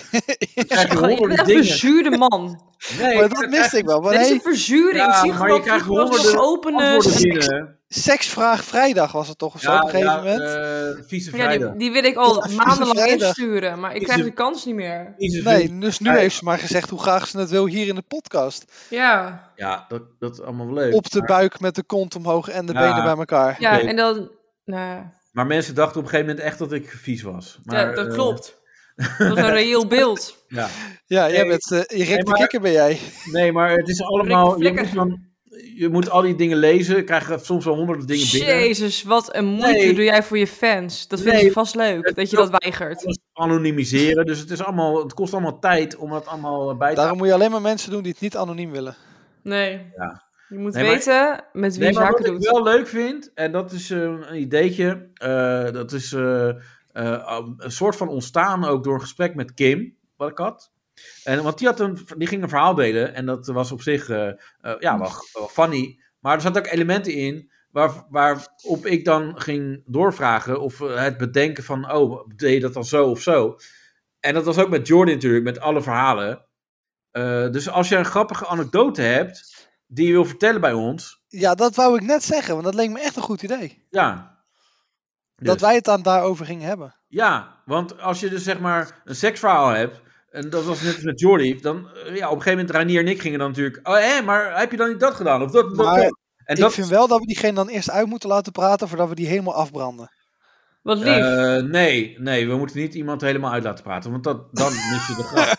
Ik ben gewoon- ik ben echt een verzuurde man. Nee, maar dat <laughs> miste ik wel. Maar Dit is hey, een verzuring. Ja, ik zie maar gewoon je krijgt vroeger was het honderden nog openen. antwoorden <laughs> binnen. Seksvraag vrijdag was het toch of zo op een gegeven moment? eh, vieze Ja, vrijdag. die, die wil ik al Ja, <laughs> maandenlang vrijdag. insturen, maar ik Is krijg het- de kans niet meer. Vieze Nee, vriend. dus nu heeft ze maar gezegd hoe graag ze het wil hier in de podcast. Ja. Ja, dat, dat is allemaal wel leuk. Op de maar, buik met de kont omhoog en de Ja. benen bij elkaar. Ja, Oké. en dan. Nou, maar mensen dachten op een gegeven moment echt dat ik vies was. Maar, ja, dat eh, <laughs> klopt. Dat is een reëel beeld. Ja. Ja, jij Nee, bent eh, Erik nee, de maar- Kikker ben jij. Nee, maar het is allemaal... Je moet, dan- je moet al die dingen lezen. Je krijgt soms wel honderden dingen binnen. Jezus, wat een moeite Nee. doe jij voor je fans. Dat vinden Nee. ze vast leuk, dat je dat weigert. Anonimiseren. Dus het, is allemaal, het kost allemaal tijd om dat allemaal bij te Daarom moet je alleen maar mensen doen die het niet anoniem willen. Nee. Ja. Je moet Nee, maar- weten met wie Nee, je maar zaken wat ik doet. wel leuk vind, en dat is eh, een ideetje, eh, dat is eh, eh, een soort van ontstaan ook door een gesprek met Kim, wat ik had. En, want die, had een, die ging een verhaal delen en dat was op zich eh, eh, ja, wel, wel funny. Maar er zaten ook elementen in waar, waarop ik dan ging doorvragen of eh, het bedenken van, oh, deed je dat dan zo of zo? En dat was ook met Jordan natuurlijk, met alle verhalen. Eh, dus als je een grappige anekdote hebt, die je wil vertellen bij ons. Ja, dat wou ik net zeggen, want dat leek me echt een goed idee. Ja. Dus, Dat wij het dan daarover gingen hebben. Ja, want als je dus zeg maar een seksverhaal hebt. En dat was net als met Jordi. Dan, eh, ja, op een gegeven moment, Rainier en ik gingen dan natuurlijk. Oh, hé, maar heb je dan niet dat gedaan? Of dat, dat, Maar dat? En ik dat vind wel dat we diegene dan eerst uit moeten laten praten voordat we die helemaal afbranden. Wat Eh, nee, nee, we moeten niet iemand helemaal uit laten praten, want dat, dan mis je de <laughs> grap.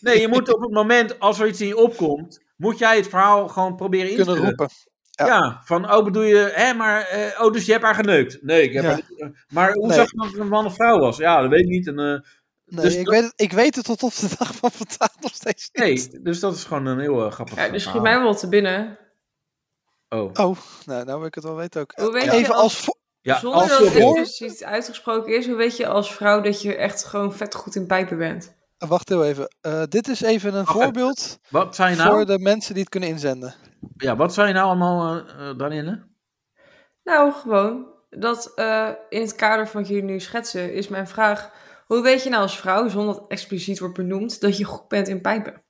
Nee, je moet op het moment, als er iets in je opkomt, moet jij het verhaal gewoon proberen in te Kunnen vullen. roepen. Ja. van, oh bedoel je, hè, maar, eh, oh dus je hebt haar geneukt. Nee, ik heb Ja. haar niet- eh, Maar hoe Nee. zag je dat het een man of vrouw was? Ja, dat weet ik niet. En, eh, Nee, dus ik, dat- weet het, ik weet het tot op de dag van vandaag nog steeds niet. nee, dus dat is gewoon een heel eh, grappig Ja, dus schiet verhaal. mij wel te binnen. Oh, Oh, nou, nou wil ik het wel weten ook. Hoe weet je Even als- als, vo- ja, Zonder als dat het verhoor- expliciet uitgesproken is, hoe weet je als vrouw dat je echt gewoon vet goed in pijpen bent? Wacht heel even. Eh, dit is even een voorbeeld Wat zijn nou? voor de mensen die het kunnen inzenden. Ja, wat zijn nou allemaal, eh eh, Danielle? Nou, gewoon. Dat eh, in het kader van wat jullie nu schetsen, is mijn vraag. Hoe weet je nou als vrouw, zonder dat het expliciet wordt benoemd, dat je goed bent in pijpen?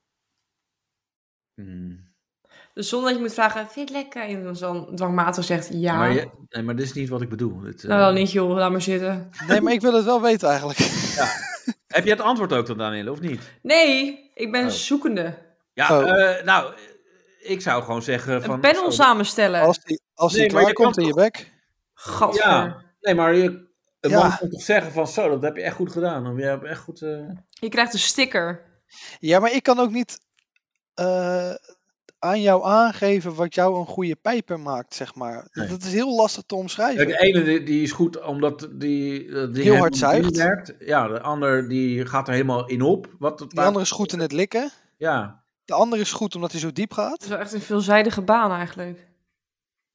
Hmm. Dus zonder dat je moet vragen, vind je het lekker? En dan dwangmatig zegt ja. Maar je- nee, maar dit is niet wat ik bedoel. Dit, eh, Nou, dan niet joh, laat maar zitten. Nee, maar ik wil het wel weten eigenlijk. Heb je het antwoord ook dan, Danielle, of niet? Nee, ik Oh. ben zoekende. Ja, Oh. eh, nou, ik zou gewoon zeggen van... oh. Een panel zo- samenstellen. Als die, als Nee, die maar je klaar komt kan in je bek. Gadver. Ja, nee, maar je, een Ja. man kan toch zeggen van zo, dat heb je echt goed gedaan. Of jij hebt echt goed... eh, Je krijgt een sticker. Ja, maar ik kan ook niet eh, aan jou aangeven wat jou een goede pijper maakt, zeg maar. Nee. Dat is heel lastig te omschrijven. Kijk, de ene die, die is goed omdat die... eh, die Heel hem hard zuigt. niet werkt. Ja, de ander die gaat er helemaal in op. Wat het De andere is goed in het likken. Ja. De andere is goed omdat hij zo diep gaat. Het is wel echt een veelzijdige baan eigenlijk.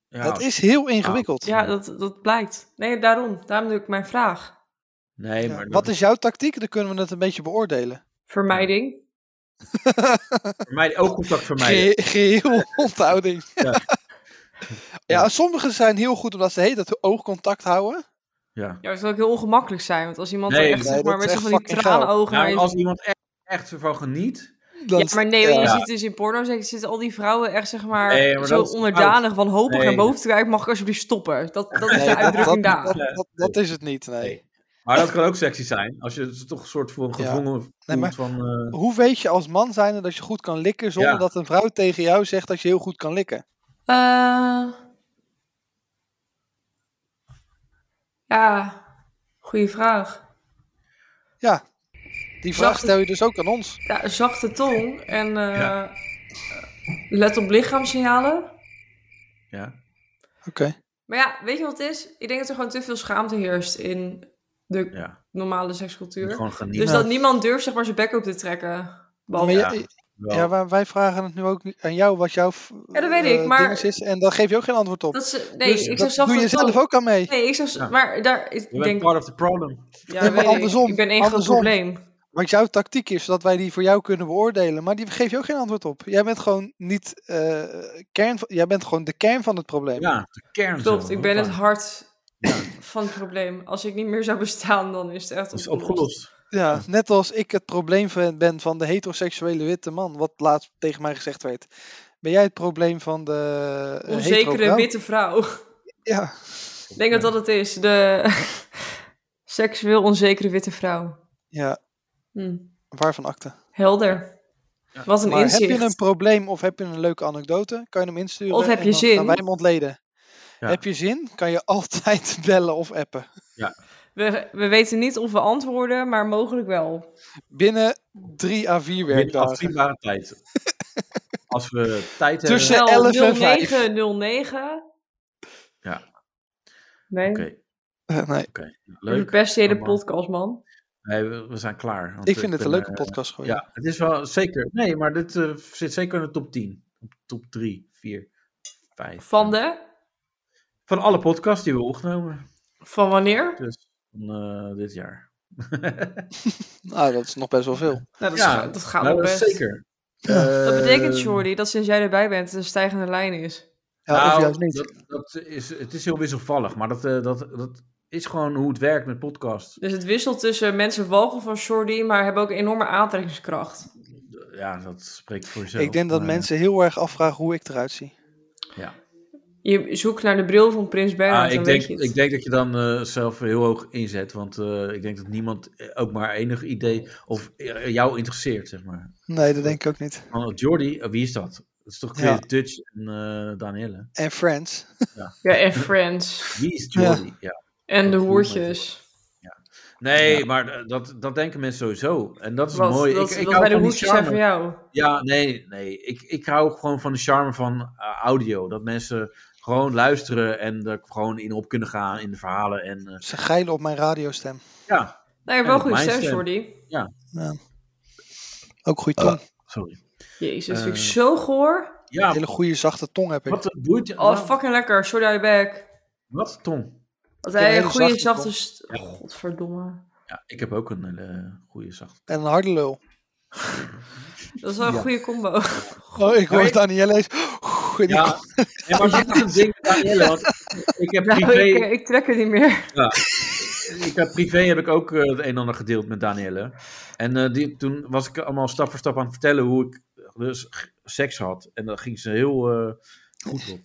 ja. Nou, dat is heel ingewikkeld. Ja, dat, dat blijkt. Nee, daarom. Daarom doe ik mijn vraag. Nee, Ja, maar Wat is jouw tactiek? Dan kunnen we het een beetje beoordelen. Vermijding. voor mij ook contact voor mij. Ge- Geheel <laughs> onthouding. Ja. <laughs> Ja. sommigen zijn heel goed omdat ze heet dat oogcontact houden. Ja. Ja, het zou ook heel ongemakkelijk zijn. Want als iemand Nee, er echt nee, zeg maar, dat met is zo'n van echt die fucking goud. tranenogen naar Nou, je- als iemand echt, echt ervan geniet... Dan- Ja, maar nee, want ja. je ziet dus in porno zeker zitten al die vrouwen echt zeg maar, Nee, maar zo dat is onderdanig, fout. wanhopig Nee. naar boven te kijken. Mag ik alsjeblieft stoppen? Dat, dat is Nee, de dat- uitdrukking dat- daar. dat- dat- dat is het niet, nee. Maar dat kan ook sexy zijn. Als je het toch een soort van gedwongen voelt maar- van... eh, Hoe weet je als man zijnde dat je goed kan likken zonder Ja. dat een vrouw tegen jou zegt dat je heel goed kan likken? Eh, ja, goede vraag. Ja, die vraag Zacht- stel je dus ook aan ons. Ja, een zachte tong en eh, let op lichaamssignalen. ja. Oké. Maar ja, weet je wat het is? Ik denk dat er gewoon te veel schaamte heerst in de Ja. normale sekscultuur. Gewoon genieten. Dus dat niemand durft zeg maar zijn bek op te trekken. Maar Behalve- ja, Ja, wel. ja, maar wij vragen het nu ook niet aan jou wat jouw v- Ja, dat weet eh, ik, maar- dinges is en daar geef je ook geen antwoord op. Dat ze, nee, Dus ik dat zeg zelf doe je zelf ook aan mee. Nee, ik zeg, Ja. maar daar, ik Je bent denk, part of the problem. ja, Nee, maar weet ik. andersom, ik ben één groot andersom. probleem. Wat jouw tactiek is, zodat wij die voor jou kunnen beoordelen, maar die geef je ook geen antwoord op. Jij bent gewoon niet eh, kern, van- jij bent gewoon de kern van het probleem. Ja, de kern. Klopt, zelf. ik ben het Ja. hart <clears throat> van het probleem. Als ik niet meer zou bestaan, dan is het echt Dat is opgelost. opgelost. Ja, net als ik het probleem van- ben van de heteroseksuele witte man, wat laatst tegen mij gezegd werd. Ben jij het probleem van de eh, hetero Onzekere vrouw? witte vrouw. <laughs> Ja, Ik denk dat dat het is. De <laughs> seksueel onzekere witte vrouw. ja, Hm, waarvan akte. Helder. Wat een Maar inzicht. heb je een probleem of heb je een leuke anekdote, kan je hem insturen Of heb en je dan zin? gaan wij hem ontleden. Ja. Heb je zin, kan je altijd <laughs> bellen of appen. we, we weten niet of we antwoorden, maar mogelijk wel. Binnen drie à vier Binnen werkdagen. afzienbare <laughs> tijd. Als we tijd Tussen- hebben. Wel, 11 en 5. 0909. Ja, Nee, oké. Eh, Nee, oké. je Leuk. verpest je hele Allemaal. podcast, man. Nee, we, we zijn klaar. want ik vind het een ben, leuke eh, podcast gewoon. Ja, het is wel zeker. Nee, maar dit eh, zit zeker in de top 10. Top 3, 4, 5. Van de? Van alle podcasts die we opgenomen. Van wanneer? Nou, Dus van eh, dit jaar. Nou, dat is nog best wel veel. Nou, dat, Ja, is- dat gaat nou, wel dat best. is zeker. Dat Eh, betekent, Jordi, dat sinds jij erbij bent, het een stijgende lijn is. Ja, of juist niet. nou, Dat, dat is, het is heel wisselvallig, maar dat, eh, dat, dat is gewoon hoe het werkt met podcasts. Dus het wisselt tussen mensen walgen van Jordi, maar hebben ook een enorme aantrekkingskracht. ja, dat spreekt voor zichzelf. Ik denk dat maar, mensen heel erg afvragen hoe ik eruit zie. Ja. Je zoekt naar de bril van Prins Bernhard, Ah, ik, dan denk, weet je het. ik denk dat je dan eh, zelf heel hoog inzet. Want eh, ik denk dat niemand eh, ook maar enig idee of eh, jou interesseert, zeg maar. Nee, dat denk ik ook niet. Want Jordi, eh, wie is dat? Dat is toch Ja. Creative Dutch en eh Danielle? En Friends. Ja, en Friends. Wie is Jordi? Ja. En de hoertjes. Nee, maar eh, dat, dat denken mensen sowieso. En dat is Wat- mooi. wat- ik, ik wat hou bij de van die hoekjes zijn charme. voor jou. Ja, nee, nee. Ik, ik hou gewoon van de charme van eh, audio. Dat mensen gewoon luisteren en er gewoon in op kunnen gaan in de verhalen. En, eh, Ze geilen op mijn radiostem. ja. Nou, je hebt En wel op goede mijn stem, Jordi. Ja. Ja. Ook goede tong. sorry. Jezus, dat vind ik Eh, zo goor. Ja. hele goede zachte tong heb ik. Ah. Wat eh, boeit Oh, fucking lekker. Sorry aan je bek. Wat, Tom? Dat Ik heb hij een een hele goede zachte zachte... kop. st- Godverdomme. Ja, ik heb ook een eh, hele goede zachte. En een harde lul. Dat is wel een Ja. goede combo. <laughs> Oh, ik hoor Nee. Danielle eens. in die Ja, nee, maar dat is een ding, Danielle. <laughs> Want ik heb Nou, privé... ik, ik trek het niet meer. Ja. Ik heb privé heb ik ook eh, het een en ander gedeeld met Danielle. En eh, die, toen was ik allemaal stap voor stap aan het vertellen hoe ik dus g- seks had. En daar ging ze heel eh, goed op.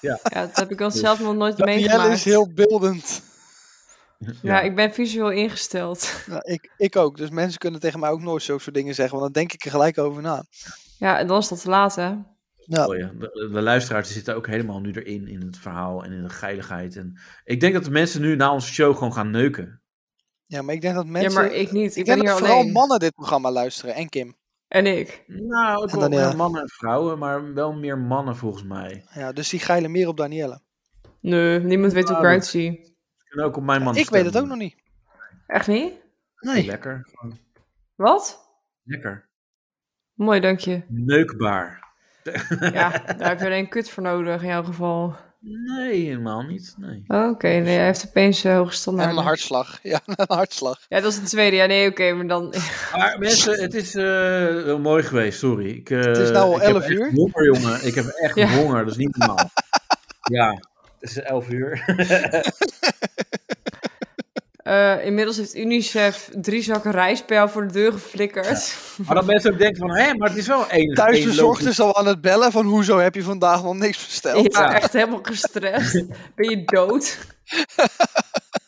ja. Ja, dat heb ik al zelf nog nooit Danielle meegemaakt. Dus is heel beeldend. Ja, ik ben visueel ingesteld. <laughs> Nou, ik, ik ook. Dus mensen kunnen tegen mij ook nooit zulke soort dingen zeggen. Want dan denk ik er gelijk over na. Ja, en dan is dat te laat, hè? Oh ja, de, de luisteraars die zitten ook helemaal nu erin, in het verhaal en in de geiligheid. En ik denk dat de mensen nu na onze show gewoon gaan neuken. Ja, maar ik denk dat mensen... maar ik niet. Ik ben denk dat hier vooral alleen. mannen dit programma luisteren. En Kim. En ik. Nou, ook En wel Danielle. meer mannen en vrouwen, maar wel meer mannen volgens mij. Ja, dus die geilen meer op Danielle. Nee, niemand weet hoe ik eruit zie. Ze kunnen ook op mijn man ik weet het ook nog niet. Echt niet? Nee. Lekker. Wat? Lekker. Mooi, dank <laughs> je. Neukbaar. Ja, daar heb je alleen kut voor nodig in jouw geval. Nee, helemaal niet. Nee. Oké, nee, hij heeft opeens eh, hoge standaard. En een hartslag. Ja, <laughs> een hartslag. Ja, dat is de tweede. Ja, nee, oké, maar dan... Maar mensen, het is eh, heel mooi geweest, sorry. Ik, eh, Het is nou al ik heb 11 echt uur. Honger, jongen. Ik heb echt <laughs> Ja. honger, dat is niet <laughs> normaal. ja, het is 11 uur. <laughs> Eh, inmiddels heeft Unicef drie zakken rijst bij jou voor de deur geflikkerd. maar dat mensen ook denken van, hé, maar het is wel één. Thuis één de logisch- ochtends al aan het bellen van hoezo heb je vandaag nog niks <laughs> Ja, besteld. echt helemaal <laughs> gestrest. Ben je dood?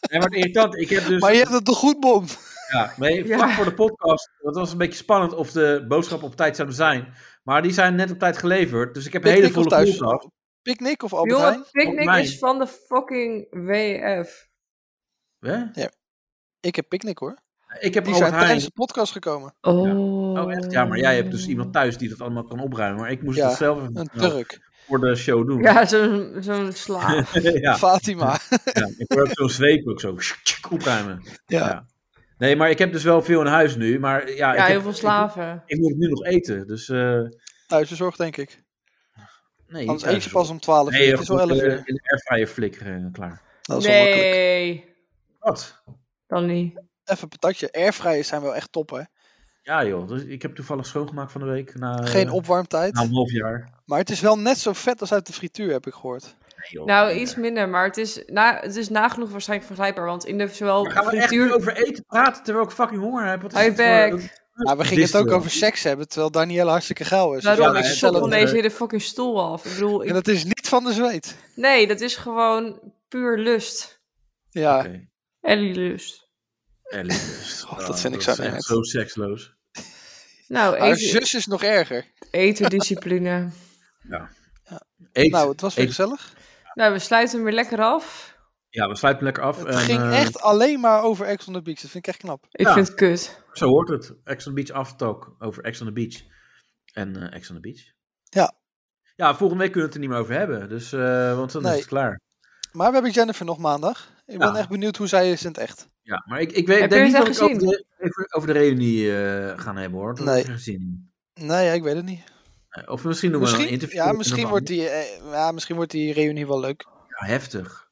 Nee, maar het irritant, ik heb dus... Maar je hebt het toch goed, Bom? Ja, nee, vlak voor de podcast, dat was een beetje spannend of de boodschappen op tijd zouden zijn. Maar die zijn net op tijd geleverd, dus ik heb een hele Picnic of volle thuis? koelkast. Picnic of Albert Jongen, Heijn? picknick Volgens mij. is van de fucking WF. Hè? Ik heb Picnic hoor. Ik heb Die Albert zijn tijdens Heijn. de podcast gekomen. Oh. Oh, echt? Ja, maar jij hebt dus iemand thuis die dat allemaal kan opruimen. Maar ik moest Ja, dat zelf even Een Turk. voor de show doen. Ja, zo'n zo'n slaaf. <laughs> ja. Fatima. Ja, ik hoor ook zo'n zweep ook zo tsk, tsk, opruimen. Ja. Nee, maar ik heb dus wel veel in huis nu. Maar ja, ik, Ja, heb- heel veel <laughs> slaven. ik moet nu nog eten. Dus eh, Thuisbezorgd denk ik. nee. Anders thuis eet je pas om 12 uur. eh, Nee, het is wel goed, 11 eh, uur. in de airfryer flikkeren en klaar. Dat is wel makkelijk. Nee, Wat? dan niet. Even een patatje. Airfryers zijn wel echt top hè. Eh, Ja joh, dus ik heb toevallig schoongemaakt van de week. Na, Geen eh, opwarmtijd. Na een half jaar. Maar het is wel net zo vet als uit de frituur heb ik gehoord. Nee, joh. Nou, iets minder, maar het is, na, het is nagenoeg waarschijnlijk vergelijkbaar. Want in de zowel Maar gaan we echt nu frituur... over eten praten terwijl ik fucking honger heb? Wat is Hi, dit voor- back. Maar Nou, we gingen het Distel. ook over seks hebben, terwijl Danielle hartstikke geil is. Daarom, Ja, ik het is stop hetzelfde. gewoon deze hele fucking stoel af. Ik bedoel, En ik, dat is niet van de zweet. nee, dat is gewoon puur lust. Ja, Oké. Ellie lust. Ellie dus. God, dat Nou, vind ik is zo echt net. Zo seksloos. Nou, haar eten, zus is nog erger. etendiscipline. <laughs> Eet, nou, het was weer eet. gezellig. nou, we sluiten hem weer lekker af. Ja, we sluiten lekker af. Het en, ging eh, echt alleen maar over Ex on the Beach. Dat vind ik echt knap. Ik Ja. vind het kut. Zo hoort het. Ex on the Beach aftalk over Ex on the Beach. En eh Ex on the Beach. Ja. Ja, volgende week kunnen we het er niet meer over hebben. Dus, eh, want dan Nee. is het klaar. Maar we hebben Jennifer nog maandag. Ik Ja. ben echt benieuwd hoe zij is in het echt. Ja, maar ik, ik weet, Heb denk je niet dat het ik echt over de, even over de reunie eh, gaan hebben hoor. Dat Nee. heb ik geen zin in. Nee, ja, ik weet het niet. Eh, Of misschien doen we een Misschien, interview. ja, met misschien, iemand wordt die, eh, ja, misschien wordt die reunie wel leuk. anders. Ja, heftig.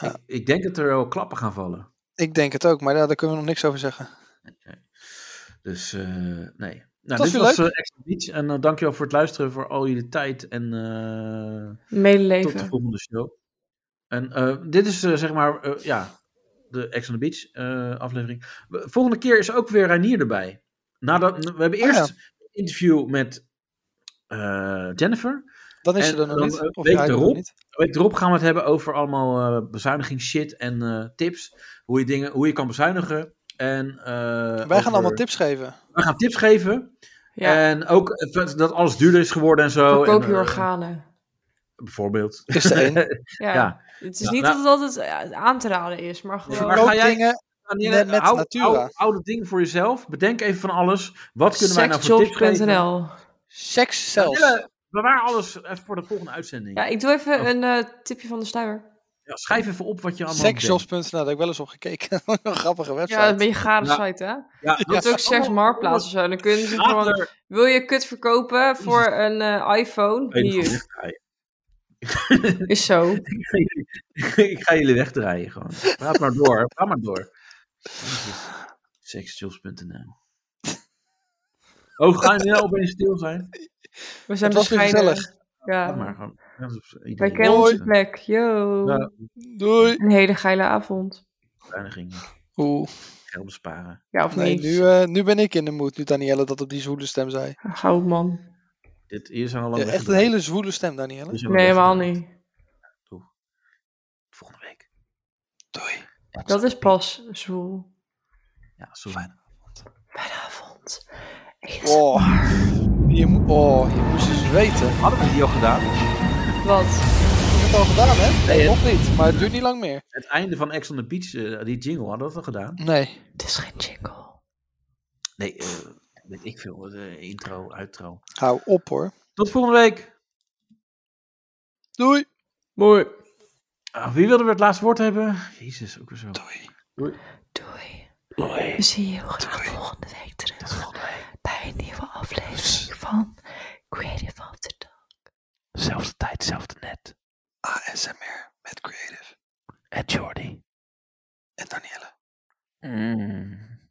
Ik, ik denk dat er wel klappen gaan vallen. Ik denk het ook, maar ja, daar kunnen we nog niks over zeggen. Dus eh, nee. Nou, was dit weer was leuk. eh, Ex on the Beach. En eh, dankjewel voor het luisteren, voor al jullie tijd. En eh, Tot de Medeleven. volgende show. En eh, dit is eh, zeg maar, eh, ja, de Ex on the Beach eh, aflevering. We- Volgende keer is ook weer Reinier erbij. nadat, we hebben Oh eerst een interview met eh, Jennifer. Dan is En ze er nog dan, niet. eh, Of week hij er nog erop, niet. week erop gaan we het hebben over allemaal eh bezuiniging shit en eh, tips. Hoe je, dingen, hoe je kan bezuinigen. En, Wij gaan allemaal tips <laughs> geven. We gaan tips geven. Ja. En ook het- dat alles duurder is geworden en zo. Verkoop en, je eh, organen. Bijvoorbeeld. Is er één? Ja. Het is Ja, niet nou- dat het altijd eh, aan te raden is, maar gewoon... Maar ga jij dingen Danielle, met- met hou- Natura. hou- hou dat ding voor jezelf. Bedenk even van alles. Wat kunnen wij nou voor tips geven? Sexjobs.nl. Seks Danielle, bewaar alles even voor de volgende uitzending. Ja, ik doe Oh. even een eh, tipje van de sluier. Ja, schrijf even op wat je allemaal bedenkt. Sexjobs.nl, daar heb ik wel eens op gekeken. <laughs> een grappige website. Ja, een beetje gare Ja. site, hè? Nou, Ja, Je hebt ook zes marktplaatsen zo. Dan kunnen ze gewoon... Wil je kut verkopen voor een eh, iPhone? Ik ga jullie Hier. wegdraaien. Is zo. ik ga jullie wegdraaien gewoon. Praat maar door. Praat maar door. Jezus. Sexjobs.nl Oh, ga je nu opeens stil zijn? We zijn Het was weer bescheiden. gezellig. Ja. Laat maar gewoon. Ja, dat is iedereen. Wij kennen onze Hoi. plek. Yo. Ja. Doei. Een hele geile avond. Bezuinigingen. Oeh. Geld besparen. Ja, of Nee, niet? nu, eh, nu ben ik in de moed, nu Danielle dat op die zwoele stem zei. Goud man. Dit, hier zijn we al lang Dus- Ja, echt een weggedraaid. hele zwoele stem, Danielle. Hier zijn we Nee, weggedraaid. helemaal niet. Volgende week. Dat is pas zwoel. Ja, zo fijn. Vanavond. Oh, je, mo- oh, je moest eens weten. Hadden we die al gedaan? Wat? Ik heb het al gedaan, hè? Nee, Nee, hè? nog niet. Maar het duurt niet lang meer. Het einde van Ex on the Beach, eh, die jingle, hadden we dat al gedaan? Nee. Het is geen jingle. Nee, eh, weet ik veel. eh, intro, outro. Hou op, hoor. Tot volgende week. Doei. Mooi. Ah, wie wilde we het laatste woord hebben? Jezus, ook weer zo. Doei. We zien je graag volgende week terug. Bij een nieuwe aflevering van Creative After Dark. Zelfde tijd, zelfde net. ASMR met Creative. En Jordi. En Danielle. Mm.